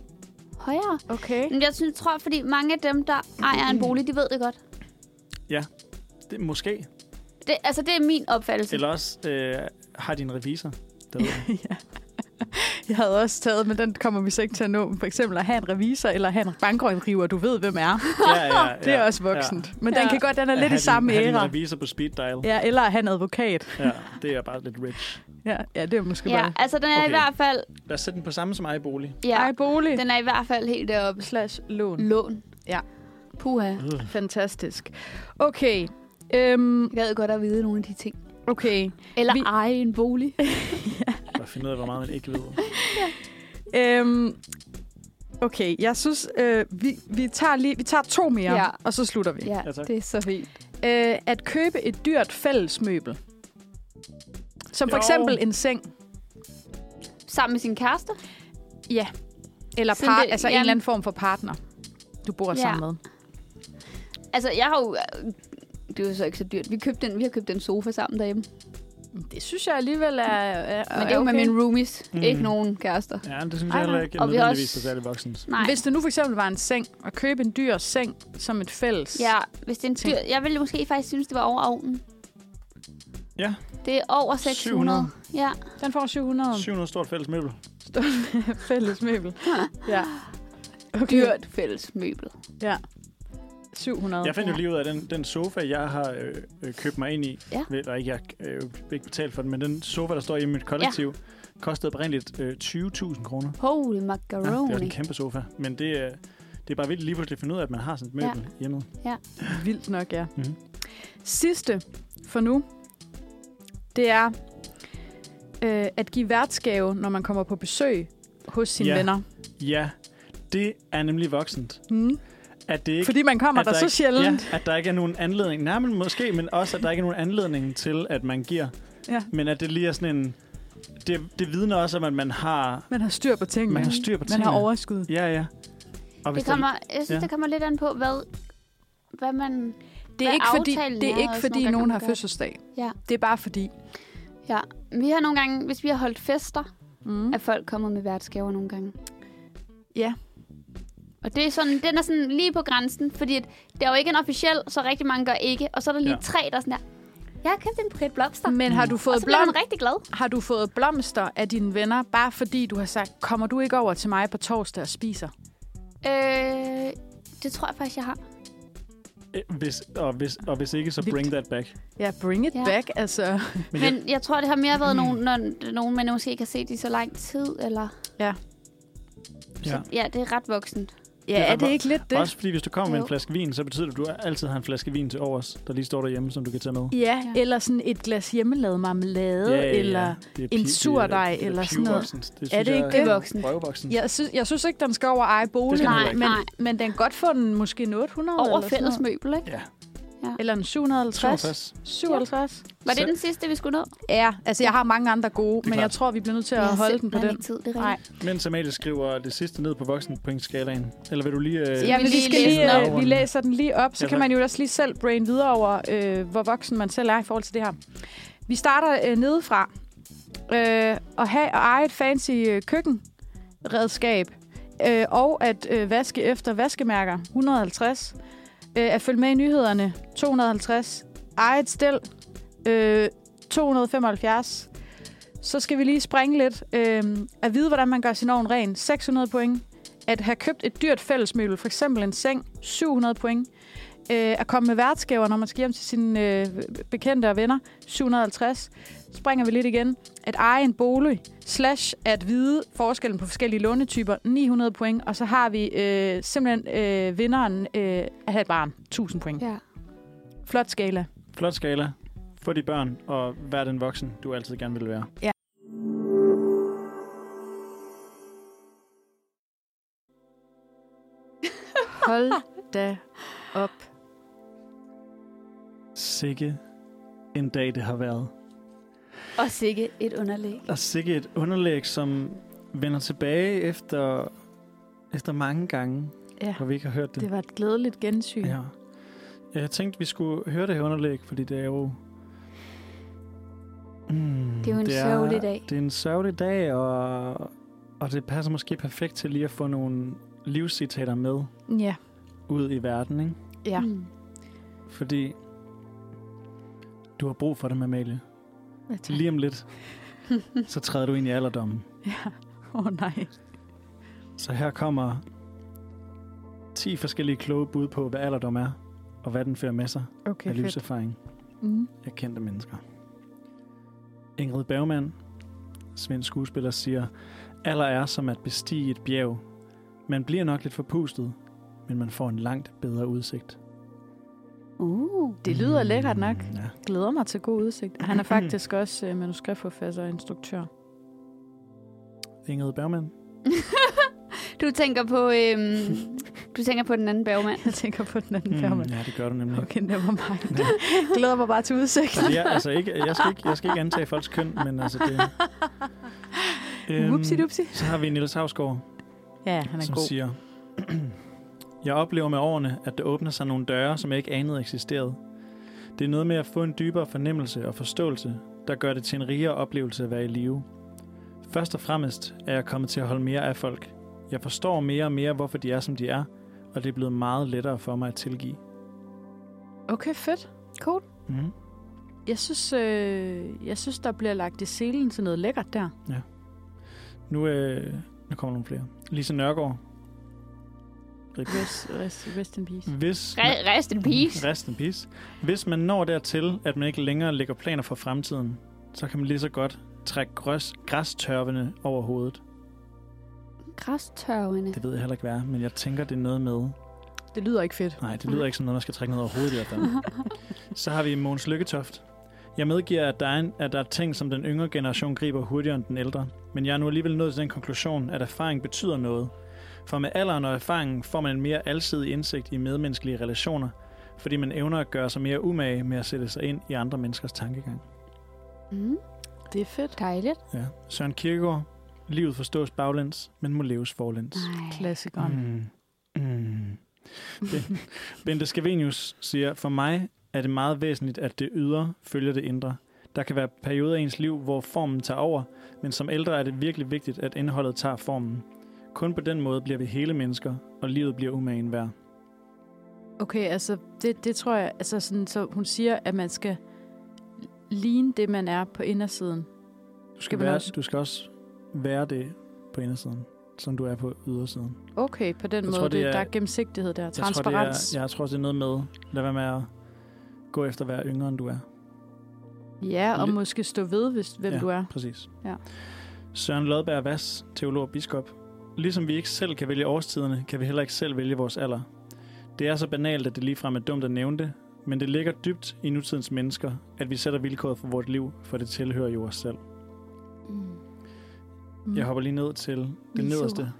S4: Højere.
S3: Okay.
S4: Men jeg synes, tror, fordi mange af dem, der ejer en bolig, de ved det godt.
S2: Det, måske.
S4: Det, altså, det er min opfattelse.
S2: Eller også øh, har din revisor. Det ved jeg.
S3: Jeg havde også taget, men den kommer vi så ikke til at nå. For eksempel at have en revisor eller have en bankrådgiver, du ved, hvem er.
S2: ja, ja, ja,
S3: Det er også voksent. Ja. Men den
S4: Ja.
S3: kan godt, den er
S2: At
S3: lidt
S2: have
S3: i samme
S2: din, have din
S3: æra.
S2: revisor på speed dial. Ja.
S3: Ja, eller at have en advokat.
S2: ja. det er bare lidt rich.
S3: Ja, ja det er måske ja.
S4: ja,
S3: bare...
S4: altså, den er okay. i
S2: Okay.
S4: hvert fald...
S2: Lad os sætte den på samme som ejerbolig.
S4: Ja,
S3: Ej, bolig.
S4: den er i hvert fald helt deroppe.
S3: slash lån.
S4: Lån.
S3: Ja.
S4: Puha.
S3: Fantastisk. Okay. Øhm,
S4: Jeg gad godt at vide nogle af de ting.
S3: okay.
S4: Eller
S3: Vi-
S4: eje en bolig.
S2: Hvad finde ud af, hvor meget man ikke ved.
S3: Øhm, okay, jeg synes, øh, vi, vi, tager lige, vi tager to mere,
S4: Ja.
S3: og så slutter vi.
S4: Ja,
S2: Ja, tak.
S4: det er så fint.
S3: Øh, at købe et dyrt fællesmøbel. Som for
S2: Jo.
S3: eksempel en seng.
S4: Sammen med sin kæreste?
S3: Ja. Eller
S4: Sådan
S3: par,
S4: det-
S3: altså en
S4: jamen-
S3: eller anden form for partner, du bor
S4: Ja.
S3: sammen med.
S4: Altså, jeg har jo... Det er jo så ikke så dyrt. Vi, købte en, vi har købt en sofa sammen derhjemme.
S3: Det synes jeg alligevel er, er
S4: Men det er jo med mine roomies.
S2: Mm.
S4: Mm. Ikke nogen kærester.
S2: Ja, det synes
S3: Ej,
S2: jeg heller
S3: nej.
S2: ikke
S4: Og vi har
S2: nødvendigvis er
S4: også-
S2: særlig voksens.
S4: Nej.
S3: Hvis det nu for eksempel var en seng, at købe en dyr seng som et fælles.
S4: Ja, hvis det er en
S3: Ting.
S4: dyr... Jeg ville måske faktisk synes, det var over ovnen.
S2: Ja.
S4: Det er over 600.
S2: 700.
S4: Ja.
S3: Den får 700
S2: 700 stort fælles møbel.
S3: fælles møbel. ja. Okay.
S4: Dyrt fælles møbel.
S3: Ja. 700.
S2: Jeg fandt jo
S4: Ja.
S2: lige ud af, at den, den sofa, jeg har øh, øh, købt mig ind i,
S4: Ja.
S2: ved, eller ikke, jeg øh, ikke betalt for den, men den sofa, der står hjemme i mit kollektiv, ja. kostede oprindeligt øh, 20.000 kroner.
S4: Holy
S2: Ja, det er også
S4: macaroni.
S2: en kæmpe sofa, men det, øh, det er bare vildt lige pludselig at finde ud af, at man har sådan et møbel ja. hjemme.
S3: Vildt nok, ja.
S2: Mhm.
S3: Mm-hmm. Sidste for nu, det er øh, at give værtsgave, når man kommer på besøg hos sine
S2: Ja.
S3: ja. venner.
S2: Ja, det er nemlig voksent.
S3: Mm.
S2: At det ikke
S3: Fordi man kommer
S2: at
S3: der, der så
S2: ikke-
S3: sjældent.
S2: Ja, at der ikke er nogen anledning. Nej, men måske, men også, at der ikke er nogen anledning til, at man giver.
S3: Ja. ja.
S2: Men at det lige er sådan en... Det, det vidner også om, at man har,
S3: Man har styr på tingene.
S2: man har styr på
S3: man
S2: tingene.
S3: har overskud.
S2: Ja, ja. Og hvis
S4: Det
S2: der-
S4: kommer, jeg synes,
S2: Ja.
S4: ja. det kommer lidt an på, hvad, hvad man...
S3: Det er
S4: Hvad
S3: ikke fordi,
S4: aftalen
S3: det
S4: er
S3: er ikke
S4: også
S3: fordi
S4: nogle gange,
S3: nogen
S4: man
S3: har
S4: gør.
S3: fødselsdag.
S4: Ja.
S3: Det er bare fordi.
S4: Ja, vi har nogle gange, hvis vi har holdt fester,
S3: Mm.
S4: er folk kommet med værtsgaver nogle gange.
S3: Ja.
S4: Og det er sådan, den er sådan lige på grænsen, fordi at det er jo ikke en officiel, så rigtig mange gør ikke. Og så er der lige
S2: Ja.
S4: ja. tre, der er sådan der, jeg har købt en buket blomster.
S3: Altså, Men har du
S4: Mm. og
S3: Mm. fået
S4: så bliver
S3: blom,
S4: man rigtig glad.
S3: har du fået blomster af dine venner, bare fordi du har sagt, kommer du ikke over til mig på torsdag og spiser?
S4: Øh, det tror jeg faktisk, jeg har.
S2: Øh, Hvis, og, hvis, og hvis ikke, så
S3: Vildt.
S2: bring that back.
S3: Ja, bring it
S4: Ja.
S3: ja. back, altså.
S2: Men
S4: Men, Men jeg tror, det har mere været nogen, når, nogen, man måske ikke har set i så lang tid. Eller...
S2: Ja.
S4: Ja, det er ret voksent.
S3: Ja, er
S2: og-
S3: det ikke lidt
S2: Det.
S3: det?
S2: Også fordi, hvis du kommer med en
S4: Jo.
S2: flaske vin, så betyder det, at du altid har en flaske vin til overs, der lige står derhjemme, som du kan tage med.
S3: Ja,
S4: Ja.
S3: eller sådan et glas hjemmelavet marmelade, ja, ja, ja. eller...
S2: Det er
S3: en
S2: pi-
S3: surdej
S2: det er-
S3: eller
S2: det er
S3: sådan noget.
S2: pivvoksent. Det
S3: Er
S2: synes
S3: det
S2: jeg
S3: ikke det?
S4: Voksent.
S2: Røvvoksen.
S3: Jeg synes, jeg synes ikke, den skal over eje
S2: Det
S3: bolig,
S2: skal den heller
S3: men,
S2: ikke.
S4: Nej.
S3: men den kan godt få den måske en 800
S4: Over
S3: eller sådan
S4: fælles
S3: noget.
S4: møbel, ikke?
S2: Ja,
S3: Eller en 750.
S2: 62.
S3: 57.
S4: Var det
S2: Så-
S4: den sidste, vi skulle nå?
S3: Ja, altså jeg har mange andre gode,
S2: er
S3: men
S2: klart.
S3: jeg tror, vi bliver nødt til
S4: Vi
S3: at
S4: har
S3: holde den på
S4: simpelthen
S3: den.
S4: ikke tid, det er
S3: Nej.
S4: rigtigt.
S2: Mens Amalie skriver det sidste ned på voksenpointskalaen. Eller vil du lige... Øh,
S3: Ja,
S4: vi
S3: men vi,
S4: lige
S3: skal
S4: læse
S3: lige,
S4: den
S2: op?
S3: øh, vi læser den lige op, så
S2: Ja,
S3: kan
S2: tak.
S3: man jo også lige selv brain videre over, øh, hvor voksen man selv er i forhold til det her. Vi starter øh, nedefra. Øh, at have og eje et fancy øh, køkkenredskab, øh, og at øh, vaske efter vaskemærker, 150. Øh, at følge med i nyhederne, 250. Eje et stel, øh, 275. Så skal vi lige springe lidt. Øh, at vide, hvordan man gør sin ovn ren, 600 point at have købt et dyrt fællesmøbel, for eksempel en seng, 700 point. Øh, at komme med værtsgaver, når man skal hjem til sine øh, bekendte og venner, 750. Springer vi lidt igen. At eje en bolig, slash at vide forskellen på forskellige lånetyper, 900 point. Og så har vi øh, simpelthen øh, vinderen øh, at have et barn, 1000 point.
S4: Ja.
S3: Flot skala.
S2: Flot skala. Få de børn, og vær den voksen, du altid gerne vil være.
S3: Hold da op.
S2: Sikke en dag, det har været.
S4: Og sikke et underlæg.
S2: Og sikke et underlæg, som vender tilbage efter, efter mange gange,
S3: Ja,
S2: hvor vi ikke har hørt det.
S3: det var et glædeligt gensyn.
S2: Ja. Jeg tænkte, vi skulle høre det her underlæg, fordi det er jo... Mm,
S4: Det er jo en sørgelig dag.
S2: Det er en sørgelig dag, og, og det passer måske perfekt til lige at få nogle livscitater med
S3: ja.
S2: ud i verden, ikke?
S3: Ja.
S4: Mm.
S2: Fordi du har brug for det, Amalie.
S3: Ja, tak.
S2: Lige om lidt, så træder du ind i alderdommen.
S3: Ja. Åh oh, nej.
S2: Så her kommer 10 forskellige kloge bud på, hvad alderdom er, og hvad den fører med sig
S3: Okay,
S2: af
S3: fedt.
S2: livserfaring.
S3: Mm.
S2: af kendte mennesker. Ingrid Bergman, svensk skuespiller, siger, Alder er som at bestige et bjerg. Man bliver nok lidt forpustet, men man får en langt bedre udsigt.
S4: Uh.
S3: Det lyder
S2: Mm,
S3: lækkert nok.
S2: Ja.
S3: Glæder mig til god udsigt. Han er faktisk også øh, manuskriptforfatter og instruktør.
S2: Ingrid Bergman.
S4: Du tænker på, øhm, du tænker på den anden bagmand.
S3: Jeg tænker på den anden færge.
S2: Mm. ja, det gør du nemlig.
S3: Okay, never mind. Glæder mig bare til udsigten.
S2: Ja, altså ikke, jeg, skal ikke, jeg skal ikke antage folks køn, men altså det... øhm,
S3: Whoopsie dupsi.
S2: Så har vi Niels Havsgaard,
S3: Ja, han er
S2: som
S3: god.
S2: siger... Jeg oplever med årene, at der åbner sig nogle døre, som jeg ikke anede eksisterede. Det er noget med at få en dybere fornemmelse og forståelse, der gør det til en rigere oplevelse at være i live. Først og fremmest er jeg kommet til at holde mere af folk. Jeg forstår mere og mere, hvorfor de er, som de er, og det er blevet meget lettere for mig at tilgive.
S3: Okay, fedt. Cool.
S2: Mm.
S3: Jeg synes, øh, jeg synes, der bliver lagt i selen til noget lækkert der.
S2: Nu, øh, nu kommer nogle flere. Lise Nørgaard. Rip.
S3: Rest, rest, rest in peace.
S2: Hvis
S4: Re- rest in peace.
S2: Rest in peace. Hvis man når dertil, at man ikke længere lægger planer for fremtiden, så kan man lige så godt trække græs, græstørvene over hovedet.
S4: Græstørvende.
S2: Det ved jeg heller ikke, hvad er, men jeg tænker, det er noget med...
S3: Det lyder ikke fedt.
S2: Nej, det lyder ikke som noget, man skal trække ned over hovedet i hvert fald. Så har vi Måns Lykketoft. Jeg medgiver, at der, er en, at der er ting, som den yngre generation griber hurtigere end den ældre. Men jeg er nu alligevel nået til den konklusion, at erfaring betyder noget. For med alderen og erfaringen får man en mere alsidig indsigt i medmenneskelige relationer, fordi man evner at gøre sig mere umage med at sætte sig ind i andre menneskers tankegang.
S4: Mm.
S3: Det er fedt.
S4: Dejligt.
S2: Ja. Søren Kierkegaard. Livet forstås baglæns, men må leves forlæns.
S4: Nej.
S3: Klassikeren. Mm.
S2: Mm. Mm. Ben- Bente Scavenius siger, for mig er det meget væsentligt, at det ydre følger det indre. Der kan være perioder i ens liv, hvor formen tager over, men som ældre er det virkelig vigtigt, at indholdet tager formen. Kun på den måde bliver vi hele mennesker, og livet bliver umagen værd.
S3: Okay, altså det, det tror jeg, altså sådan, så hun siger, at man skal ligne det, man er på indersiden.
S2: Du skal,
S3: man
S2: være,
S3: også-
S2: du skal også være det på indersiden, som du er på ydersiden.
S3: Okay, på den
S2: Jeg
S3: måde,
S2: tror,
S3: tror,
S2: det
S3: det,
S2: er-
S3: der er gennemsigtighed der,
S2: Jeg tror, det
S3: transparens.
S2: er, jeg tror, det er noget med, lad være med at gå efter at være yngre, end du er.
S3: Ja, og
S2: Lidt-
S3: måske stå ved, hvis, hvem
S2: Ja.
S3: ja. du er.
S2: Præcis.
S3: Ja.
S2: Søren Lodberg Vass, teolog og biskop. Ligesom vi ikke selv kan vælge årstiderne, kan vi heller ikke selv vælge vores alder. Det er så banalt, at det ligefrem er dumt at nævne det, men det ligger dybt i nutidens mennesker, at vi sætter vilkåret for vort liv, for det tilhører jo os selv.
S4: Mm.
S3: Mm.
S2: Jeg hopper lige ned til det
S4: Lige
S2: nederste.
S4: super.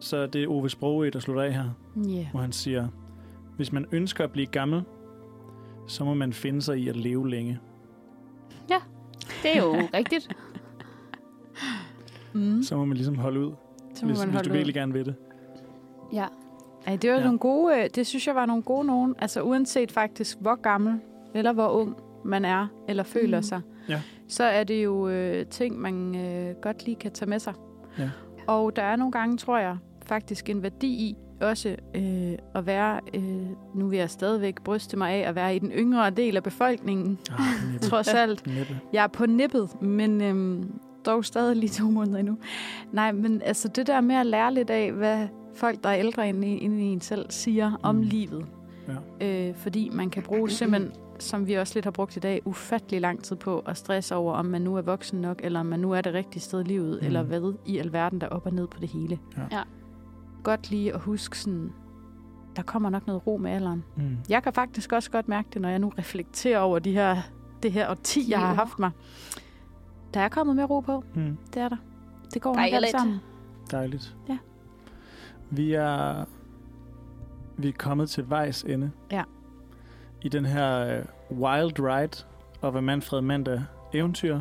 S2: Så det er Ove Sprogøe, der slutter af her,
S3: Yeah.
S2: hvor han siger, hvis man ønsker at blive gammel, så må man finde sig i at leve længe.
S4: Det er jo rigtigt.
S3: Mm.
S2: Så må man ligesom holde ud,
S3: Så må
S2: hvis,
S3: man
S2: hvis
S3: holde
S2: du
S3: ud.
S2: virkelig gerne vil det.
S4: Ja.
S3: Ej, det var
S2: Ja.
S3: ja. nogle gode, øh, det synes jeg var nogle gode nogen. Altså uanset faktisk, hvor gammel eller hvor ung man er, eller føler
S4: Mm.
S3: mm. sig,
S2: Ja.
S3: så er det jo øh, ting, man øh, godt lige kan tage med sig.
S2: Ja.
S3: Og der er nogle gange, tror jeg, faktisk en værdi i også øh, at være, øh, nu vil jeg stadigvæk bryste mig af, at være i den yngre del af befolkningen,
S2: Ah, næppe,
S3: trods alt.
S2: næppe.
S3: Jeg er på nippet, men øhm, dog stadig lige to måneder endnu. Nej, men altså det der med at lære lidt af, hvad folk, der er ældre end, en- end en selv, siger mm. om
S2: Mm.
S3: livet. Ja. Øh, fordi man kan bruge simpelthen, som vi også lidt har brugt i dag, ufattelig lang tid på at stresse over, om man nu er voksen nok, eller om man nu er det rigtige sted i livet,
S2: Mm.
S3: mm. eller hvad i alverden, der er op og ned på det hele.
S2: Ja.
S4: Ja.
S3: Godt lige at huske sådan, der kommer nok noget ro med alderen.
S2: Mm.
S3: Jeg kan faktisk også godt mærke det, når jeg nu reflekterer over de her, det her årti, jeg har
S4: år.
S3: haft mig. Der er kommet mere ro på.
S2: Mm.
S3: Det er der. Det går nok
S4: Dejligt.
S3: alt sammen.
S2: Dejligt.
S3: Ja.
S2: Vi er, vi er kommet til vejs ende.
S3: Ja.
S2: I den her øh, wild ride og hvad Manfred Mandag eventyr,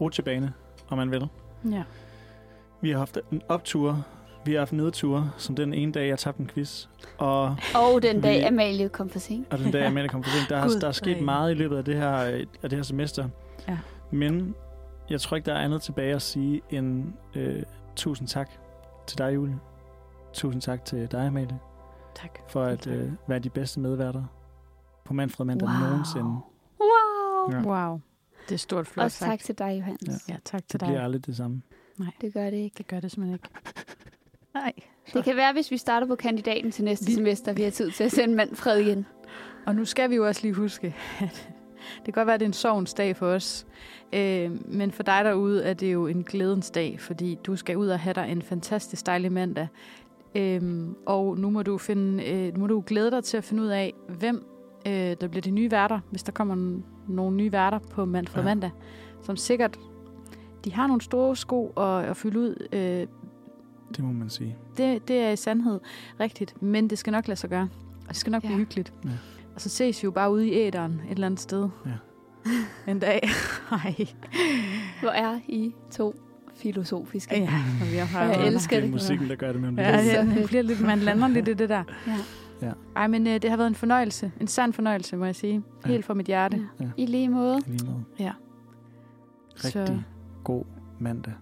S2: rutsjebane, om man vil.
S3: Ja.
S2: Vi har haft en optur, vi har haft nedture, som den ene dag, jeg tabte en quiz. Og,
S4: Og den dag
S2: Vi-
S4: Amalie kom for sent.
S2: og den dag, jeg meldte kom for sent. Der, har,
S3: Gud,
S2: der er sket
S3: nej.
S2: meget i løbet af det her, øh, af det her semester.
S3: Ja.
S2: Men jeg tror ikke, der er andet tilbage at sige end øh, tusind tak til dig, Julie. Tusind tak til dig, Amalie.
S3: Tak.
S2: for at
S3: Tak.
S2: øh, være de bedste medværter på Manfred Mandag wow.
S4: Wow.
S2: nogensinde.
S4: Wow.
S2: Ja.
S3: Wow. Det er stort flot
S4: Også tak
S3: sagt.
S4: til dig, Johannes.
S2: Ja.
S4: Ja.
S3: Ja, tak til
S2: Det
S3: dig.
S2: bliver aldrig det samme.
S4: Det gør det ikke.
S3: Det gør det simpelthen ikke. Nej.
S4: Det kan være, hvis vi starter på kandidaten til næste vi... semester, vi har tid til at sende Manfred igen.
S3: Og nu skal vi jo også lige huske, at det kan godt være, at det er en sovens dag for os. Øh, men for dig derude er det jo en glædens dag, fordi du skal ud og have dig en fantastisk dejlig mandag. Øh, og nu må du, finde, øh, nu må du glæde dig til at finde ud af, hvem øh, der bliver de nye værter, hvis der kommer n- nogle nye værter på mand for
S2: Ja.
S3: mandag, som sikkert de har nogle store sko at, at fylde ud. Øh,
S2: Det må man sige.
S3: det, det er i sandhed rigtigt, men det skal nok lade sig gøre. Og det skal nok ja.
S4: Ja.
S3: blive hyggeligt.
S2: Ja.
S3: Og så ses vi jo bare ude i æderen et eller andet sted.
S2: Ja.
S3: En dag. Ej.
S4: Hvor er I to filosofiske?
S3: Ja, og vi har
S4: Og jeg
S3: Ja.
S2: det
S4: elsker
S2: er
S4: det.
S2: musikken, der gør det mellem
S3: Ja,
S2: ja,
S4: så
S3: ja, det
S4: fedt.
S3: bliver lidt, man lander lidt i det der.
S4: Ja.
S2: Ja.
S3: Ej, men øh, det har været en fornøjelse. En sand fornøjelse, må jeg sige.
S2: Ja.
S3: Helt fra mit hjerte.
S4: I lige måde.
S2: Lige noget.
S3: Ja.
S2: Rigtig god mandag.